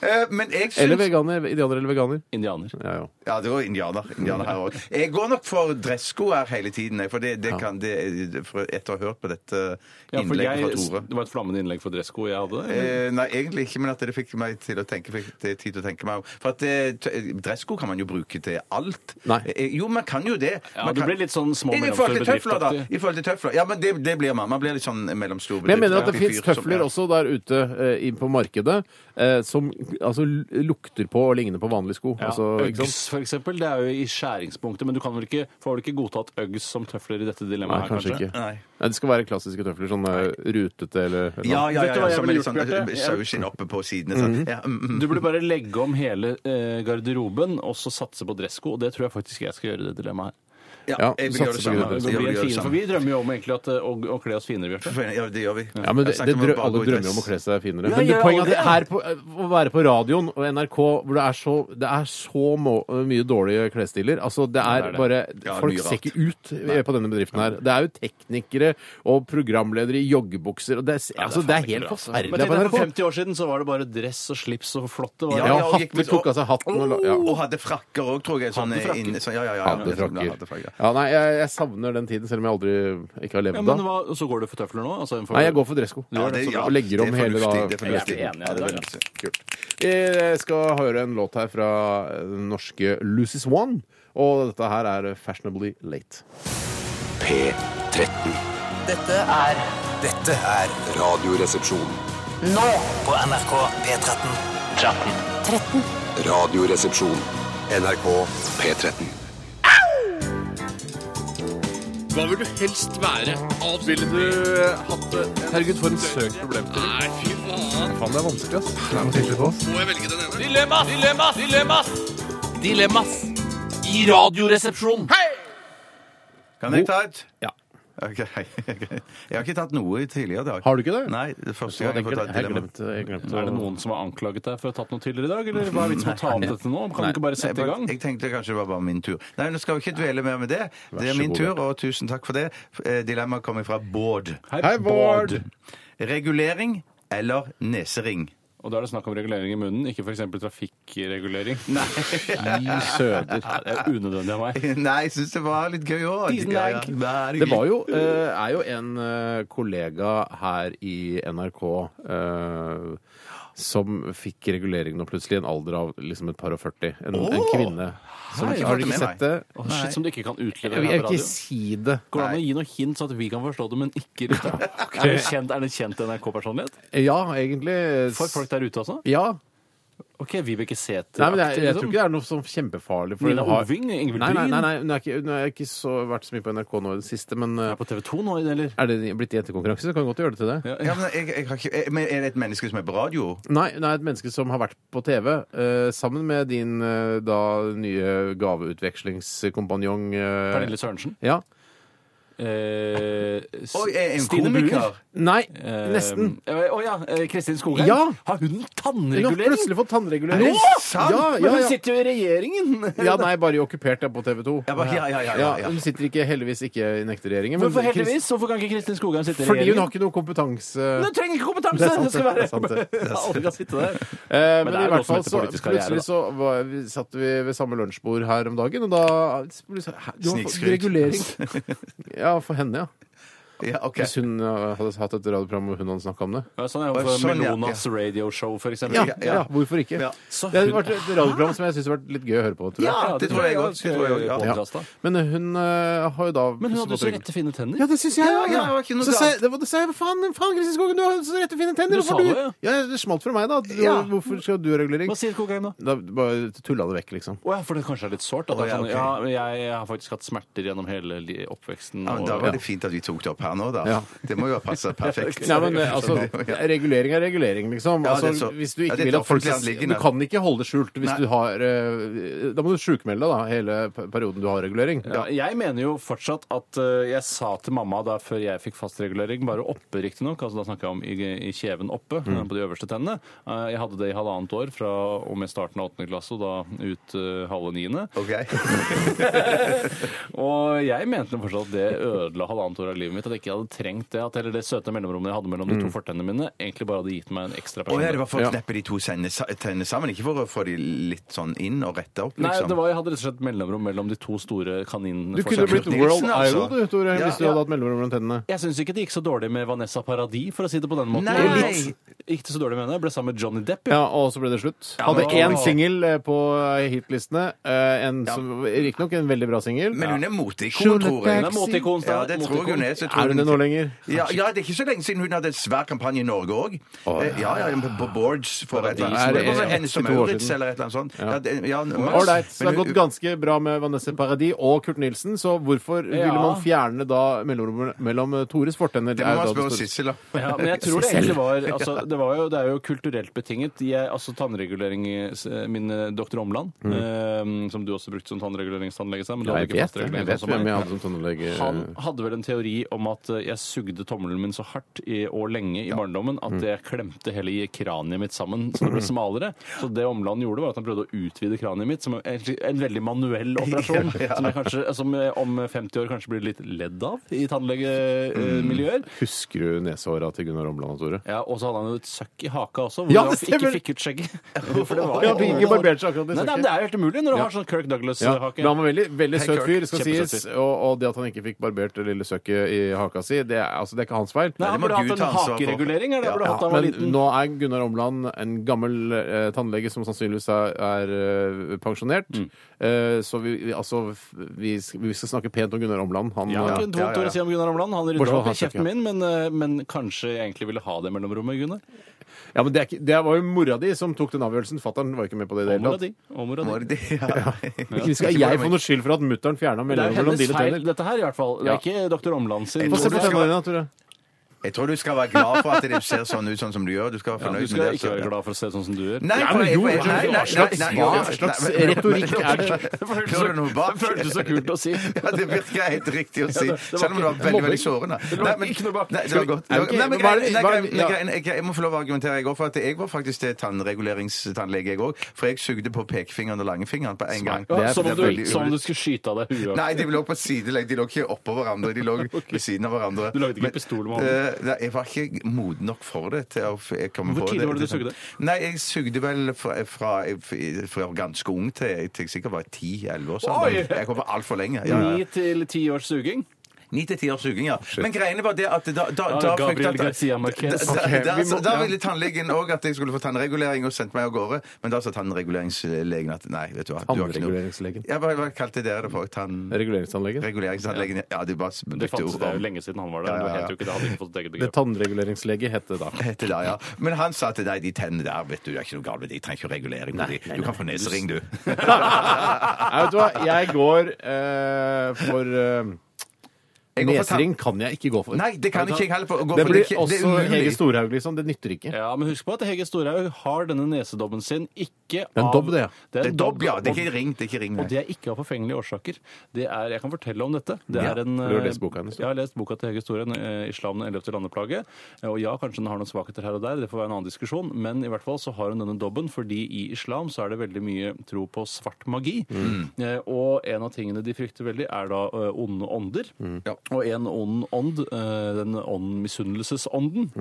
Speaker 3: Eh, Men jeg
Speaker 2: Eller
Speaker 3: syns
Speaker 2: veganer. Indianer eller veganer.
Speaker 4: Indianer.
Speaker 2: Ja, jo.
Speaker 3: Ja, det var indianer. indianer her også. Jeg går nok for dressko her hele tiden, jeg, for det, det kan det, for Etter å ha hørt på dette
Speaker 4: Ja, for
Speaker 3: innlegget
Speaker 4: jeg,
Speaker 3: fra Tore
Speaker 4: det var et flammende innlegg for dressko jeg hadde. eller?
Speaker 3: Eh, nei, egentlig ikke, men at det fikk meg til å tenke fikk det tid til å tenke meg om. For at eh, t- eh, Dressko kan man jo bruke til alt.
Speaker 2: Nei.
Speaker 3: Eh, jo, man kan jo det.
Speaker 4: Ja,
Speaker 3: Man
Speaker 4: du
Speaker 3: kan...
Speaker 4: blir litt sånn små
Speaker 3: I forhold til
Speaker 4: mellomstore
Speaker 3: tøfler, da.
Speaker 4: bedriftaktig.
Speaker 3: I forhold til tøfler. Ja, men det, det blir man. Man blir litt sånn mellomstor
Speaker 2: Men jeg mener at det
Speaker 3: bedriftaktig
Speaker 2: fins
Speaker 3: fyr som-
Speaker 2: tøfler
Speaker 3: Ja.
Speaker 2: også der ute eh, inn på markedet eh, som altså, l- lukter på og ligner på vanlige sko.
Speaker 4: Ja,
Speaker 2: Altså, ikke sant?
Speaker 4: Uggs, for eksempel, det er jo i skjæringspunktet, men du kan vel ikke, får vel ikke godtatt Uggs som tøfler i dette
Speaker 2: Nei,
Speaker 4: dilemmaet her,
Speaker 2: kanskje ikke.
Speaker 3: Nei.
Speaker 2: Nei, det skal være klassiske tøfler. Sånn eh, rutete eller, eller
Speaker 3: Ja,
Speaker 2: noe.
Speaker 3: ja,
Speaker 4: Vet
Speaker 3: ja. ja,
Speaker 4: du hva jeg
Speaker 3: som er
Speaker 4: ville gjort,
Speaker 3: litt sånn eh,
Speaker 4: Bjarte?
Speaker 3: saueskinn oppe på sidene. Sånn. Ja, mm, mm.
Speaker 4: Du burde bare legge om hele eh, garderoben og så satse på dressko, og det tror jeg faktisk jeg skal gjøre i det dilemmaet her.
Speaker 2: Ja,
Speaker 3: ja, jeg vil
Speaker 2: satser
Speaker 3: gjøre det
Speaker 2: på
Speaker 3: samme.
Speaker 2: grønne
Speaker 4: Det
Speaker 3: Jeg vil
Speaker 4: blir
Speaker 3: gjøre
Speaker 4: en
Speaker 3: det
Speaker 4: fin, for
Speaker 3: samme.
Speaker 4: vi drømmer jo om egentlig at, eh, å, å kle oss finere, Bjarte.
Speaker 3: Ja, det gjør vi.
Speaker 2: Ja, men det,
Speaker 3: Jeg har sagt om
Speaker 2: det
Speaker 3: å
Speaker 2: drø
Speaker 3: bare
Speaker 2: Alle
Speaker 3: gå i
Speaker 2: drømmer om å
Speaker 3: dress.
Speaker 2: kle seg finere.
Speaker 4: Ja,
Speaker 2: Men
Speaker 4: ja,
Speaker 2: poenget er at det
Speaker 4: ja.
Speaker 2: her på, eh, å være på radioen og NRK hvor det er så, det er så må, mye dårlige klesstiler Altså, det er
Speaker 4: det er det.
Speaker 2: bare
Speaker 3: Ja,
Speaker 2: Folk
Speaker 3: mye
Speaker 2: ser
Speaker 3: rart.
Speaker 2: ikke ut eh, på denne bedriften her. Det er jo teknikere og programledere i joggebukser og det, er- altså, det er helt
Speaker 4: Men
Speaker 2: forferdelig
Speaker 4: tenk
Speaker 2: på
Speaker 4: deg, for
Speaker 2: NRK.
Speaker 4: 50 år siden så var det bare dress og slips og flott det var.
Speaker 2: Ja,
Speaker 3: Ja, og gikk
Speaker 2: hatten
Speaker 3: med-
Speaker 2: tok av seg hatten og la- ja.
Speaker 3: Og hadde frakker òg, tror jeg. Sånn,
Speaker 4: Hadde frakker.
Speaker 3: inn- sånn, ja, ja, ja, ja.
Speaker 2: Hadde frakker.
Speaker 3: Hadde frakker.
Speaker 2: Ja, nei, jeg, jeg savner den tiden, selv om jeg aldri ikke har
Speaker 4: Ja,
Speaker 2: levd
Speaker 4: men
Speaker 2: da.
Speaker 4: hva, så går du for tøfler nå? Altså, en for-
Speaker 2: Nei, jeg går for dressko.
Speaker 3: Ja, det- ja,
Speaker 2: og legger om
Speaker 3: det er
Speaker 2: hele da.
Speaker 3: fornuftig, det er fornuftig.
Speaker 4: Jeg er enig, ja,
Speaker 3: Ja, det er
Speaker 4: det er
Speaker 3: fornuftig.
Speaker 2: Jeg skal høre en låt her fra eh, den norske Lucy Swan, og dette her er Fashionably Late.
Speaker 5: P13.
Speaker 7: Dette er
Speaker 8: Dette er
Speaker 5: Radioresepsjon.
Speaker 7: nå
Speaker 8: på NRK P13.
Speaker 5: Radioresepsjon. NRK P13.
Speaker 6: Hva vil du helst være? Alt Ville du hatt det?
Speaker 4: Herregud, for en søk problemstilling.
Speaker 6: Nei, fy faen.
Speaker 4: Faen, det er vanskelig, ass.
Speaker 6: Må jeg velge den ene?
Speaker 7: Dilemmas! Dilemmas! Dilemmas! Dilemmas i Radioresepsjonen.
Speaker 3: Kan jeg ta et?
Speaker 2: Ja.
Speaker 3: Ok, *laughs* Jeg har ikke tatt noe i tidligere i dag.
Speaker 2: Har du ikke det?
Speaker 3: Nei, det er første
Speaker 2: Jeg
Speaker 3: gang jeg får ta et dilemma.
Speaker 2: glemte, jeg glemte
Speaker 4: Er det noen som har anklaget deg for å ha tatt noe tidligere i dag? Eller hva er vitsen med å ta opp dette nå? Kan du ikke bare
Speaker 3: Nei,
Speaker 4: sette i gang?
Speaker 3: Jeg tenkte kanskje det var bare min tur. Nei, nå skal vi ikke dvele mer med det. Det
Speaker 2: så
Speaker 3: er min
Speaker 2: god,
Speaker 3: tur, og tusen takk for det. Eh, Dilemmaet kommer fra Bård.
Speaker 2: Hei, Bård!
Speaker 3: Regulering eller nesering? *laughs*
Speaker 4: Og da er det snakk om regulering i munnen, ikke f.eks. trafikkregulering.
Speaker 3: Nei,
Speaker 2: I søder.
Speaker 4: Ja, det er unødvendig av meg.
Speaker 3: Nei jeg syns det var litt gøy òg.
Speaker 4: Tusen takk.
Speaker 2: Det var jo, eh, er jo en eh, kollega her i NRK eh, som fikk regulering nå plutselig, i en alder av liksom et par og 40. En, en kvinne. Som,
Speaker 3: Hei,
Speaker 2: har du
Speaker 3: jeg
Speaker 2: ikke
Speaker 3: fikk
Speaker 2: sett
Speaker 3: det med
Speaker 2: det?
Speaker 4: Å, shit, som du ikke kan utlevere
Speaker 2: Jeg vil
Speaker 4: her på
Speaker 2: ikke
Speaker 4: radio.
Speaker 2: si det.
Speaker 4: Går det an å gi noe hint, sånn at vi kan forstå det, men ikke *laughs* lytterne? Er det kjent, er det en kjent NRK-personlighet?
Speaker 2: Ja, egentlig. s-
Speaker 4: For folk der ute også?
Speaker 2: Ja.
Speaker 4: OK, Vibeke Sæther.
Speaker 2: Nei, men jeg, jeg
Speaker 4: liksom.
Speaker 2: tror ikke det er noe sånn kjempefarlig. for
Speaker 4: Nina
Speaker 2: hun har-
Speaker 4: Oving, Ingvild
Speaker 2: Nei, nei,
Speaker 4: Bryn.
Speaker 2: nei, nei, hun er ikke, hun har ikke så, vært så mye på NRK nå i det siste, men eh,
Speaker 4: Er på TV 2 nå, eller?
Speaker 2: er det blitt jentekonkurranse, så kan vi godt gjøre det til det.
Speaker 3: Ja, men, jeg, jeg har ikke, eh, men er det et menneske som er på radio?
Speaker 2: Nei, hun er et menneske som har vært på TV eh, sammen med din eh, da nye gaveutvekslingskompanjong eh,
Speaker 4: Pernille Sørensen?
Speaker 2: Ja.
Speaker 4: Eh, s-
Speaker 3: Oi, er en
Speaker 4: Stine Bruer?
Speaker 3: komiker?
Speaker 2: Nei,
Speaker 4: Eh,
Speaker 2: nesten.
Speaker 4: eh, Å ja. eh, Kristin Skogheim.
Speaker 2: Ja!
Speaker 4: Har hun
Speaker 2: Hun har
Speaker 4: tannregulering?
Speaker 2: plutselig fått tannregulering.
Speaker 4: Nå?
Speaker 2: Ja, ja,
Speaker 4: Men hun
Speaker 2: ja.
Speaker 4: sitter jo i *laughs* regjeringen!
Speaker 2: ja, nei, bare i okkupert er på TV 2.
Speaker 3: Ja, bare- ja, ja, ja, ja, ja.
Speaker 2: hun sitter ikke, heldigvis ikke i nekterregjeringen. men
Speaker 4: Hvorfor
Speaker 2: Krist-
Speaker 4: heldigvis? Hvorfor kan ikke Kristin Skogheim sitte i
Speaker 2: Fordi hun
Speaker 4: regjeringen?
Speaker 2: har ikke noe kompetanse.
Speaker 4: Hun trenger ikke kompetanse!
Speaker 2: Det er sant,
Speaker 4: Det skal
Speaker 2: det er
Speaker 4: være
Speaker 2: sant, det.
Speaker 4: *laughs* Alle kan sitte der.
Speaker 2: Eh, men,
Speaker 4: det er
Speaker 2: i
Speaker 4: jo noe
Speaker 2: hvert
Speaker 4: som
Speaker 2: fall
Speaker 4: heter
Speaker 2: så
Speaker 4: politisk karriere,
Speaker 2: plutselig
Speaker 4: da.
Speaker 2: så var, vi, satt vi ved samme lunsjbord her om dagen, og da ble det så- Hæ, Du har fått
Speaker 3: Snikskryt.
Speaker 2: regulering.
Speaker 4: *laughs*
Speaker 2: Ja, for henne, ja.
Speaker 3: Ja, ok.
Speaker 2: Hvis hun eh, hadde hatt et radioprogram hvor hun hadde snakka om det.
Speaker 4: Ja, sånn
Speaker 3: Å,
Speaker 4: er jo for
Speaker 3: sånn, ja.
Speaker 4: Melonas radioshow, for eksempel.
Speaker 2: Ja,
Speaker 3: Ja,
Speaker 2: ja,
Speaker 3: ja.
Speaker 2: hvorfor ikke?
Speaker 3: Ja.
Speaker 4: Så
Speaker 2: Det har
Speaker 4: hun-
Speaker 2: vært et radioprogram som jeg syns har vært litt gøy å høre på. Tror jeg.
Speaker 3: det tror jeg godt. Det tror jeg godt, ja.
Speaker 4: Podcast, da.
Speaker 2: Men hun eh, har jo da
Speaker 4: Men
Speaker 2: plutselig
Speaker 4: hun hadde jo
Speaker 2: fått
Speaker 4: så
Speaker 2: regler.
Speaker 4: rette fine tenner.
Speaker 2: Ja, det syns jeg.
Speaker 3: Ja, ja, det var ikke noe
Speaker 2: så sa jeg,
Speaker 3: galt.
Speaker 2: det var, det sa jeg, faen, faen Kristin Skogen, du har så rette fine tenner.
Speaker 4: Du
Speaker 2: hvorfor
Speaker 4: sa
Speaker 2: du-
Speaker 4: det, ja.
Speaker 2: ja. Det smalt fra meg, da. at Du,
Speaker 3: Ja.
Speaker 2: Hvorfor skal du ha regulering?
Speaker 4: Hva sier Kogheim da?
Speaker 2: Da bare tulla det vekk, liksom.
Speaker 4: Å ja, for det kanskje er litt sårt.
Speaker 3: Å,
Speaker 4: At det er
Speaker 3: ja,
Speaker 4: sånn,
Speaker 3: ok.
Speaker 4: ja, jeg har faktisk hatt smerter gjennom hele li- oppveksten.
Speaker 3: Ja, men da
Speaker 4: og-
Speaker 3: var det fint at vi tok det opp her nå, da.
Speaker 2: Ja.
Speaker 3: Det må jo ha passa
Speaker 4: *laughs*
Speaker 3: perfekt.
Speaker 2: Nei, men eh, altså, *laughs*
Speaker 3: Ja.
Speaker 2: Regulering er regulering, liksom.
Speaker 3: Ja, det er
Speaker 2: altså,
Speaker 3: så-
Speaker 2: hvis du
Speaker 3: ja,
Speaker 2: ikke
Speaker 3: det er et
Speaker 2: vil at folk
Speaker 3: offentlig
Speaker 2: skal si-
Speaker 3: anliggende.
Speaker 2: Du kan ikke holde det skjult hvis
Speaker 3: Nei.
Speaker 2: du har eh, Da må du sjukmelde deg da, hele p- perioden du har regulering.
Speaker 4: Ja, jeg mener jo fortsatt at eh, jeg sa til mamma da før jeg fikk fastregulering, bare oppe riktignok, altså da snakker jeg om i, i kjeven oppe, eh, på de øverste tennene. Eh, jeg hadde det i halvannet år fra og med starten av åttende klasse og da ut eh, halve niende.
Speaker 3: Ok.
Speaker 4: Og jeg mente fortsatt at det ødela halvannet år av livet mitt, at jeg ikke hadde trengt det, at heller det søte mellomrommet jeg hadde mellom de to fortennene mine, egentlig bare hadde gitt meg en
Speaker 3: Å ja,
Speaker 4: ekstra
Speaker 3: det
Speaker 4: personlighet.
Speaker 3: var for å kneppe de to sendene sa- tennene sammen, ikke for å få de litt sånn inn og rette opp,
Speaker 4: Nei,
Speaker 3: liksom.
Speaker 4: det var, jeg hadde rett og slett mellomrom mellom de to store kaninene.
Speaker 2: Du kunne blitt
Speaker 3: Nilsen,
Speaker 2: World
Speaker 3: altså.
Speaker 2: Idol, du, Tore,
Speaker 3: Ja.
Speaker 2: hvis du hadde hatt mellomrom mellom tennene.
Speaker 4: Jeg syns ikke det gikk så dårlig med Vanessa Paradis, for å si det på den måten.
Speaker 3: Nei!
Speaker 4: Det Gikk, gikk det så dårlig med henne? Jeg ble sammen med Johnny Depp. jo.
Speaker 2: Ja, Og så ble det slutt. Hadde
Speaker 4: men-
Speaker 2: én singel eh, på eh, hitlistene. eh, En som Riktignok en veldig bra singel.
Speaker 3: Men hun er moteikon, tror jeg.
Speaker 4: Hun er moteikon.
Speaker 3: Ja, det tror jeg hun er. Så jeg tror
Speaker 2: Er hun det nå lenger?
Speaker 3: Ja, ja, det er ikke så lenge siden hun hadde en svær kampanje i Norge òg. ja, ja, ja, på Boards for et eller
Speaker 2: Er
Speaker 3: annet.
Speaker 2: det-
Speaker 3: Det var Hennes og
Speaker 2: 82 år
Speaker 3: Maurits
Speaker 2: siden?
Speaker 3: eller et eller annet sånt. Ja, det, ja,
Speaker 2: Ålreit. Så det har
Speaker 3: Men hun-
Speaker 2: gått ganske bra med Vanessa Paradis og Kurt Nilsen, så hvorfor ville man fjerne da mellomrommet mellom eh, Tores fortenner?
Speaker 3: det
Speaker 2: er
Speaker 3: må man
Speaker 2: jo da det
Speaker 3: spørre
Speaker 2: store-
Speaker 3: Sissel, da.
Speaker 4: Ja, men jeg tror det
Speaker 2: *laughs*
Speaker 4: egentlig var altså, det, var jo, det er jo kulturelt betinget. Jeg, altså tannregulering i s- Min eh, doktor Omland, eh, som du også brukte som tannreguleringstannlege, sa, men du
Speaker 2: Mm. Ja,
Speaker 4: hadde
Speaker 2: jeg
Speaker 4: ikke
Speaker 2: vet, det. jeg
Speaker 4: fastregulering sånn
Speaker 2: vet
Speaker 4: som
Speaker 2: hvem jeg
Speaker 4: meg.
Speaker 2: hadde som tannlege.
Speaker 4: Han hadde vel en teori om at eh, jeg sugde tommelen min så hardt i, og lenge i barndommen at jeg klemte hele i kraniet mitt sammen, så det ble smalere. Så det Omland gjorde, var at han prøvde å utvide kraniet mitt, som en, en veldig *laughs* manuell operasjon, som jeg kanskje, som jeg om 50 år kanskje blir litt ledd av i tannlegemiljøer.
Speaker 2: Husker du nesehåra til Gunnar Omland og Tore?
Speaker 4: Ja, Og så hadde han jo et søkk i haka også, hvor
Speaker 2: Ja,
Speaker 4: han
Speaker 2: det
Speaker 4: ikke
Speaker 2: stemmer.
Speaker 4: fikk ut *laughs* skjegget. For det
Speaker 2: Ja, han fikk ikke barbert seg akkurat det søkket.
Speaker 4: Nei, nei, men Det er jo helt umulig når du har sånn Kirk
Speaker 2: Ja,
Speaker 4: Douglas-hake.
Speaker 2: men han var veldig, veldig søt
Speaker 4: Kirk.
Speaker 2: fyr, det skal
Speaker 4: Kjempesøt
Speaker 2: sies.
Speaker 4: fyr.
Speaker 2: Og, og det at han ikke fikk barbert det lille søkket i haka si, det er, altså, det er ikke hans feil.
Speaker 4: Nei,
Speaker 3: det
Speaker 4: han
Speaker 3: må
Speaker 4: burde
Speaker 3: Gud
Speaker 4: hatt
Speaker 3: ta
Speaker 4: en
Speaker 3: ansvar for.
Speaker 4: hakeregulering. eller han burde
Speaker 2: Ja,
Speaker 4: hatt da han var
Speaker 2: men
Speaker 4: liten.
Speaker 2: nå er Gunnar Omland en gammel eh, tannlege som sannsynligvis er, er eh, pensjonert.
Speaker 4: Mm.
Speaker 2: Eh, så vi, vi, altså, f- vi, sk- vi skal snakke pent om Gunnar Omland. Han,
Speaker 4: Ja,
Speaker 2: eh,
Speaker 4: ikke
Speaker 3: ja,
Speaker 4: noe
Speaker 3: ja,
Speaker 4: vondt
Speaker 3: ja.
Speaker 4: å si om Gunnar Omland. Han
Speaker 2: Bortsett
Speaker 4: rydder
Speaker 2: fra
Speaker 4: opp i
Speaker 2: han,
Speaker 4: kjeften min, men, eh, men kanskje jeg egentlig ville ha det mellomrommet, Gunnar?
Speaker 2: Ja, men det, er ikke, det var jo mora di som tok den avgjørelsen. Fatter'n var jo ikke med på det. i det hele
Speaker 4: Omora
Speaker 2: tatt.
Speaker 4: di. Omora di.
Speaker 3: Var det det? Ja.
Speaker 2: Ikke skal jeg få noe skyld for at mutter'n fjerna
Speaker 4: Det er
Speaker 2: mellomrom mellom
Speaker 4: hennes
Speaker 2: dine
Speaker 4: feil,
Speaker 2: tenner.
Speaker 4: dette her i hvert fall. Det er ikke doktor Omland sin.
Speaker 2: Få se på
Speaker 4: Det er-
Speaker 2: tennene dine, Tore.
Speaker 3: Jeg tror du skal være glad for at det ser sånn ut sånn som du gjør. Du skal være
Speaker 4: Ja,
Speaker 3: fornøyd
Speaker 4: du skal ikke
Speaker 3: med
Speaker 4: være
Speaker 3: det.
Speaker 4: glad for å se sånn som du gjør.
Speaker 3: Nei,
Speaker 2: Ja,
Speaker 3: for
Speaker 2: men
Speaker 3: jeg-
Speaker 2: jo,
Speaker 3: jeg- nei, nei,
Speaker 2: hva slags-
Speaker 3: nei, nei,
Speaker 2: hva
Speaker 3: nei,
Speaker 2: slags
Speaker 3: nei, men-
Speaker 2: retorikk er det?
Speaker 4: Det føltes
Speaker 3: Lå det noe
Speaker 4: så-
Speaker 3: bak?
Speaker 4: det føltes så kult å si.
Speaker 3: *laughs* Ja, det virker helt riktig å si.
Speaker 4: det var
Speaker 3: Selv om det var
Speaker 4: ikke-
Speaker 3: veldig
Speaker 4: mobbing.
Speaker 3: veldig sårende.
Speaker 4: Det var ikke noe bak.
Speaker 3: Nei, det var godt.
Speaker 2: Nei, ok,
Speaker 3: Nei, men
Speaker 2: men hva er
Speaker 3: grei-
Speaker 2: det-
Speaker 3: nei,
Speaker 2: hva er
Speaker 3: grei-
Speaker 2: det-
Speaker 3: nei,
Speaker 2: ja.
Speaker 3: grei- nei, grei- Jeg må få lov å argumentere, jeg òg, for at jeg var faktisk til tannreguleringstannlege, jeg òg. For jeg sugde på pekefingeren og langfingeren på en gang.
Speaker 4: Ja,
Speaker 2: Det er-
Speaker 4: som, om
Speaker 2: det er
Speaker 4: du,
Speaker 2: veldig
Speaker 4: som om du skulle skyte av deg huet.
Speaker 3: Nei, de lå på sidelegg. De lå ikke oppå hverandre. De
Speaker 4: *laughs*
Speaker 3: lå ved siden av hverandre.
Speaker 4: Du lagde ikke
Speaker 3: Men,
Speaker 4: pistol med
Speaker 3: eh, nei, jeg var ikke moden nok for det. til å f- jeg komme
Speaker 4: Hvor
Speaker 3: på
Speaker 4: tidlig var det du
Speaker 3: Sånn.
Speaker 4: sugde?
Speaker 3: Nei, jeg sugde vel fra, fra, fra ganske ung til jeg til jeg sikkert var 10-11 år. Sånn.
Speaker 4: Oi!
Speaker 3: Jeg kom altfor lenge. Ja, ja.
Speaker 4: Ni til ti års suging.
Speaker 3: Ni til ti års suging, ja. Men greiene var det at da, da, da
Speaker 4: Ja, Gabriel
Speaker 3: fryktet-
Speaker 4: Garcia Marquez.
Speaker 3: Da, da,
Speaker 2: Ok,
Speaker 3: da,
Speaker 2: vi
Speaker 3: altså,
Speaker 2: må-
Speaker 3: da
Speaker 2: ja.
Speaker 3: ville tannlegen òg at jeg skulle få tannregulering, og sendte meg av gårde. Men da sa tannreguleringslegen at nei, vet du hva du har ikke noe-
Speaker 2: Tannreguleringslegen.
Speaker 3: Ja, hva, hva kalte dere det for? Tann...
Speaker 2: Reguleringsanlegget.
Speaker 3: Reguleringsanleggen Ja, de bare
Speaker 4: Det
Speaker 3: brukte
Speaker 4: fantes
Speaker 3: ordet
Speaker 4: det
Speaker 2: eh,
Speaker 4: er jo
Speaker 3: om.
Speaker 4: lenge siden han var der.
Speaker 3: Ja, ja,
Speaker 4: Det
Speaker 3: ja.
Speaker 4: heter jo ikke det. Hadde ikke fått et eget
Speaker 2: Det
Speaker 4: begrep.
Speaker 2: tannreguleringslegget het det da.
Speaker 3: Heter det, ja. Men han sa til deg, de tennene der, vet du, det er ikke noe galt med de, de trenger ikke regulering på de. Du kan få
Speaker 2: *laughs*
Speaker 3: nesering, du.
Speaker 2: Nei, vet du hva, jeg går eh, for eh,
Speaker 3: Jeg går for tann-
Speaker 2: Nesering kan jeg ikke gå for.
Speaker 3: Nei, det kan ikke jeg heller. Gå for
Speaker 2: Det blir
Speaker 3: er ikke- det er
Speaker 2: også
Speaker 3: umulig.
Speaker 2: Hege Storhaug, liksom. Det nytter ikke.
Speaker 4: Ja, men husk på at Hege Storhaug har denne nesedobben sin ikke
Speaker 2: er en
Speaker 4: av
Speaker 2: dobb, det, ja.
Speaker 4: Det
Speaker 3: Det
Speaker 4: er
Speaker 3: er
Speaker 4: en
Speaker 3: dobb, ja. Det er ikke
Speaker 4: og-
Speaker 3: ring. Det er ikke ring,
Speaker 4: Og
Speaker 3: nei.
Speaker 4: det er ikke av forfengelige årsaker. Det er, Jeg kan fortelle om dette. Det
Speaker 3: Ja,
Speaker 4: er en,
Speaker 2: har
Speaker 4: eh,
Speaker 2: lest boka hennes, da.
Speaker 4: Jeg har lest boka til Hege Storhaug, eh, 'Islam den ellevte landeplage'. Eh, Og ja, kanskje den har noen svakheter her og der, det får være en annen diskusjon, men i hvert fall så har hun denne dobben, fordi i islam så er det veldig mye tro på svart magi. Eh, Og en av tingene de frykter veldig, er da eh, onde ånder. Og en ond ånd, eh, den ånd misunnelsesånden,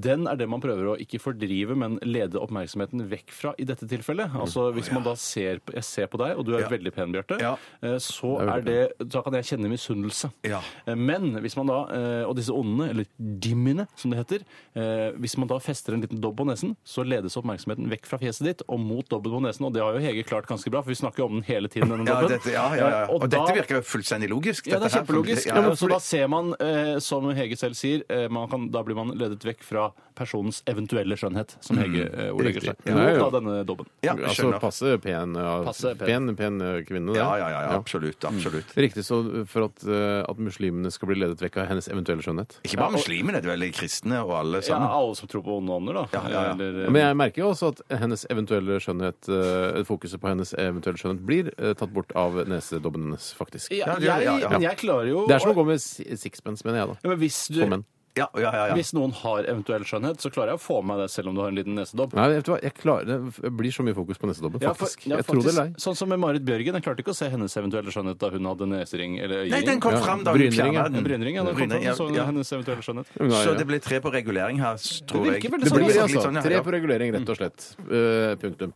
Speaker 4: den er det man prøver å ikke fordrive, men lede oppmerksomheten vekk fra i dette tilfellet. Altså hvis man da ser, på- jeg ser på deg, og du er veldig pen, Bjarte,
Speaker 3: Ja.
Speaker 4: eh, så er det, da kan jeg kjenne misunnelse.
Speaker 3: Ja.
Speaker 4: Eh, Men hvis man da, eh, og disse åndene, eller dimmene som det heter, eh, hvis man da fester en liten dobb på nesen, så ledes oppmerksomheten vekk fra fjeset ditt og mot dobben på nesen, og det har jo Hege klart ganske bra, for vi snakker jo om den hele tiden, denne
Speaker 3: *laughs* Ja,
Speaker 4: dobben.
Speaker 3: dette, ja, ja, ja.
Speaker 4: Eh,
Speaker 3: Og,
Speaker 4: da-
Speaker 3: dette virker jo fullstendig logisk.
Speaker 4: ja, det er
Speaker 3: dette her.
Speaker 4: kjempelogisk.
Speaker 3: Ja, ja.
Speaker 4: Så da ser man, eh, som Hege selv sier, eh, man kan, da blir man ledet vekk fra personens eventuelle skjønnhet, som
Speaker 3: Mm.
Speaker 4: Hege eh, ordlegger seg.
Speaker 2: Riktig. Ja, ja, ja.
Speaker 4: Mot da denne dobben.
Speaker 3: Ja, jeg
Speaker 2: Altså
Speaker 3: skjønner.
Speaker 2: passe pen, ja,
Speaker 4: Passe
Speaker 2: pen.
Speaker 4: pen.
Speaker 2: pen eh, kvinne, det.
Speaker 3: Ja, ja, ja, ja, absolutt. absolutt.
Speaker 2: Riktig, så for at, eh, at muslimene skal bli ledet vekk av hennes eventuelle skjønnhet.
Speaker 3: Ikke bare muslimene, det er vel kristne og alle
Speaker 4: Ja,
Speaker 3: sammen.
Speaker 4: alle som tror på onde ånder, da.
Speaker 3: sånn. Ja, ja, ja.
Speaker 4: Eller, eh,
Speaker 2: Men jeg merker jo også at hennes eventuelle skjønnhet eh, fokuset på hennes eventuelle skjønnhet blir eh, tatt bort av nesedobben hennes, faktisk.
Speaker 4: ja,
Speaker 3: Ja, det-
Speaker 4: jeg,
Speaker 3: ja, ja.
Speaker 4: Men jeg klarer jo
Speaker 2: Det er som å gå med si- sixpence, mener jeg da.
Speaker 4: ja, men hvis, du,
Speaker 2: For menn.
Speaker 3: Ja, ja, ja, ja.
Speaker 4: hvis noen har eventuell skjønnhet, så klarer jeg å få med meg det selv om du har en liten nesedobb.
Speaker 2: Nei, vet du hva? Jeg klarer, det blir så mye fokus på nesedobben,
Speaker 4: Ja, for-
Speaker 2: faktisk.
Speaker 4: ja,
Speaker 2: Jeg tror det er lei.
Speaker 4: faktisk. Sånn som med Marit Bjørgen. Jeg klarte ikke å se hennes eventuelle skjønnhet da hun hadde nesering eller
Speaker 3: Nei,
Speaker 4: øyering.
Speaker 3: den kom
Speaker 2: Ja,
Speaker 3: fram da hun
Speaker 2: brynringen.
Speaker 3: fjernet den.
Speaker 4: Brynring, ja. Den kom
Speaker 3: Brynring,
Speaker 4: fram, så
Speaker 3: ja.
Speaker 4: hennes eventuelle skjønnhet.
Speaker 3: Så det ble tre på regulering her, s- tror jeg.
Speaker 4: virker veldig
Speaker 2: Det
Speaker 4: sånn,
Speaker 2: blir
Speaker 4: Litt
Speaker 2: altså
Speaker 3: sånn, ja,
Speaker 2: tre
Speaker 3: ja.
Speaker 2: på regulering, rett og slett. Eh, punktum.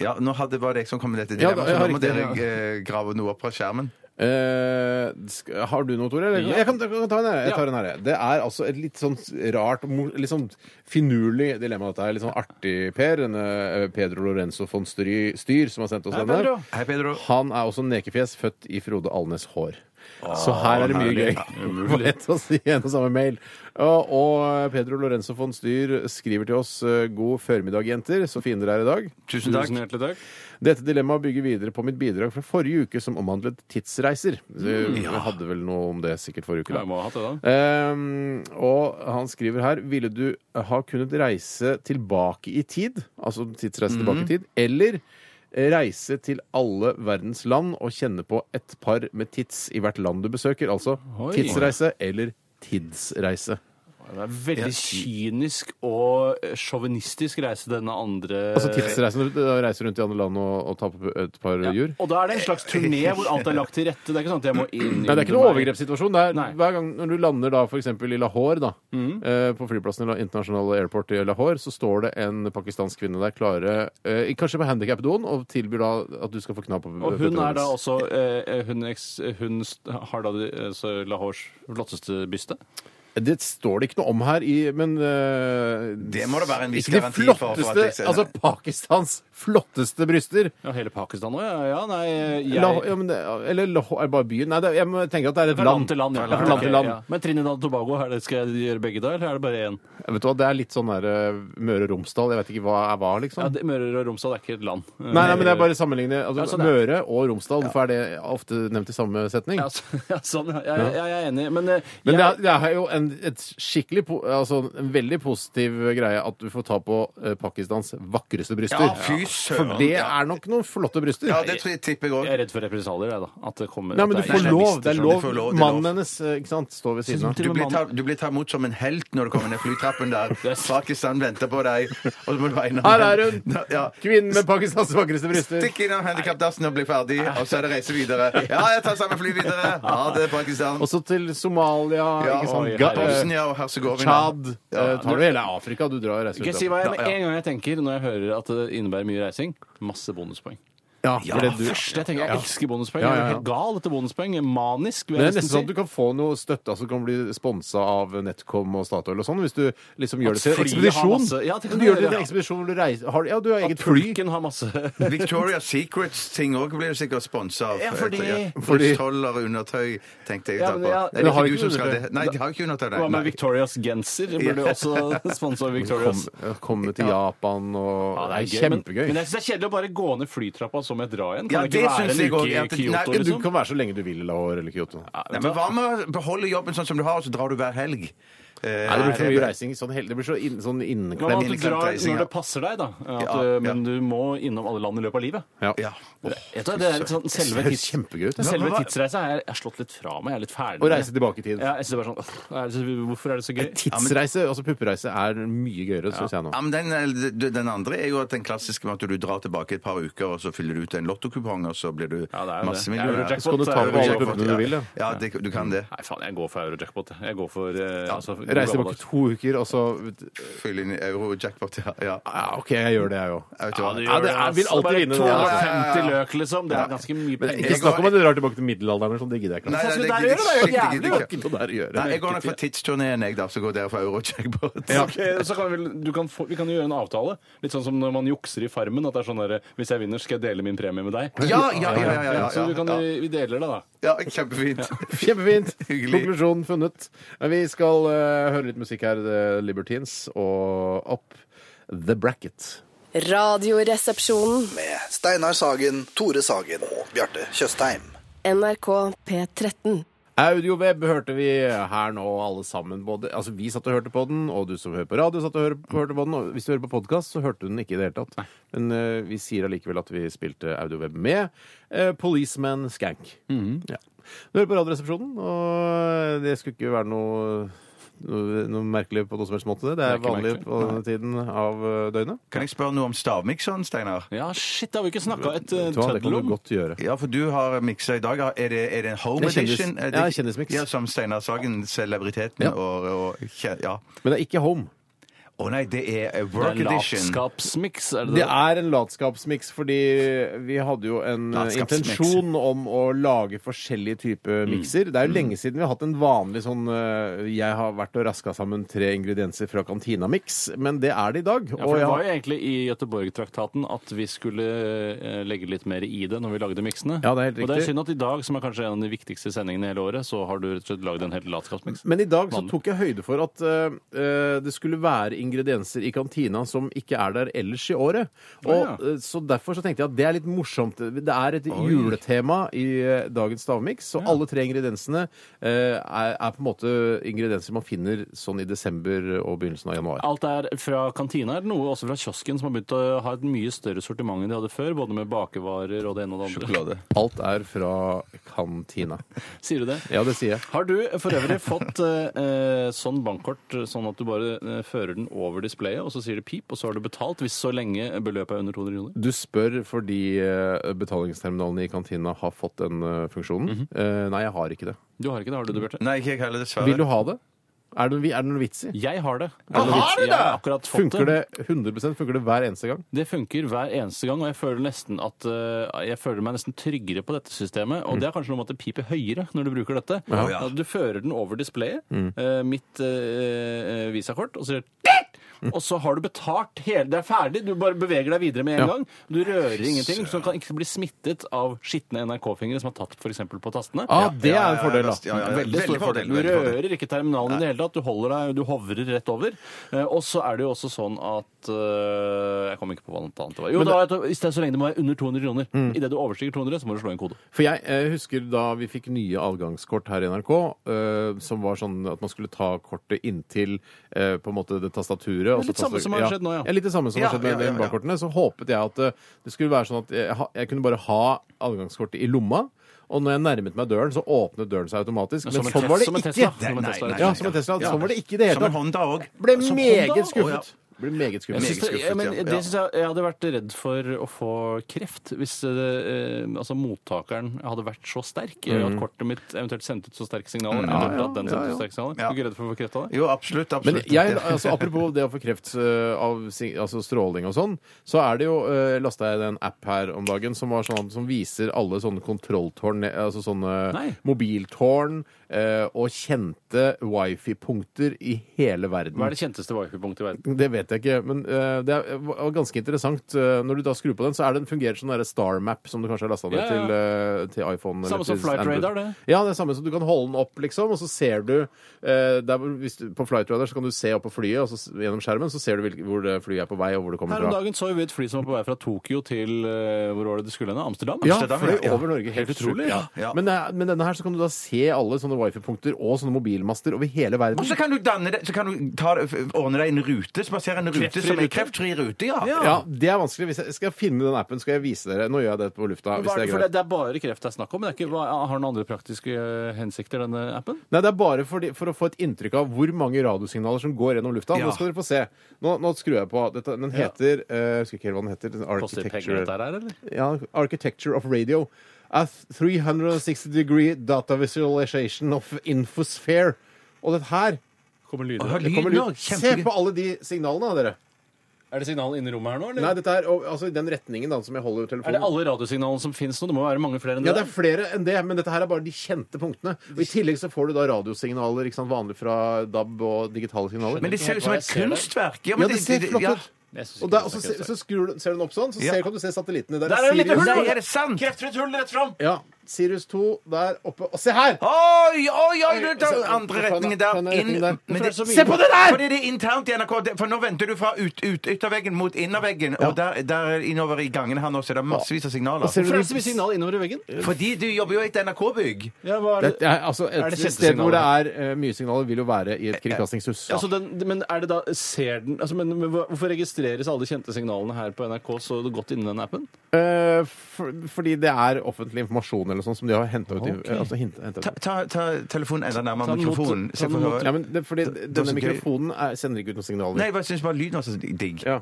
Speaker 3: Ja, nå hadde bare jeg som kom med dette
Speaker 2: Ja,
Speaker 3: dilemmaet,
Speaker 2: da-
Speaker 3: så
Speaker 2: ja,
Speaker 3: nå må
Speaker 2: riktig,
Speaker 3: dere eh, grave noe opp fra skjermen.
Speaker 2: Eh, sk- har du noe, Tore? eller?
Speaker 4: Ja.
Speaker 2: Jeg, kan, jeg kan ta en her. Jeg tar en her. jeg. Det er altså et litt sånn rart, mo- litt sånn finurlig dilemma, dette her. Litt sånn artig, Per. Denne eh, Pedro Lorenzo von Styr, Styr som har sendt oss
Speaker 4: Hei,
Speaker 2: denne.
Speaker 4: Pedro.
Speaker 3: Hei, Pedro.
Speaker 2: Han er også nekefjes, født i Frode Alnes hår. Så her er det mye
Speaker 3: herlig.
Speaker 2: gøy. *laughs* På ett og si- en og samme mail. Og, og Pedro Lorenzo von Styr skriver til oss eh, god førmiddag, jenter. Så fine dere er i dag.
Speaker 3: Tusen takk.
Speaker 4: Tusen hjertelig takk.
Speaker 2: Dette dilemmaet bygger videre på mitt bidrag fra forrige uke som omhandlet tidsreiser. Vi hadde vel noe om det sikkert forrige uke,
Speaker 4: Ja, jeg
Speaker 2: da.
Speaker 4: må ha hatt det, da.
Speaker 2: Ehm, og han skriver her Ville du ha kunnet reise tilbake i tid, altså tidsreise
Speaker 4: Mhm.
Speaker 2: tilbake i tid, eller reise til alle verdens land og kjenne på et par med tids i hvert land du besøker? Altså
Speaker 4: Oi.
Speaker 2: tidsreise eller tidsreise.
Speaker 4: Det er veldig kynisk og eh, sjåvinistisk reise denne andre
Speaker 2: Altså tidsreise når du reiser rundt i andre land og, og tar på et par
Speaker 4: Eh, Ja,
Speaker 2: jur?
Speaker 4: Og da er det en slags turné hvor alt er lagt til rette. Det er ikke sånn at jeg må inn
Speaker 2: Nei, det er ikke noen overgrepssituasjon. Det er
Speaker 4: Nei. Mm.
Speaker 2: hver gang Når du lander da f.eks. i Lahore, da, eh, på flyplassen i La- internasjonale airport i Lahore, så står det en pakistansk kvinne der klare, eh, kanskje på handikapdoen, og tilbyr da at du skal få knapp på
Speaker 4: Og hun
Speaker 2: puppene
Speaker 4: er da
Speaker 2: hennes.
Speaker 4: også eh, hun, eks- hun st- har da de- eh, så Lahores eh, flotteste byste.
Speaker 2: Det står det ikke noe om her, i, men eh,
Speaker 3: Det må det være en viss
Speaker 2: Ikke de
Speaker 3: garanti for- for at
Speaker 2: flotteste
Speaker 3: jeg ser-
Speaker 2: Altså Pakistans flotteste bryster.
Speaker 4: Ja, hele Pakistan òg, ja. ja. Nei, jeg
Speaker 2: Lah- ja, men det, eller Lahore er bare byen. Nei, det, jeg må tenke at det er et
Speaker 4: Fra land
Speaker 2: land.
Speaker 4: til land, ja.
Speaker 2: Ja, fra land til land.
Speaker 4: Ok, ja. Men Trinidad og Tobago, er det, skal jeg gjøre begge da, eller er det bare én?
Speaker 2: Vet du hva, Det er litt sånn der, eh, Møre og Romsdal. Jeg vet ikke hva jeg var, liksom.
Speaker 4: Ja, det, Møre og Romsdal er ikke et land.
Speaker 2: Nei, nei, men jeg bare sammenligner altså,
Speaker 4: Ja, sånn, ja.
Speaker 2: Møre og Romsdal. Hvorfor er det ofte nevnt i samme setning?
Speaker 4: ja, så- *laughs* ja, sånn, ja. Jeg, jeg, jeg er enig, men, eh,
Speaker 2: Men det
Speaker 4: jeg,
Speaker 2: er, det er jo en, et skikkelig, po- altså en veldig positiv greie at du får ta på eh, Pakistans vakreste bryster.
Speaker 3: Ja, fy søren.
Speaker 2: For det er nok noen flotte bryster.
Speaker 3: Ja, det tror jeg tipper jeg òg.
Speaker 4: jeg er redd for represalier, jeg, da. At det kommer
Speaker 2: Nei, men du
Speaker 4: at det
Speaker 2: får
Speaker 4: er-
Speaker 2: lov. Det
Speaker 3: det
Speaker 2: er
Speaker 3: er
Speaker 2: lov.
Speaker 3: lov.
Speaker 2: Mannen hennes eh, ikke sant, står ved
Speaker 4: Sånn
Speaker 2: siden av.
Speaker 3: Du blir, ta, du blir tatt imot som en helt når du kommer ned flytrappen
Speaker 2: *laughs*
Speaker 3: der. Pakistan venter på deg. Og så må du være innom
Speaker 2: Her er hun!
Speaker 3: *laughs* Ja.
Speaker 2: Kvinnen med Pakistans vakreste bryster.
Speaker 3: Stikk innom handikapdassen og bli ferdig, og så er det reise videre. Ja, jeg tar samme fly videre. Ha det, Pakistan.
Speaker 2: Også til Somalia,
Speaker 3: Ja,
Speaker 2: ikke sant?
Speaker 4: oi,
Speaker 2: Ga- eh,
Speaker 3: Bosnia og Herzegovina.
Speaker 2: Tsjad. Eh, Tar du hele Afrika? Du drar og reiser
Speaker 4: Skal jeg
Speaker 2: ut.
Speaker 4: si hva jeg med
Speaker 3: Ja, ja.
Speaker 4: en gang jeg tenker når jeg hører at det innebærer mye reising? Masse bonuspoeng.
Speaker 2: Ja, for det
Speaker 4: Det
Speaker 2: du...
Speaker 4: første jeg tenker, jeg elsker bonuspoeng.
Speaker 2: Ja, ja,
Speaker 4: Jeg
Speaker 2: ja.
Speaker 4: er jo helt gal etter bonuspoeng. Jeg er Manisk, vil
Speaker 2: Men det er nesten
Speaker 4: jeg nesten
Speaker 2: sånn at
Speaker 4: si.
Speaker 2: du kan få noe støtte altså du kan bli sponsa av Netcom og Statoil og sånn, hvis du liksom gjør det til en
Speaker 4: flyet har
Speaker 2: ekspedisjon.
Speaker 4: masse- Ja, det kan
Speaker 2: du gjør
Speaker 4: du
Speaker 2: det til en
Speaker 4: gjøre, ja.
Speaker 2: ekspedisjon hvor du reiser har, Ja, du har eget fly.
Speaker 4: Pulken har masse *laughs*
Speaker 3: Victoria Secrets-ting òg blir du sikkert sponsa av.
Speaker 4: Ja, fordi-
Speaker 2: Fordi-
Speaker 3: Brystholder, undertøy, tenkte jeg
Speaker 4: Ja,
Speaker 3: å ta
Speaker 4: men
Speaker 3: på.
Speaker 4: ja,
Speaker 3: Er
Speaker 4: men
Speaker 3: det
Speaker 2: har
Speaker 3: ikke
Speaker 2: ikke
Speaker 3: du som skal
Speaker 2: undertøy.
Speaker 3: det? Nei, de har ikke undertøy.
Speaker 4: Hva med
Speaker 3: Nei.
Speaker 4: Victorias genser? Burde også *laughs* sponse av
Speaker 2: Kom,
Speaker 4: Victorias.
Speaker 2: altså. komme til Japan og
Speaker 4: Ja,
Speaker 2: det, er
Speaker 4: gøy,
Speaker 2: kjempegøy.
Speaker 4: Men, men jeg syns det er kjedelig å bare gå ned flytrappa som et dra igjen.
Speaker 3: Ja,
Speaker 4: Kan det
Speaker 3: det
Speaker 4: ikke være
Speaker 3: synes
Speaker 4: en
Speaker 3: jeg
Speaker 4: uke
Speaker 3: også,
Speaker 4: i
Speaker 3: ja, det-
Speaker 4: Kyoto,
Speaker 3: nei,
Speaker 2: Ja, du
Speaker 4: liksom?
Speaker 2: kan være så lenge du vil i Lahore eller Kyoto. Nei,
Speaker 3: Nei, men hva med å beholde jobben sånn som du har, og så drar du hver helg? Eh,
Speaker 2: det blir for mye reising. Sånn, hel- det blir så inn, sånn
Speaker 4: Men at
Speaker 2: inneklem.
Speaker 4: du
Speaker 3: inneklemt
Speaker 4: drar
Speaker 3: reising,
Speaker 4: når
Speaker 3: ja.
Speaker 4: det passer deg, da. At,
Speaker 3: Ja,
Speaker 4: eh,
Speaker 3: ja.
Speaker 4: Men du må innom alle land i løpet av livet.
Speaker 2: Ja.
Speaker 3: Ja.
Speaker 4: Det, vet du, det er litt sånn, selve,
Speaker 2: Det
Speaker 4: tids,
Speaker 2: høres kjempegøy ut.
Speaker 4: selve
Speaker 3: hva-
Speaker 4: tidsreisa er jeg har slått litt fra meg. Jeg er litt ferdig.
Speaker 2: Å
Speaker 4: med
Speaker 2: reise
Speaker 4: det.
Speaker 2: tilbake i tid.
Speaker 4: Ja, jeg synes det er bare sånn, «Åh, er det så, Hvorfor er det så gøy?
Speaker 2: Tidsreise, altså puppereise, er mye gøyere, syns jeg nå.
Speaker 3: Ja, men den, eh, den andre er jo at den klassiske med at du drar tilbake et par uker, og så fyller du ut en lottokupong, og så blir du
Speaker 4: Ja, det er jo det.
Speaker 3: masse millioner.
Speaker 4: Eurojackpot,
Speaker 2: Så kan du ta på alle
Speaker 4: Eurojackpot,
Speaker 2: puppene du vil. Ja.
Speaker 3: Ja, det, du kan det.
Speaker 4: Nei, faen, jeg går for euro-jackpot. jeg. Jeg går for eh, altså, gode
Speaker 2: Reise
Speaker 4: gamle
Speaker 2: tilbake
Speaker 4: dager.
Speaker 2: to uker, og så
Speaker 3: Fylle inn euro-jackpot, ja. ja.
Speaker 2: ja, OK, jeg gjør det, jeg òg.
Speaker 3: Jeg vet
Speaker 4: Ja,
Speaker 3: hva.
Speaker 4: du
Speaker 2: Ja, det
Speaker 4: gjør det.
Speaker 2: er- vil
Speaker 4: altså.
Speaker 2: alltid
Speaker 4: Bare
Speaker 2: vinne det.
Speaker 4: 250 løk, liksom. Det er ganske mye penger.
Speaker 2: Ikke
Speaker 3: jeg
Speaker 2: snakk
Speaker 3: går-
Speaker 2: om at du drar tilbake til middelalderen. eller sånn, Det gidder jeg ikke.
Speaker 3: Nei,
Speaker 4: Hva skal
Speaker 3: det
Speaker 4: du der
Speaker 3: gidder
Speaker 4: gjøre, da? Det er jo
Speaker 3: jeg ikke.
Speaker 4: jævlig,
Speaker 3: Det gidder jeg ikke.
Speaker 2: Det er ikke noe der å gjøre.
Speaker 3: Nei, jeg går nok for tidsturneen, jeg, da, så går dere for euro-jackpot.
Speaker 4: Ok, så kan vi, vel- du kan få, vi kan jo gjøre en avtale. Litt sånn som når man jukser i Farmen. At det er sånn der, Hvis jeg vinner, skal jeg dele min premie med deg.
Speaker 3: Ja, ja, ja, ja, ja, ja,
Speaker 4: så du kan,
Speaker 3: ja,
Speaker 4: vi deler det, da.
Speaker 3: ja,
Speaker 4: *laughs*
Speaker 3: kjempefint.
Speaker 2: *laughs* Kjempefint.
Speaker 3: Hyggelig.
Speaker 2: Konklusjonen funnet. Men Vi skal eh, høre litt musikk her. The Libertines og Up The Bracket.
Speaker 9: Radioresepsjonen.
Speaker 10: med Steinar Sagen, Tore Sagen og Bjarte Tjøstheim.
Speaker 9: NRK P13.
Speaker 2: Audioweb hørte vi her nå, alle sammen. Både, altså Vi satt og hørte på den, og du som hører på radio, satt og hør- hørte på den. Og hvis du hører på podkast, så hørte du den ikke i det hele tatt. Men eh, vi sier allikevel at vi spilte audioweb med eh, Policeman Skank. ja. Du hører på Radioresepsjonen, og det skulle ikke være noe noe, noe merkelig på noen som helst måte. Det er,
Speaker 4: Det er ikke
Speaker 2: vanlig
Speaker 4: merkelig.
Speaker 2: på denne tiden av eh, døgnet.
Speaker 3: Kan jeg spørre noe om stavmikseren, Steinar?
Speaker 4: Ja, shit, det har vi ikke snakka et eh,
Speaker 2: Vet du hva, Det kan
Speaker 4: tøddel
Speaker 2: du
Speaker 4: om.
Speaker 2: godt gjøre.
Speaker 3: Ja, for du har miksa i dag. Er det, er det en home
Speaker 2: Det er kjendis-
Speaker 3: edition? Er
Speaker 2: ja, kjendismiks.
Speaker 3: Ja, som Steinar Sagen, celebriteten
Speaker 2: Ja.
Speaker 3: og, og kje- Ja.
Speaker 2: Men det er ikke home.
Speaker 3: Å nei, det er eh,
Speaker 4: Det
Speaker 3: work
Speaker 4: er
Speaker 3: edition.
Speaker 4: Latskapsmiks, er det
Speaker 2: Det
Speaker 4: det?
Speaker 2: er en latskapsmiks, fordi vi hadde jo en eh,
Speaker 3: Latskapsmiks.
Speaker 2: intensjon om å lage forskjellige typer
Speaker 4: Mm.
Speaker 2: mikser. Det er jo lenge siden vi har hatt en vanlig sånn eh, Jeg har vært og raska sammen tre ingredienser fra kantina-miks, men det er det i dag.
Speaker 4: Ja,
Speaker 2: og
Speaker 4: for Det
Speaker 2: jeg-
Speaker 4: var jo egentlig i Gøteborg-traktaten at vi skulle eh, legge litt mer i det når vi lagde miksene.
Speaker 2: Ja, det er helt
Speaker 4: Og det
Speaker 2: riktig.
Speaker 4: er synd at i dag, som er kanskje en av de viktigste sendingene i hele året, så har du rett og slett lagd en helt latskapsmiks.
Speaker 2: Men i dag så
Speaker 4: Vanlig.
Speaker 2: tok jeg høyde for at eh, eh, det skulle være ingredienser i kantina som ikke er der ellers i året. Og,
Speaker 4: Å, ja.
Speaker 2: eh, så derfor så tenkte jeg at det er litt morsomt. Det er et juletema i eh, dagens stavmiks, så alle tre ingrediensene eh, er, er på en måte ingredienser man finner sånn i desember og begynnelsen av januar.
Speaker 4: Alt er fra kantina, eller noe også fra kiosken, som har begynt å ha et mye større sortiment enn de hadde før, både med bakevarer og det ene og det andre.
Speaker 2: Alt er fra kantina.
Speaker 4: *laughs* Sier du det?
Speaker 2: Ja, det sier jeg.
Speaker 4: Har du for øvrig fått eh, eh, sånn bankkort, eh, sånn at du bare eh, fører den over displayet, og så sier det pip, og så har du betalt, hvis så lenge beløpet er under 200 kroner?
Speaker 2: Du spør fordi eh, betalingsterminalene i kantina har fått
Speaker 4: Mhm.
Speaker 2: den eh, funksjonen. Eh, Nei, jeg har ikke det.
Speaker 4: Du har ikke det, har du det, Bjarte?
Speaker 3: Nei, ikke jeg heller, dessverre.
Speaker 2: Vil du ha det? Er det, er det noen vits i?
Speaker 4: Jeg har det.
Speaker 2: Hva
Speaker 4: Jeg
Speaker 2: har du
Speaker 4: Jeg har
Speaker 2: da?
Speaker 4: akkurat fått
Speaker 2: Funker det 100 funker det hver eneste gang?
Speaker 4: Det funker hver eneste gang, og jeg føler, nesten at, eh, jeg føler meg nesten tryggere på dette systemet.
Speaker 2: Mm.
Speaker 4: Og det er kanskje noe med at det piper høyere når du bruker dette.
Speaker 3: ja.
Speaker 4: At Du fører den over displayet,
Speaker 2: Mm.
Speaker 4: eh, mitt eh, eh, visakort, og så sier det
Speaker 2: Mm.
Speaker 4: og så har du betalt hele Det er ferdig! Du bare beveger deg videre med en
Speaker 2: Ja.
Speaker 4: gang. Du rører ingenting, så du kan ikke bli smittet av skitne NRK-fingre som er tatt for eksempel på tastene.
Speaker 2: Ah, det er en fordel, da.
Speaker 3: Ja, ja, ja.
Speaker 4: Veldig stor fordel. Du
Speaker 3: veldig fordel.
Speaker 4: rører ikke terminalen i det hele tatt. Du holder deg, du hovrer rett over. Eh, Og så er det jo også sånn at eh, Jeg kom ikke på hva noe annet det var. Jo, da, er det- i stedet så lenge det må være under 200 kroner. I Idet du overstiger 200, så må du slå inn kode.
Speaker 2: For jeg eh, husker da vi fikk nye adgangskort her i NRK, eh, som var sånn at man skulle ta kortet inntil eh, på en måte det tastaturet. og så
Speaker 4: litt samme
Speaker 2: tastatur-
Speaker 4: som har skjedd nå, ja.
Speaker 2: Litt det samme som
Speaker 3: Ja,
Speaker 2: har skjedd med
Speaker 3: ja, ja, ja.
Speaker 2: bankkortene. Så håpet jeg at eh, det skulle være sånn at jeg, ha- jeg kunne bare ha adgangskortet i lomma. Og når jeg nærmet meg døren, så åpnet døren seg automatisk. Men
Speaker 4: Som en
Speaker 2: sånn
Speaker 4: Tes-
Speaker 2: var det
Speaker 4: som en
Speaker 2: ikke.
Speaker 4: Tesla. Som en
Speaker 3: Nei,
Speaker 4: Tesla.
Speaker 3: nei, nei.
Speaker 2: Ja, som en Tesla.
Speaker 3: Ja.
Speaker 2: Sånn var det ikke i det
Speaker 3: Som
Speaker 2: hele
Speaker 3: en
Speaker 2: tatt.
Speaker 3: Honda òg.
Speaker 2: Ble meget skuffet. Ble meget
Speaker 4: Jeg
Speaker 2: skuffet.
Speaker 4: synes det,
Speaker 3: Meget
Speaker 4: jeg, men,
Speaker 3: skuffet, ja.
Speaker 4: det synes jeg, jeg hadde vært redd for å få kreft hvis eh, altså, mottakeren hadde vært så sterk. eh, At kortet mitt eventuelt sendte ut så sterke signaler. eller at den sendte ut sterke signaler. Er
Speaker 3: Ja.
Speaker 4: Du ikke redd for å få kreft av det?
Speaker 3: Jo, absolutt.
Speaker 2: Men
Speaker 3: absolutt.
Speaker 2: jeg, altså, apropos det å få kreft eh, av si- altså stråling og sånn, så er det jo uh, Lasta jeg en app her om dagen som, var sånn, som viser alle sånne kontrolltårn, eh, altså sånne
Speaker 4: Nei.
Speaker 2: mobiltårn eh, og kjente wifi-punkter i hele verden.
Speaker 4: Hva er det kjenteste wifi-punktet i verden?
Speaker 2: Det vet jeg ikke, men eh, det er var ganske interessant. Eh, når du da skrur på den, så er den fungerer som den Star Map som du kanskje har lasta ned
Speaker 4: Ja, ja, ja.
Speaker 2: Til, eh, til iPhone.
Speaker 4: Samme som
Speaker 2: til
Speaker 4: Flight
Speaker 2: Android.
Speaker 4: Radar, det.
Speaker 2: Ja, det er samme som du kan holde den opp, liksom, og så ser du, eh, der, hvor- hvis du På Flight Radar så kan du se opp på flyet, og så s- gjennom skjermen så ser du hvilke, hvor det flyet er på vei, og hvor det kommer
Speaker 4: Her om
Speaker 2: fra.
Speaker 4: dagen så vi et fly som var på vei fra Tokyo til eh, Hvor var det det skulle hen? Amsterdam?
Speaker 2: Ja,
Speaker 3: Amsterdam,
Speaker 2: fløy
Speaker 3: ja.
Speaker 2: over Norge. Helt utrolig. Ja.
Speaker 3: ja.
Speaker 2: Men, eh, men denne her så kan du da se alle sånne wifi-punkter og sånne mobilmaster over hele verden.
Speaker 3: Og så kan du, danne deg- så kan du ta, ordne deg en rute, spasere en rute
Speaker 4: Kreftfri
Speaker 3: som
Speaker 4: rute?
Speaker 3: er kreftfri rute, ja.
Speaker 2: Ja, det er vanskelig. Hvis jeg skal jeg finne den appen, skal jeg vise dere. Nå gjør jeg det på lufta.
Speaker 4: Hva
Speaker 2: Hvis
Speaker 4: er
Speaker 2: det
Speaker 4: det,
Speaker 2: er
Speaker 4: for
Speaker 2: greit.
Speaker 4: det, det er bare kreft det er snakk om. Det er ikke, hva, har den andre praktiske eh, hensikter, denne appen?
Speaker 2: Nei, det er bare for, for å få et inntrykk av hvor mange radiosignaler som går gjennom lufta.
Speaker 3: Ja.
Speaker 2: Nå skal dere få se. Nå, nå skrur jeg på. Dette, den heter eh, Jeg husker ikke helt hva den heter. Den
Speaker 4: Koster det penger, dette
Speaker 2: Architecture,
Speaker 4: her, eller?
Speaker 2: ja, architecture of Radio. A 360 degree data visualization of infosphere. Og det her kommer lyder.
Speaker 3: Å,
Speaker 2: Det kommer
Speaker 3: lyden
Speaker 2: lyd.
Speaker 3: også.
Speaker 2: Se
Speaker 3: Kjempegøy.
Speaker 2: på alle de signalene, da, dere.
Speaker 4: Er det signal inne i rommet her nå, eller?
Speaker 2: Nei, dette er og, altså, i den retningen da, som jeg holder
Speaker 4: er det
Speaker 2: telefonen.
Speaker 4: alle radiosignalene som finnes nå? Det må være mange flere enn
Speaker 2: Ja,
Speaker 4: det.
Speaker 2: det er flere enn det, men dette her er bare de kjente punktene. Og I tillegg så får du da radiosignaler, ikke sant, vanlig fra DAB og digitale signaler.
Speaker 3: Men det ser ut som et kunstverk.
Speaker 2: Ja, det ser flott
Speaker 3: ja.
Speaker 2: ut. Og der, og så, se- så skrur du, ser du den opp sånn, så
Speaker 3: Ja.
Speaker 2: ser, kan du se satellittene. Der,
Speaker 4: Der er det litt hull!
Speaker 3: Nei, er det sant?
Speaker 4: Kreftfritt hull rett fram!
Speaker 2: Ja, Sirius 2 der oppe. Og se her!
Speaker 3: Oi, oi, oi! Du tar
Speaker 2: Så-
Speaker 3: andre retningen der.
Speaker 2: ta den- ta den
Speaker 3: Inn,
Speaker 2: retningen der.
Speaker 3: men
Speaker 2: Hvorfor er det så mye?
Speaker 3: se på det der! Fordi det er internt i NRK. det- For nå venter du fra ut, ut, ytterveggen mot innerveggen. Og der, der innover i gangen her nå så er det massevis av signaler.
Speaker 2: ser
Speaker 4: Hvorfor er det så mye signal innover i veggen?
Speaker 3: Fordi du jobber jo i et NRK-bygg.
Speaker 4: Ja, hva er
Speaker 2: Det
Speaker 4: det?
Speaker 2: er, altså, et
Speaker 4: Er det kjente
Speaker 2: sted hvor det
Speaker 4: signaler?
Speaker 2: er eh, mye signaler, vil jo være i et kringkastingshus.
Speaker 4: Altså den, men er det da, ser den altså, men, men hva- Hvorfor registreres alle de kjente signalene her på NRK så godt innen den appen?
Speaker 2: Eh, for, fordi det er offentlig informasjon eller sånn som de har henta ut. i-
Speaker 4: Ok.
Speaker 2: eh, Altså, hint, hentet
Speaker 3: Ta,
Speaker 2: ut.
Speaker 3: ta, ta telefonen enda
Speaker 4: Ta
Speaker 3: nærmere
Speaker 4: den mot-
Speaker 3: mikrofonen. Se
Speaker 4: ta
Speaker 3: for å
Speaker 4: den mot-
Speaker 3: høre.
Speaker 2: Ja, men det, fordi
Speaker 3: det er
Speaker 2: Denne
Speaker 3: så gøy.
Speaker 2: mikrofonen er, sender ikke ut noen signaler.
Speaker 3: Nei, jeg bare synes bare lyden var så digg.
Speaker 2: Ja.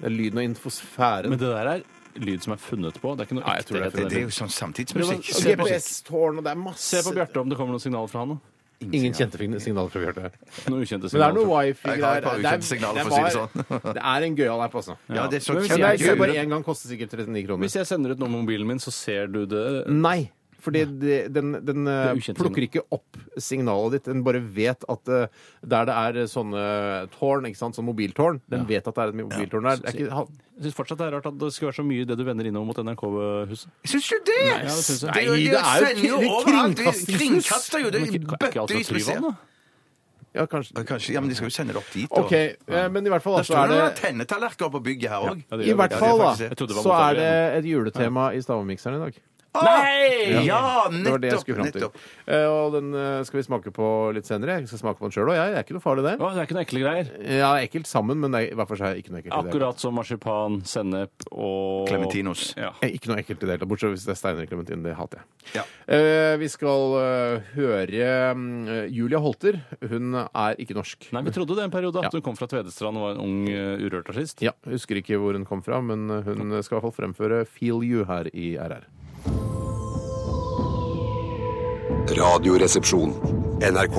Speaker 2: Det er lyden og infosfæren.
Speaker 4: Men det der er lyd som er funnet på. Det er ikke noe
Speaker 2: Nei, jeg tror det
Speaker 4: ekte.
Speaker 2: er
Speaker 4: rett i
Speaker 3: Det, det er
Speaker 4: det.
Speaker 3: jo sånn
Speaker 2: Og
Speaker 3: samtidsmusikk. Se på-
Speaker 2: GPS-tårn, og det er masse
Speaker 4: Se på Bjarte om det kommer noen signaler fra han nå.
Speaker 2: Ingen kjente fin- signaler fra Bjarte.
Speaker 4: Noen ukjente
Speaker 2: Men det er
Speaker 4: signaler.
Speaker 2: noe
Speaker 4: fra-
Speaker 2: wifi-greier.
Speaker 3: Jeg har et par ukjente
Speaker 2: Det er-
Speaker 3: signaler,
Speaker 2: det sånn.
Speaker 3: for å si det
Speaker 2: var- *laughs* Det er en gøyal app, altså.
Speaker 3: Ja, det er så
Speaker 4: Men hvis
Speaker 2: Men jeg ser
Speaker 3: kjempegøy.
Speaker 2: bare én gang koster sikkert 39 kroner.
Speaker 4: Hvis jeg sender ut noe med mobilen min, så ser du det eh,
Speaker 2: Nei. Fordi det, den, den eh,
Speaker 4: Det er ukjent
Speaker 2: plukker ikke opp signalet ditt. Den bare vet at eh, der det er eh, sånne tårn, ikke sant, sånn mobiltårn Den vet at det er et mobiltårn der. Det er ikke, ha-
Speaker 4: Jeg syns fortsatt det er rart at det skal være så mye det du vender innover mot NRK-huset.
Speaker 3: Syns du det?
Speaker 4: ja, det synes jeg.
Speaker 3: Det er jo-
Speaker 2: Nei,
Speaker 3: det
Speaker 2: det er jo
Speaker 3: sender jo
Speaker 2: kri-
Speaker 3: overalt.
Speaker 2: kringkastingshus.
Speaker 3: Vi kringkaster jo. Det
Speaker 4: Men ikke- er
Speaker 3: er
Speaker 4: ikke alt
Speaker 3: bøttevis
Speaker 4: fra
Speaker 3: med
Speaker 4: Tryvann, da?
Speaker 2: ja, kanskje.
Speaker 3: Ja, Kanskje, ja, men de skal jo sende det opp dit. da.
Speaker 2: OK. eh, Men i hvert fall,
Speaker 3: Der
Speaker 2: da, så
Speaker 3: står
Speaker 2: er
Speaker 3: det
Speaker 2: det
Speaker 3: noen tennetallerkener på bygget her òg.
Speaker 4: Ja, det
Speaker 2: I
Speaker 4: gjør
Speaker 2: hvert
Speaker 4: det.
Speaker 2: fall, da,
Speaker 3: faktisk det.
Speaker 4: Jeg trodde det var
Speaker 2: så
Speaker 4: mot
Speaker 2: er det
Speaker 4: Arjen.
Speaker 2: et juletema i stavmikseren i dag.
Speaker 3: Nei! Ja,
Speaker 2: Det var det jeg
Speaker 3: nettopp.
Speaker 2: skulle fram til.
Speaker 3: nettopp.
Speaker 2: Eh, Og den eh, skal vi smake på litt senere. Jeg skal smake på den sjøl òg, jeg. Det er ikke noe farlig, det.
Speaker 4: Å, det er ikke noe ekle greier.
Speaker 2: Ja, det er ekkelt sammen, men det er i hvert fall så er det ikke noe ekkelt. i det hele tatt.
Speaker 4: Akkurat som marsipan, sennep og
Speaker 3: Clementinos.
Speaker 4: Ja.
Speaker 2: Eh, Ikke noe ekkelt i det hele tatt, bortsett fra hvis det er steiner i klementin. Det hater jeg.
Speaker 3: Ja.
Speaker 2: Eh, vi skal eh, høre mm, Julia Holter. Hun er ikke norsk.
Speaker 4: Nei, vi trodde det en periode at
Speaker 2: Ja.
Speaker 4: hun kom fra Tvedestrand og var en ung uh, urørt artist.
Speaker 2: Ja, jeg Husker ikke hvor hun kom fra, men hun skal i hvert fall fremføre 'Feel You' her i RR.
Speaker 5: Radioresepsjon. NRK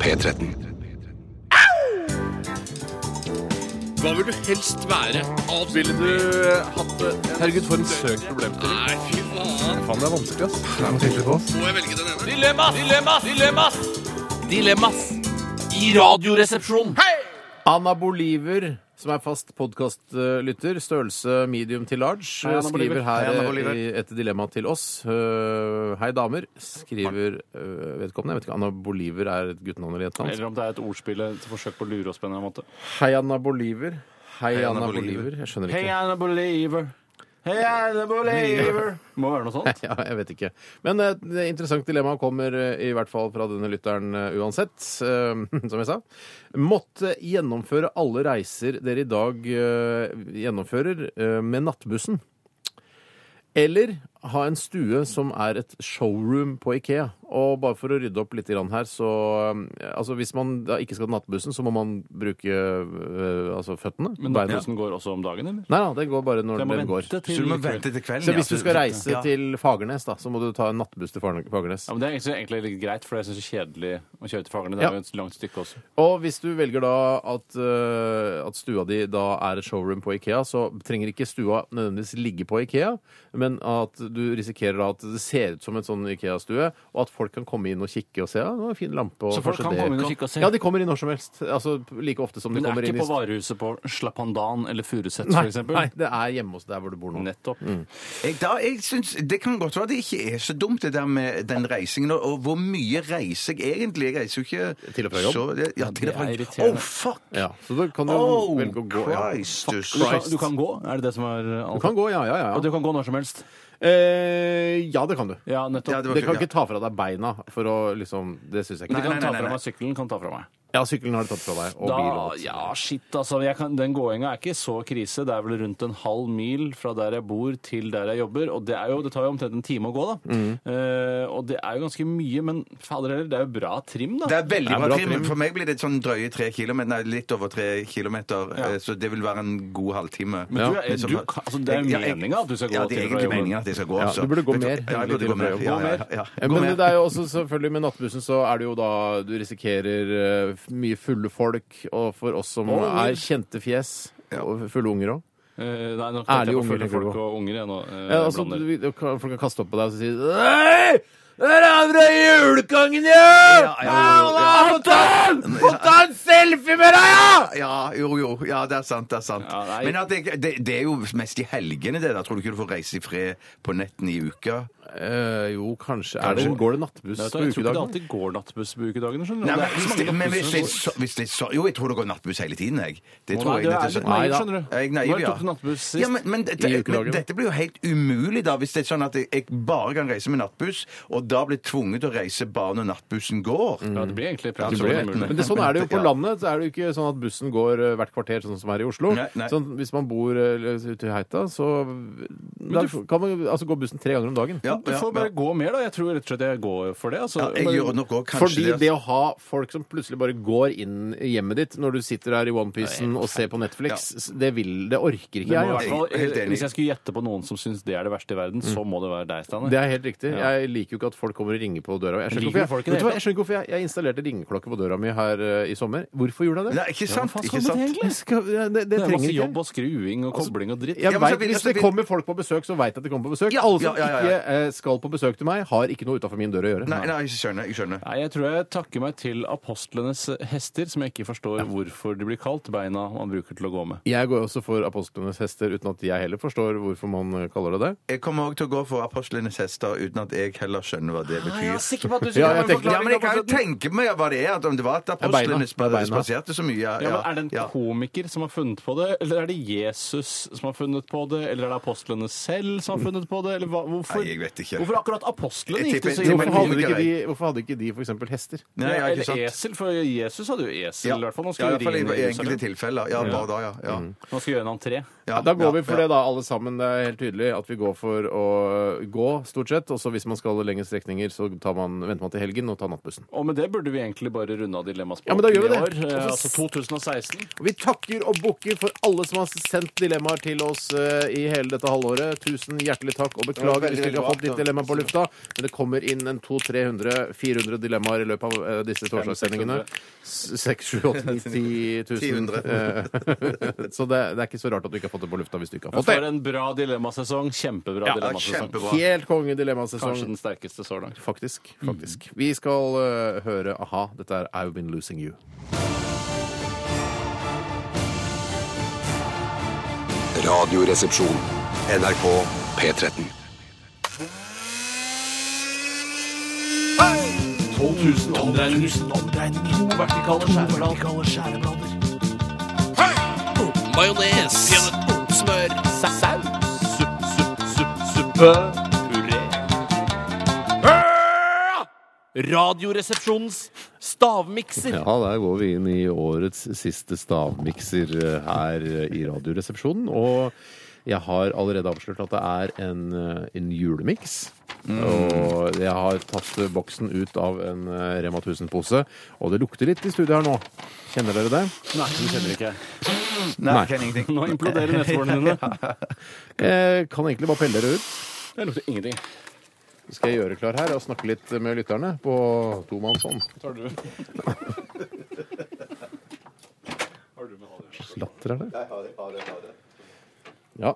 Speaker 5: P13.
Speaker 6: Hva vil du helst være? Avslørt. Ville
Speaker 7: du eh, hatt det? Herregud, for en søk problemstilling.
Speaker 6: Nei, fy faen.
Speaker 2: Faen, det er vanskelig, ass.
Speaker 6: Må jeg velge den ene?
Speaker 7: Dilemmas, dilemmas, dilemmas! Dilemmas i Radioresepsjonen.
Speaker 2: Anna Boliver, som er fast podkastlytter, størrelse medium til large,
Speaker 4: Hei, Anna Boliver.
Speaker 2: skriver her
Speaker 4: Hei, Anna
Speaker 2: eh,
Speaker 4: Boliver.
Speaker 2: i et dilemma til oss. Eh, Hei, damer, skriver eh, vedkommende. Jeg vet ikke, Anna Boliver er et guttenavn eller jentenavn?
Speaker 4: Eller om det er et ordspill et forsøk på å lure oss på en eller annen måte.
Speaker 2: Hei, Anna Boliver. Hei,
Speaker 3: Anna
Speaker 2: Anna
Speaker 3: Boliver.
Speaker 2: Boliver. Jeg skjønner
Speaker 4: Hey,
Speaker 2: ikke.
Speaker 4: I'm a believer. Hey, I'm a believer. Må være noe sånt.
Speaker 2: *laughs* Ja, jeg vet ikke. Men eh, det er et interessant dilemma kommer eh, i hvert fall fra denne lytteren eh, uansett, eh, *laughs* som jeg sa. Måtte gjennomføre alle reiser dere i dag eh, gjennomfører eh, med nattbussen. Eller ha en stue som er et showroom på Ikea. Og bare for å rydde opp litt grann her, så eh, Altså hvis man da ikke skal til nattbussen, så må man bruke eh, altså føttene.
Speaker 4: Men
Speaker 2: beina.
Speaker 4: bussen går også om dagen, eller?
Speaker 2: Nei da, den går bare når
Speaker 4: Jeg må
Speaker 2: den går.
Speaker 4: vente
Speaker 3: Så
Speaker 4: til
Speaker 3: du må vente til kvelden?
Speaker 2: Så
Speaker 3: ja.
Speaker 2: hvis du skal reise
Speaker 3: Ja.
Speaker 2: til Fagernes, da, så må du ta en nattbuss til Fag- Fagernes.
Speaker 4: Ja, men Det er egentlig- egentlig litt greit, for jeg syns det er kjedelig å kjøre til Fagernes. Det
Speaker 2: Ja.
Speaker 4: er jo et langt stykke også.
Speaker 2: Og hvis du velger da at, eh, at stua di da er et showroom på Ikea, så trenger ikke stua nødvendigvis ligge på Ikea, men at du risikerer da at det ser ut som en sånn Ikea-stue, og at folk kan komme inn og kikke og se. Ja, det var en fin lampe. Og
Speaker 4: Så folk
Speaker 2: kanskje
Speaker 4: kan
Speaker 2: det-
Speaker 4: komme inn og kikke og se?
Speaker 2: Ja, de kommer inn når som helst. Altså like ofte som de
Speaker 4: Men
Speaker 2: kommer
Speaker 4: det er
Speaker 2: inn
Speaker 4: ikke
Speaker 2: i
Speaker 4: på varehuset på Slappandan eller Furuset,
Speaker 2: Nei,
Speaker 4: f.eks.?
Speaker 2: nei, Mm. det er hjemme hos der hvor du bor nå.
Speaker 4: Nettopp.
Speaker 3: Jeg, da, jeg synes, det kan godt være det ikke er så dumt, det der med den reisingen. Og, og hvor mye reiser jeg egentlig? Jeg reiser jo ikke
Speaker 2: Til og fra jobb.
Speaker 3: Så, ja, til og fra
Speaker 4: det er
Speaker 3: jobb.
Speaker 4: irriterende.
Speaker 3: Oh, fuck!
Speaker 2: Ja, så da kan du
Speaker 3: Oh,
Speaker 2: velge å gå. Ja.
Speaker 3: Christus.
Speaker 4: Du kan, du kan gå? Er det det som er eh,
Speaker 2: Du
Speaker 4: alt?
Speaker 2: kan gå, ja, ja, ja.
Speaker 4: Og du kan gå når som helst?
Speaker 2: Eh, ja, det kan du.
Speaker 4: Ja, nettopp.
Speaker 3: Ja, det var
Speaker 2: Det kan
Speaker 3: ikke-
Speaker 2: ikke ta fra deg beina for å liksom Det syns jeg ikke.
Speaker 4: Du
Speaker 2: Du
Speaker 4: kan
Speaker 3: nei,
Speaker 4: ta
Speaker 3: nei,
Speaker 4: fra
Speaker 3: nei.
Speaker 4: meg sykkelen, kan ta fra meg.
Speaker 2: kan- Ja, sykkelen har du tatt fra deg. Og bil
Speaker 4: Da,
Speaker 2: og alt.
Speaker 4: ja, shit, altså. Jeg kan, den gåinga er ikke så krise. Det er vel rundt en halv mil fra der jeg bor til der jeg jobber. Og det, er jo, det tar jo omtrent en time å gå, da.
Speaker 2: Mm.
Speaker 4: Eh, og det er jo ganske mye, men fader heller, det er jo bra trim, da.
Speaker 3: Det er veldig
Speaker 2: er
Speaker 3: bra
Speaker 2: bra
Speaker 3: trim.
Speaker 2: trim.
Speaker 3: For meg blir det sånn drøye tre kilometer, nei, litt over tre kilometer. eh, Så det vil være en god halvtime.
Speaker 4: Men du, er-
Speaker 3: Som-
Speaker 4: du, kan- altså, det er
Speaker 3: Ja, liksom. jeg-
Speaker 4: meningen at du skal gå
Speaker 3: Ja, det
Speaker 4: til
Speaker 3: er
Speaker 4: og fra
Speaker 3: egentlig
Speaker 4: jobben.
Speaker 3: meningen at jeg skal gå.
Speaker 2: Ja,
Speaker 3: altså.
Speaker 2: du burde
Speaker 3: Vet
Speaker 2: gå mer,
Speaker 3: Ja, jeg burde
Speaker 2: til
Speaker 3: gå
Speaker 2: og fra
Speaker 3: mer.
Speaker 2: jobb.
Speaker 3: Ja,
Speaker 2: Gå
Speaker 3: ja,
Speaker 2: mer.
Speaker 3: ja, ja.
Speaker 2: Eh,
Speaker 3: Gå
Speaker 2: Men
Speaker 3: mer.
Speaker 2: det er jo også selvfølgelig med nattbussen så er det jo da du risikerer eh, mye fulle folk, og for oss som er kjente fjes, og fulle unger òg.
Speaker 4: Eh, nei, nå
Speaker 2: Ærlige
Speaker 4: tenkte jeg på
Speaker 2: unger,
Speaker 4: fulle
Speaker 2: tenker du
Speaker 4: folk
Speaker 2: på.
Speaker 4: og unger, jeg nå. eh,
Speaker 2: Ja, altså,
Speaker 4: blander.
Speaker 2: du- du- folk kan kaste opp på deg og si Hei! Der er fra julekongen, ja!
Speaker 3: ja, jo, jo, ja.
Speaker 2: Få ta en- få ta en selfie med deg, ja!
Speaker 3: Ja, jo, jo. Ja, det er sant. Det er sant.
Speaker 4: Ja, nei.
Speaker 3: Men at jeg, det, det er jo mest i helgene, det der. Tror du ikke du får reise i fred på netten i uka?
Speaker 2: Eh, jo, kanskje. Er det,
Speaker 4: Kanskje.
Speaker 2: går det nattbuss
Speaker 4: Nei, vet du,
Speaker 2: på
Speaker 4: jeg tror ikke det
Speaker 2: ukedagene?
Speaker 4: alltid går nattbuss på ukedagene, skjønner du.
Speaker 3: Nei,
Speaker 4: Det
Speaker 3: men
Speaker 4: er ikke
Speaker 3: hvis
Speaker 4: så
Speaker 3: det,
Speaker 4: mange
Speaker 3: men hvis
Speaker 4: nattbusser
Speaker 3: det,
Speaker 4: som
Speaker 3: så, hvis det så, jo, jeg tror det går nattbuss hele tiden, jeg. Det
Speaker 4: går.
Speaker 3: tror
Speaker 4: Nei,
Speaker 3: jeg.
Speaker 4: du
Speaker 3: det
Speaker 4: er
Speaker 3: er
Speaker 4: litt
Speaker 3: sånn-
Speaker 4: naiv,
Speaker 2: Nei da.
Speaker 4: skjønner du.
Speaker 3: Er jeg naiv,
Speaker 4: Når
Speaker 3: ja.
Speaker 4: tok du nattbuss sist?
Speaker 3: Ja, men, men, dette,
Speaker 2: I ukedagene.
Speaker 3: men dette blir jo helt umulig, da, hvis det er sånn at jeg, jeg bare kan reise med nattbuss, og da blir tvunget til å reise bare når nattbussen går.
Speaker 4: Ja, det blir
Speaker 3: Ja,
Speaker 4: egentlig praktisk.
Speaker 3: det
Speaker 4: talt
Speaker 3: blir-
Speaker 4: umulig.
Speaker 2: Men det, sånn er det jo på
Speaker 3: Ja.
Speaker 2: landet. Så er det jo ikke sånn at bussen går eh, hvert kvarter, sånn som her i Oslo.
Speaker 3: Nei, nei.
Speaker 2: Sånn, hvis man bor eh, ute i Heita, så da kan man jo- altså, gå bussen tre ganger om dagen.
Speaker 3: Ja,
Speaker 4: Du
Speaker 3: ja,
Speaker 4: får bare
Speaker 3: ja.
Speaker 4: gå mer, da. Jeg tror rett og slett jeg går for det. Altså,
Speaker 3: Ja, jeg
Speaker 4: Bare-
Speaker 3: gjør nok òg kanskje altså.
Speaker 2: Fordi det å ha folk som plutselig bare går inn i hjemmet ditt når du sitter her i onepiecen og ser på Netflix, s- det vil Det orker ikke
Speaker 4: Det må
Speaker 2: jeg.
Speaker 4: i
Speaker 2: altså.
Speaker 4: hvert fall,
Speaker 3: Jeg er helt enig. Mm.
Speaker 4: hvis jeg skulle gjette på noen som syns det er det verste i verden, så må det være deg, Steinar.
Speaker 2: Det er helt riktig.
Speaker 4: Ja.
Speaker 2: Jeg liker jo ikke at folk kommer og ringer på døra. Jeg skjønner ikke
Speaker 4: Liker du folk
Speaker 2: hvorfor
Speaker 4: i
Speaker 2: jeg, vet
Speaker 4: det
Speaker 2: du hva?
Speaker 4: hele
Speaker 2: jeg, skjønner ikke hvorfor jeg, jeg installerte ringeklokke på døra mi her eh, i sommer. Hvorfor gjorde jeg det?
Speaker 3: Nei, ikke sant.
Speaker 4: faen
Speaker 3: ikke
Speaker 4: skal man
Speaker 3: sant.
Speaker 4: egentlig?
Speaker 2: Jeg skal, ja, det, det
Speaker 4: Det er
Speaker 2: trenger
Speaker 4: masse
Speaker 2: jeg
Speaker 4: jobb
Speaker 2: ikke.
Speaker 4: og skruing og kobling og dritt.
Speaker 2: Jeg
Speaker 3: Altså, Ja, men så
Speaker 2: vet,
Speaker 3: vil-
Speaker 2: hvis
Speaker 3: så
Speaker 2: det
Speaker 3: vil-
Speaker 2: kommer folk på besøk, så veit jeg at de kommer på besøk. Alle
Speaker 3: ja,
Speaker 2: som
Speaker 3: ja, ja.
Speaker 2: ikke eh, skal på besøk til meg, har ikke noe utafor min dør å gjøre.
Speaker 3: Nei, nei, jeg skjønner. Jeg skjønner.
Speaker 4: Nei, Jeg tror jeg takker meg til apostlenes hester, som jeg ikke forstår hvorfor de blir kalt beina man bruker til å gå med.
Speaker 2: Jeg går også for apostlenes hester, uten at jeg heller forstår hvorfor man eh, kaller det det.
Speaker 3: Jeg kommer òg til å gå for apostlenes hester uten at jeg heller skjønner hva det betyr.
Speaker 4: Ah, sikker på at du
Speaker 2: Ja, jeg tenker-
Speaker 3: Ja, men jeg kan jo tenke meg hva det er, at om det var at
Speaker 2: beina.
Speaker 3: apostlene
Speaker 2: Det er
Speaker 3: spa-
Speaker 2: beina.
Speaker 3: spaserte så mye. Ja,
Speaker 4: Ja, men Er det en
Speaker 3: ja.
Speaker 4: komiker som har funnet på det, eller er det Jesus som har funnet på det, eller er det apostlene selv som har funnet på det, eller hva,
Speaker 3: Nei,
Speaker 4: hvorfor,
Speaker 3: jeg vet ikke.
Speaker 4: hvorfor akkurat apostlene
Speaker 3: Jeg
Speaker 4: gikk det
Speaker 3: tipper-
Speaker 4: så
Speaker 3: jeg tipper-
Speaker 2: Hvorfor hadde
Speaker 4: ille?
Speaker 2: ikke de, hvorfor hadde ikke de for eksempel hester?
Speaker 3: Nei, ja, ikke
Speaker 4: eller
Speaker 3: sant.
Speaker 4: esel, for Jesus hadde jo esel
Speaker 3: Ja.
Speaker 4: i hvert fall. Nå
Speaker 3: Ja, i
Speaker 4: skal
Speaker 3: hvert
Speaker 4: vi
Speaker 3: fall i,
Speaker 4: ringe
Speaker 3: i
Speaker 4: Jerusalem.
Speaker 3: enkelte tilfeller. Ja, bare da, ja. ja.
Speaker 4: Nå skal vi gjøre en entré.
Speaker 3: ja
Speaker 2: Mm. Da går
Speaker 3: ja,
Speaker 2: vi for
Speaker 3: ja.
Speaker 2: det, da, alle sammen. Det er helt tydelig at vi går for å gå, stort sett. Og så hvis man skal lengre strekninger, så tar man, venter man til helgen og tar nattbussen.
Speaker 4: Og med det burde vi egentlig bare runde av dilemmaspalten
Speaker 2: Ja, men da gjør vi
Speaker 4: i år,
Speaker 2: det.
Speaker 4: eh,
Speaker 2: Og så-
Speaker 4: altså 2016.
Speaker 2: Og vi takker og bukker for alle som har sendt dilemmaer til oss eh, i hele dette halvåret. Tusen hjertelig takk, og beklager hvis vi ikke har fått ditt dilemma på lufta. Men det kommer inn en 200-300-400 dilemmaer i løpet av eh, disse torsdagssendingene. 6, 7, 8, 9, 10 000. Eh, *laughs* Så det, det er ikke så rart at du ikke har fått det på lufta hvis du ikke har
Speaker 4: For
Speaker 2: fått det.
Speaker 4: en bra dilemmasesong. Kjempebra dilemmasesong.
Speaker 2: Helt konge
Speaker 4: Kanskje
Speaker 2: dilemmasesong.
Speaker 4: den Mm. sterkeste så langt.
Speaker 2: Faktisk. faktisk. Vi skal eh, høre a-ha. Dette er I've Been Losing You.
Speaker 5: Radioresepsjon. NRK P13.
Speaker 7: 12 000 omdreininger. To vertikale skjæreblader.
Speaker 6: Majones. Smør.
Speaker 7: Supp, supp, supp, suppe. Puré. Ah! Radioresepsjonens stavmikser.
Speaker 2: Ja, der går vi inn i årets siste stavmikser eh, her eh, i Radioresepsjonen. Og jeg har allerede avslørt at det er en, eh, en julemiks. Og jeg har tatt eh, boksen ut av en eh, Rema 1000-pose, og det lukter litt i studio her nå. Kjenner dere det?
Speaker 4: Nei, du kjenner ikke.
Speaker 3: Nei, jeg kan ingenting.
Speaker 4: Nå imploderer nesebordene *laughs* dine.
Speaker 2: Jeg Eh, kan egentlig bare pelle dere ut.
Speaker 4: Det lukter ingenting.
Speaker 2: Så skal jeg gjøre klar her og snakke litt med lytterne på tomannshånd. Slags latter er det? Ja.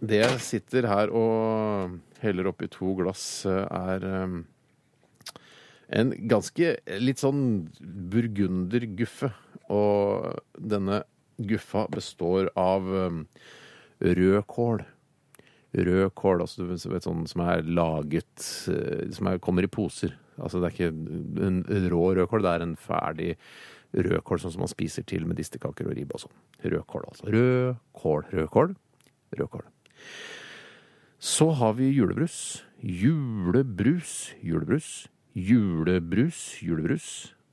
Speaker 2: Det jeg sitter her og heller oppi to glass, er um, en ganske litt sånn burgunderguffe. Og denne guffa består av um, rødkål rød kål, altså du vet sånn som er laget eh, Som er, kommer i poser. Altså det er ikke en rå rødkål, det er en ferdig rødkål sånn som man spiser til med distekaker og ribbe og sånn. Rødkål, altså. Rød kål, rødkål, rødkål. Så har vi julebrus. Julebrus, julebrus, julebrus, julebrus.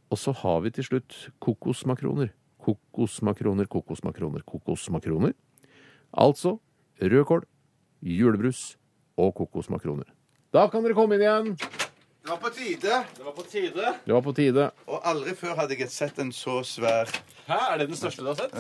Speaker 2: Og så har vi til slutt kokosmakroner. Kokosmakroner, kokosmakroner, kokosmakroner. Altså rødkål, julebrus og kokosmakroner. Da kan dere komme inn igjen.
Speaker 3: Det var på tide,
Speaker 2: Det var på tide.
Speaker 3: og aldri før hadde jeg sett en så svær
Speaker 4: Hæ, er det den største du har sett?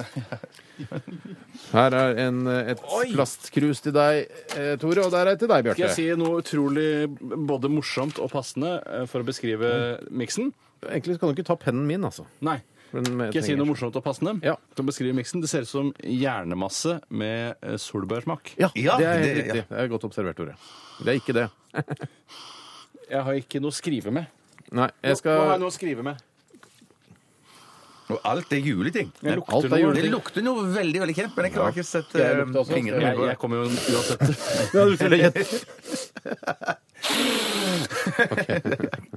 Speaker 2: Her er en, et plastkrus til deg, eh, Tore, og der er et til deg,
Speaker 4: Skal jeg
Speaker 2: Bjarte.
Speaker 4: si noe utrolig både morsomt og passende eh, for å beskrive miksen?
Speaker 2: Egentlig kan du ikke ta pennen min, altså.
Speaker 4: Nei.
Speaker 2: For den
Speaker 4: Skal jeg si
Speaker 2: trenger-
Speaker 4: noe morsomt og passende?
Speaker 2: Ja.
Speaker 4: Til å beskrive miksen. Det ser ut som hjernemasse med eh, solbærsmak.
Speaker 2: Ja,
Speaker 3: Ja,
Speaker 2: det er helt
Speaker 3: det- ja.
Speaker 2: riktig. Det er godt observert, Tore. Det er ikke det.
Speaker 4: Jeg har ikke noe å skrive med.
Speaker 2: Nei, jeg
Speaker 4: Hva har jeg
Speaker 2: skal
Speaker 4: noe å skrive med?
Speaker 3: Og alt er juleting.
Speaker 4: Jeg
Speaker 3: Men
Speaker 2: Alt
Speaker 4: lukter
Speaker 2: er
Speaker 4: noe.
Speaker 2: juleting.
Speaker 3: Det lukter noe veldig veldig kjent, men jeg klarer ikke å sette
Speaker 2: Jeg lukter også.
Speaker 3: fingrene
Speaker 4: Ehm, Jeg,
Speaker 3: på
Speaker 4: jeg
Speaker 3: det.
Speaker 4: kommer jo
Speaker 2: *laughs*
Speaker 4: uansett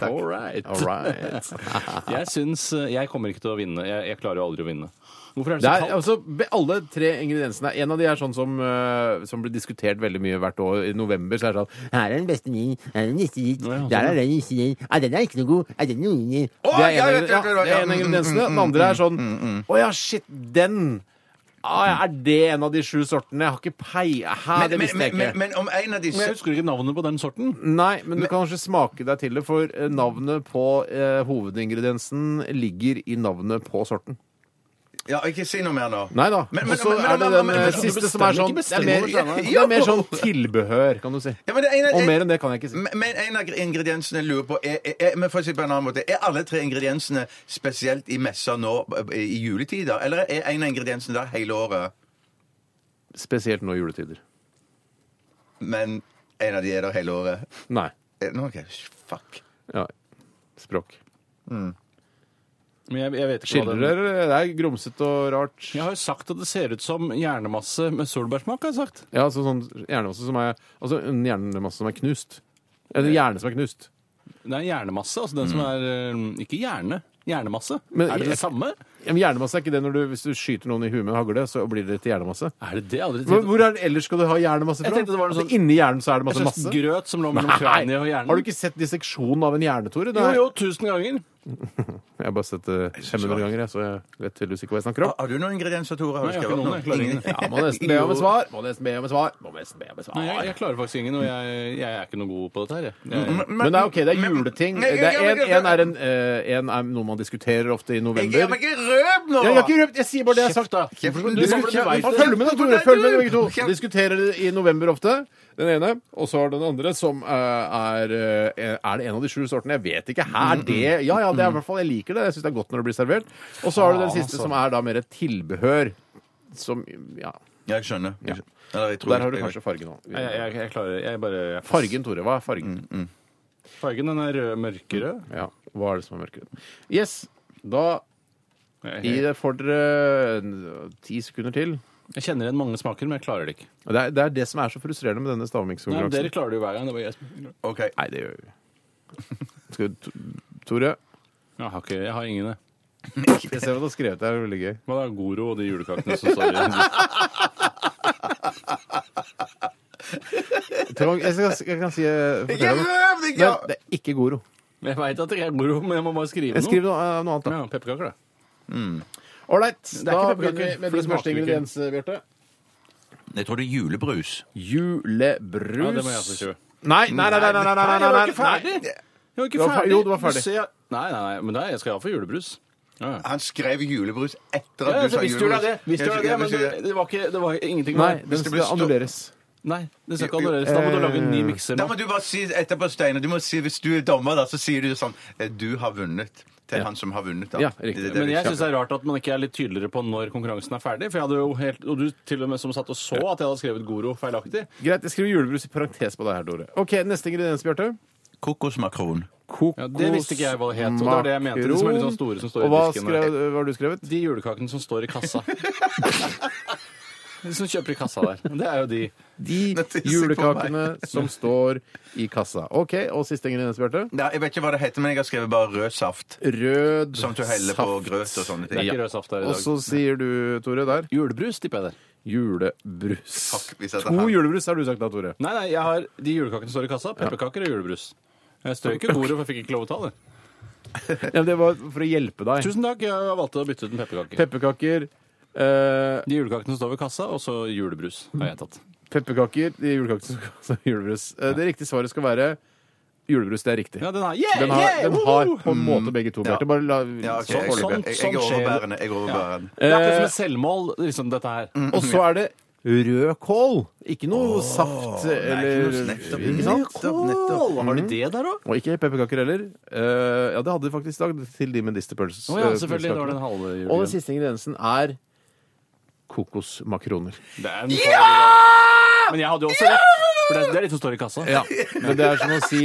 Speaker 4: All right.
Speaker 2: All right. *laughs*
Speaker 4: Jeg syns eh, Jeg kommer ikke til å vinne. Jeg, jeg klarer jo aldri å vinne. Hvorfor
Speaker 2: Det
Speaker 4: er det
Speaker 2: er,
Speaker 4: så kaldt?
Speaker 2: altså, be- alle tre ingrediensene En av de er sånn som, eh, som blir diskutert veldig mye hvert år. I november så er det sånn Her er den beste min. Her er den neste ditt.
Speaker 4: Ja, ja,
Speaker 2: Der er den neste din. Nei, den er ikke noe god. Nei, den er noe inni.
Speaker 3: sånn, Å,
Speaker 2: Det
Speaker 3: ja,
Speaker 2: er en av
Speaker 3: jeg vet, jeg vet, jeg vet,
Speaker 2: ja, det er
Speaker 3: ja. mm,
Speaker 2: en av ingrediensene. Den andre er sånn Å ja, shit, den. Ah, ja, er det en av de sju sortene? Jeg har ikke pei... Hæ, det
Speaker 3: Men,
Speaker 2: visste jeg
Speaker 3: men, men,
Speaker 2: ikke.
Speaker 3: men om en av disse
Speaker 4: Jeg husker ikke navnet på den sorten.
Speaker 2: Nei, men du kan kanskje smake deg til det, for eh, navnet på eh, hovedingrediensen ligger i navnet på sorten.
Speaker 3: Ja, ikke si noe mer nå.
Speaker 2: Nei da.
Speaker 3: Men- men-
Speaker 2: Og så
Speaker 3: men-
Speaker 2: er det
Speaker 3: men-
Speaker 2: den
Speaker 3: men-
Speaker 2: eh,
Speaker 3: men-
Speaker 2: siste
Speaker 4: du
Speaker 2: som er
Speaker 4: bestemmer
Speaker 2: sånn
Speaker 4: ikke
Speaker 2: Det er mer,
Speaker 3: bestemmer deg.
Speaker 2: det er mer sånn tilbehør, kan du si.
Speaker 3: Ja, men det ene-
Speaker 2: Og mer enn det kan jeg ikke si.
Speaker 3: Men men en av ingrediensene jeg lurer på er, er, er, men for å si det på en annen måte, er alle tre ingrediensene spesielt i messa nå eh, i juletider? Eller er en av ingrediensene der hele året,
Speaker 2: Spesielt nå i juletider.
Speaker 3: men en av de er der hele året?
Speaker 2: Nei.
Speaker 3: Eh, Nå, ok, Fuck.
Speaker 2: Ja. Språk.
Speaker 4: Men jeg, jeg vet ikke hva den
Speaker 2: Skildrer Det er grumsete og rart.
Speaker 4: Jeg har jo sagt at det ser ut som hjernemasse med solbærsmak. har jeg sagt.
Speaker 2: Ja, altså sånn hjernemasse som er Altså en hjernemasse som er knust. En hjerne som er knust.
Speaker 4: Det er hjernemasse. altså den som er eh, Ikke hjerne. Hjernemasse.
Speaker 2: Mm. Men-
Speaker 4: er det det samme?
Speaker 2: Ja, Men hjernemasse er ikke det når du, hvis du skyter noen i huet med en hagle, så blir det til hjernemasse.
Speaker 4: Er det det? Jeg har Aldri
Speaker 2: Hvor
Speaker 4: tenkt.
Speaker 2: hvor er det ellers skal du ha hjernemasse fra?
Speaker 4: Jeg tenkte det var noe
Speaker 2: Altså,
Speaker 4: sånn-
Speaker 2: Inni hjernen så er det
Speaker 4: En
Speaker 2: masse
Speaker 4: slags
Speaker 2: masse.
Speaker 4: grøt som lå mellom kraniet og hjernen.
Speaker 2: Har du ikke sett disseksjonen av en hjerne, Tore? Det
Speaker 4: Jo,
Speaker 2: er-
Speaker 4: jo, tusen ganger.
Speaker 2: Jeg har bare sett det 500 ganger, jeg, så jeg vet tydeligvis ikke hva jeg snakker om.
Speaker 3: Har du noen ingredienser, Tore?
Speaker 4: Nei, jeg har ikke noen. Jeg klarer ingen.
Speaker 2: Ja, Ah, må nesten be om et svar. Må nesten be om et svar. Må nesten be om et
Speaker 4: Nei, jeg,
Speaker 2: svar.
Speaker 4: jeg klarer faktisk ingen, og jeg, jeg er ikke noe god på dette her. jeg. Jeg,
Speaker 2: Men det er ok, det er juleting.
Speaker 3: Men-
Speaker 2: Det er
Speaker 3: Ja, men-
Speaker 2: en, en, er en, eh, en er noe man diskuterer ofte i november.
Speaker 3: Jeg
Speaker 2: Jeg,
Speaker 3: må ikke røp nå!
Speaker 2: jeg har ikke røpt, jeg sier bare det jeg har sagt.
Speaker 4: da.
Speaker 2: Hvorfor skal
Speaker 4: Du
Speaker 2: du-
Speaker 4: sa for det, du vet det.
Speaker 2: Følg med, da, Tore. Følg med, begge to. Diskuterer det i november ofte. Den ene, og så har den andre, som eh, er eh, Er det en av de sju sortene? Jeg vet ikke. Er det Ja ja, det er i hvert fall Jeg liker det. Jeg syns det er godt når det blir servert. Og så har du den siste, som er da mer et tilbehør. Som Ja.
Speaker 3: Jeg skjønner. Jeg skjønner. Eller, jeg tror-
Speaker 2: Der har du
Speaker 3: jeg-
Speaker 2: kanskje fargen òg.
Speaker 4: Jeg, jeg, jeg klarer Jeg bare jeg pass.
Speaker 2: Fargen, Tore. Hva er fargen?
Speaker 4: Fargen den er rød, mørkerød.
Speaker 2: Ja, Hva er det som er mørkerød? Yes, da
Speaker 4: Jeg,
Speaker 2: i
Speaker 4: jeg,
Speaker 2: det får dere eh, ti sekunder til.
Speaker 4: jeg kjenner igjen mange smaker, men jeg klarer det ikke.
Speaker 2: Og Det er, det er det som er så frustrerende med denne
Speaker 4: Nei,
Speaker 2: stavmikskonkurransen.
Speaker 4: dere klarer det jo hver gang. Det var jeg som
Speaker 3: OK.
Speaker 2: Nei, det gjør vi. Skal vi T- Tore,
Speaker 4: jeg har, ikke, jeg har ingen, jeg.
Speaker 2: jeg ser hva du har skrevet. Det er veldig gøy.
Speaker 4: Hva da? Goro og de julekakene som står i
Speaker 2: Jeg, tror- jeg, skal, jeg kan si eh, fortelle noe.
Speaker 3: Ikke
Speaker 2: Men det er ikke Goro.
Speaker 4: Jeg veit at det ikke er Goro, men jeg må bare skrive
Speaker 2: Jeg
Speaker 4: noe.
Speaker 2: skriver noe, eh, noe annet, da.
Speaker 4: Ja, Pepperkaker, da.
Speaker 2: Ålreit. Da
Speaker 4: er ikke pepperkaker,
Speaker 2: begynner vi med
Speaker 4: for det
Speaker 2: din første
Speaker 4: smaker jo ikke.
Speaker 2: ingrediens, Bjarte.
Speaker 3: Jeg tror det er julebrus.
Speaker 2: Julebrus.
Speaker 4: Ja, det må jeg også kjøpe.
Speaker 2: Nei, nei, nei, nei, nei, nei, nei, nei, nei, nei.
Speaker 4: Jeg var ikke
Speaker 2: Du var fer-
Speaker 4: ferdig.
Speaker 2: jo, du var ferdig.
Speaker 4: Du ser- Nei, nei, nei, men da, jeg skal ha for julebrus. Ja, ja.
Speaker 3: Han skrev julebrus etter at du
Speaker 4: Ja, altså,
Speaker 3: sa
Speaker 4: visste du
Speaker 3: julebrus.
Speaker 4: det? Visste du det? Men det, det, var ikke, det var ingenting
Speaker 2: Nei,
Speaker 4: med det.
Speaker 2: den
Speaker 3: det
Speaker 2: skal
Speaker 3: blir stå-
Speaker 2: annulleres.
Speaker 4: Nei, det skal ikke annulleres. Da må du lage en ny mikser
Speaker 3: Da
Speaker 4: nå.
Speaker 3: må du bare si etterpå, Steinar. Du må si, hvis du er dommer, da, så sier du sånn eh, Du har vunnet. Til han som har vunnet, da.
Speaker 2: Ja, riktig.
Speaker 3: Det er det
Speaker 4: Men
Speaker 3: vi
Speaker 4: jeg
Speaker 3: skal-
Speaker 4: syns det er rart at man ikke er litt tydeligere på når konkurransen er ferdig. For jeg hadde jo helt, Og du til og med som satt og så at jeg hadde skrevet Goro feilaktig.
Speaker 2: Greit, jeg skriver julebrus i parentes på deg her, Tore. Ok, Neste ingrediens, Bjarte.
Speaker 3: Kokosmakron.
Speaker 4: Ja, det visste ikke jeg hva det het. Og det var det jeg mente. De som er litt sånn store som
Speaker 2: Og
Speaker 4: står i
Speaker 2: hva,
Speaker 4: disken.
Speaker 2: skrev, hva har du skrevet?
Speaker 4: De julekakene som står i kassa. De som kjøper i kassa der. *laughs* Det er jo de.
Speaker 2: De
Speaker 3: Dette er sikkert på
Speaker 2: julekakene *laughs* som står i kassa. OK, og siste ingrediens, Bjarte.
Speaker 3: Nei, jeg vet ikke hva det heter, men jeg har skrevet bare rød saft.
Speaker 2: Rød
Speaker 3: Som du heller på grøt og sånne
Speaker 4: Det er
Speaker 3: ting.
Speaker 4: ikke rød saft der i
Speaker 2: Og
Speaker 4: dag.
Speaker 2: så sier du, Tore, der
Speaker 4: Julebrus, tipper jeg der.
Speaker 2: julebrus.
Speaker 3: Fuck, hvis jeg tar
Speaker 2: To
Speaker 3: her.
Speaker 2: julebrus har du sagt da, Tore.
Speaker 4: Nei, nei, jeg har de julekakene som står i kassa. Pepperkaker og julebrus. Jeg strøk ikke Goro, for jeg fikk ikke lov å ta det.
Speaker 2: Ja, men det var for å hjelpe deg.
Speaker 4: Tusen takk, jeg valgte å bytte ut en pepperkake.
Speaker 2: Pepperkaker. eh,
Speaker 4: De julekakene som står ved kassa, og så julebrus har jeg tatt.
Speaker 2: pepperkaker, de julekakene som kassa julebrus. Eh, det riktige svaret skal være julebrus. Det er riktig.
Speaker 4: Ja, den har Yeah,
Speaker 2: Den har,
Speaker 4: yeah!
Speaker 2: den
Speaker 4: woho!
Speaker 2: har på en måte begge to, Bjarte. Bare la
Speaker 3: Mm. Ja, ok,
Speaker 2: så
Speaker 3: jeg,
Speaker 2: foreløpig.
Speaker 3: jeg, jeg, jeg er
Speaker 4: sånn skjer det.
Speaker 3: overbærende. Jeg er overbærende.
Speaker 4: Det er ikke som et selvmål, liksom, dette her.
Speaker 3: Sånn.
Speaker 2: Og så er det rød kål. Ikke noe saft eller Ikke sant? Mm.
Speaker 4: Har de det der òg?
Speaker 2: Og ikke pepperkaker heller. Eh, ja, det hadde de faktisk i dag, til de med Disney-pølser.
Speaker 4: Å ja, selvfølgelig. Det var den halve
Speaker 2: Og den
Speaker 4: julen.
Speaker 2: siste ingrediensen er kokosmakroner.
Speaker 4: Ja! Men jeg hadde jo også rett. For det, det er de som står i kassa.
Speaker 2: Ja, *laughs* Men det er som å si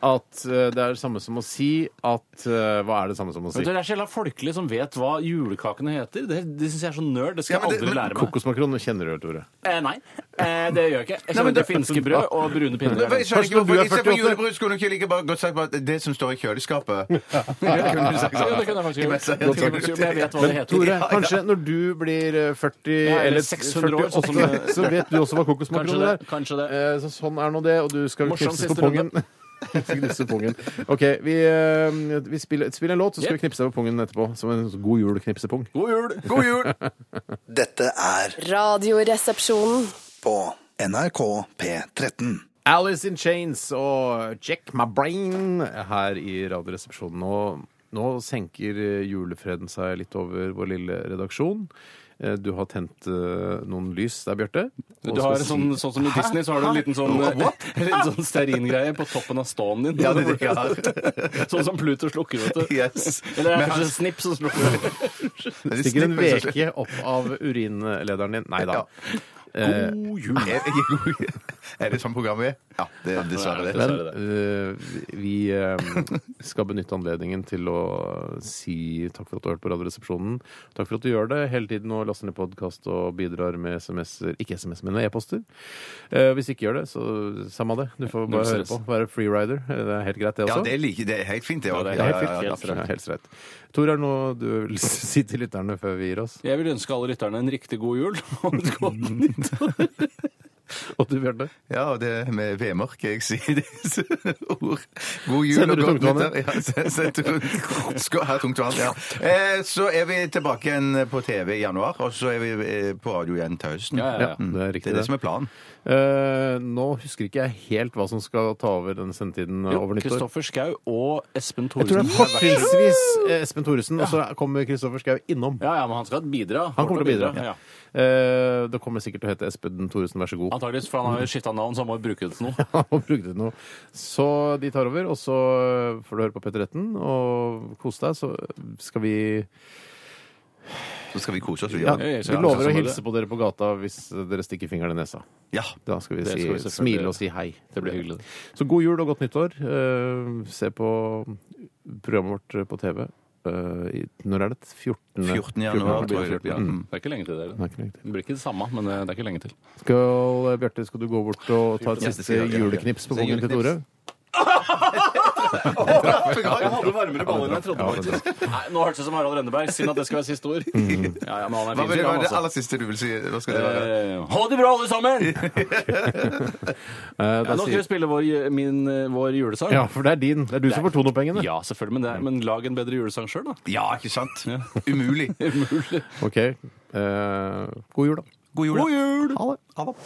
Speaker 2: at eh, Det er det samme som å si at eh, Hva er det samme som å si?
Speaker 4: Vet du, Det er så jævla folkelig som vet hva julekakene heter. Det, det syns jeg er så nerd. Det skal
Speaker 3: Ja, men det-
Speaker 4: jeg aldri
Speaker 3: men
Speaker 4: lære meg.
Speaker 2: Kokosmakroner kjenner du,
Speaker 4: *laughs*
Speaker 2: Tore.
Speaker 4: Eh, nei, eh, det gjør jeg ikke.
Speaker 3: Nei, men
Speaker 4: Jeg kjenner
Speaker 3: det-
Speaker 4: til finske brød og brune
Speaker 3: *laughs* Men
Speaker 4: pinner.
Speaker 3: Jeg skjønner
Speaker 2: Først
Speaker 3: ikke
Speaker 2: når
Speaker 3: hvorfor
Speaker 2: du er
Speaker 3: Istedenfor
Speaker 2: 48.
Speaker 3: julebrus kunne du ikke like bare godt sagt bare at det som står i kjøleskapet.
Speaker 2: *laughs*
Speaker 3: Kunne du sagt
Speaker 4: Ja, det
Speaker 3: sånn?
Speaker 4: kunne jeg faktisk
Speaker 3: I
Speaker 4: gjort.
Speaker 3: messa.
Speaker 4: Det kunne jeg faktisk gjort, Men jeg vet hva det heter.
Speaker 2: Tore, kanskje når du blir eh, 40
Speaker 4: Ja, eller
Speaker 2: eller
Speaker 4: 600 år,
Speaker 2: 48,
Speaker 4: sånn som det-
Speaker 2: så vet du også hva kokosmakroner
Speaker 4: Kanskje
Speaker 2: er.
Speaker 4: det, kanskje det.
Speaker 2: Eh, Så sånn er nå det, og du skal
Speaker 4: Morsom
Speaker 2: knipses
Speaker 4: siste
Speaker 2: på pungen. *laughs* Du skal knipses på pungen. OK, vi, eh, vi spiller, spiller en låt, så skal
Speaker 4: Yep.
Speaker 2: vi knipse deg på pungen etterpå. Som en sånn god jul-knipsepung.
Speaker 4: God jul!
Speaker 3: God jul!
Speaker 10: Dette er
Speaker 9: Radioresepsjonen.
Speaker 10: på NRK P13.
Speaker 2: Alice in Chains og Check My Brain her i Radioresepsjonen. Og nå senker eh, julefreden seg litt over vår lille redaksjon. Eh, Du har tent eh, noen lys der, Bjarte. og
Speaker 4: Du har
Speaker 2: skal
Speaker 4: en sånn, sånn som i Disney, så har du en liten sånn, *laughs* en liten sånn stearingreie på toppen av ståen din.
Speaker 3: Ja, det er det jeg har.
Speaker 4: *laughs* sånn som Pluto slukker, vet du.
Speaker 3: Yes.
Speaker 4: Eller er
Speaker 3: Men
Speaker 4: det
Speaker 3: han-
Speaker 4: kanskje Snipp som slukker?
Speaker 2: si, stikker en veke opp av urinlederen din. Nei da. Eh,
Speaker 3: Er, er det sånn programmet er? Ja, det er dessverre det.
Speaker 2: Men eh, vi eh, skal benytte anledningen til å si takk for at du har hørt på Radioresepsjonen. Takk for at du gjør det hele tiden og laster ned podkast og bidrar med SMS-er Ikke SMS, men e-poster. Eh, hvis du ikke gjør det, så samme det. Du får bare høre
Speaker 4: stress.
Speaker 2: på. Være freerider. Eh, Det er helt greit, det
Speaker 3: Ja,
Speaker 2: også.
Speaker 3: det er, like, det er helt fint, det òg.
Speaker 4: det er
Speaker 2: Ja, helt
Speaker 4: ja,
Speaker 2: fint.
Speaker 4: ja,
Speaker 2: Helt streit. Helt streit. Tor, er det noe du vil *laughs* si til lytterne før vi gir oss?
Speaker 4: Jeg vil ønske alle lytterne en riktig god jul. *laughs* og et godt nyttår.
Speaker 2: Og du, Bjarte?
Speaker 3: Ja, og det er med vemørk jeg sier *laughs* disse ord. God jul
Speaker 2: Sender
Speaker 3: og
Speaker 2: du
Speaker 3: godt
Speaker 2: tungtvannet?
Speaker 3: nyttår. Ja, se- setter du- Skå- her, tungtvann, ja. Eh, Så er vi tilbake igjen på TV i januar, og så er vi eh, på radio igjen til høsten.
Speaker 4: Ja, ja, ja.
Speaker 2: det er
Speaker 3: Det
Speaker 2: riktig.
Speaker 3: er det
Speaker 2: det.
Speaker 3: som er planen.
Speaker 2: Eh, nå husker ikke jeg helt hva som skal ta over denne sendetiden eh, *laughs* over nyttår.
Speaker 4: Kristoffer Schau og Espen
Speaker 2: Jeg tror det
Speaker 4: Thoresen.
Speaker 2: er
Speaker 4: har vært-
Speaker 2: fortrinnsvis eh, Espen Thoresen, og så kommer Kristoffer Schau innom.
Speaker 4: Ja, ja, men han skal bidra.
Speaker 2: Han kommer til å bidra.
Speaker 4: Ja.
Speaker 2: Eh, det kommer sikkert til å hete Espen Thoresen, vær så god. *laughs*
Speaker 4: antageligvis, for han har jo skifta navn, så han må jo bruke det til noe.
Speaker 2: og brukte noe. Så de tar over, og så får du høre på Petter Retten og kose deg, så skal vi
Speaker 3: Så skal vi kose oss
Speaker 2: ja,
Speaker 3: videre.
Speaker 4: jeg
Speaker 2: Vi
Speaker 4: skal-
Speaker 2: lover å
Speaker 4: jeg skal-
Speaker 2: hilse på dere på gata hvis dere stikker fingeren i nesa.
Speaker 3: Ja.
Speaker 2: Da skal vi,
Speaker 4: Det
Speaker 2: si,
Speaker 4: skal vi selvfølgelig
Speaker 2: smile
Speaker 4: gjøre.
Speaker 2: og si hei.
Speaker 4: Det blir hyggelig.
Speaker 2: Så god jul og godt nyttår. Eh, se på programmet vårt på TV. Eh, i, når er det? 14.
Speaker 3: 14. januar, tror jeg. det blir,
Speaker 2: 14.
Speaker 3: Ja. Mm.
Speaker 4: Det er ikke lenge til det.
Speaker 2: Det er ikke lenge til.
Speaker 4: Det blir ikke det samme, men eh, det er ikke lenge til.
Speaker 2: Skal, eh, Bjarte, skal du gå bort og ta et
Speaker 3: Ja, det
Speaker 2: siste
Speaker 3: skal jeg gjøre, ja.
Speaker 2: juleknips på
Speaker 3: Så
Speaker 2: kongen til
Speaker 3: juleknips.
Speaker 2: Tore?
Speaker 4: Jeg hadde varmere baller enn jeg trodde. faktisk. Nei, nå hørtes det som Harald Rønneberg. Synd at det skal være siste ord.
Speaker 2: Mm.
Speaker 4: Ja, ja, men han
Speaker 3: Hva
Speaker 4: er fin
Speaker 3: vil
Speaker 4: fyr,
Speaker 3: det
Speaker 4: han
Speaker 3: være det
Speaker 4: altså.
Speaker 3: aller siste du vil si? Hva skal det være?
Speaker 4: Eh, Ha det bra, alle
Speaker 2: *laughs*
Speaker 4: sammen! Ja,
Speaker 2: Eh, da
Speaker 4: nå skal vi
Speaker 2: sier,
Speaker 4: spille vår, ju- min, eh, vår julesang.
Speaker 2: ja, for det er din. Det er du som får tonopengene.
Speaker 4: Ja, selvfølgelig, men, det er, men lag en bedre julesang sjøl, da.
Speaker 3: Ja, ikke sant? Umulig.
Speaker 4: Umulig.
Speaker 2: Ok. Eh, god jul, da.
Speaker 3: God jul. da.
Speaker 2: Ha det.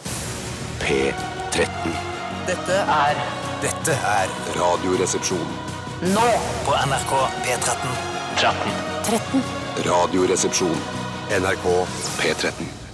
Speaker 5: P13.
Speaker 8: Dette er Dette er
Speaker 5: Radioresepsjon.
Speaker 8: Nå på NRK P13. 13.
Speaker 9: 13.
Speaker 5: Radioresepsjon. NRK P13.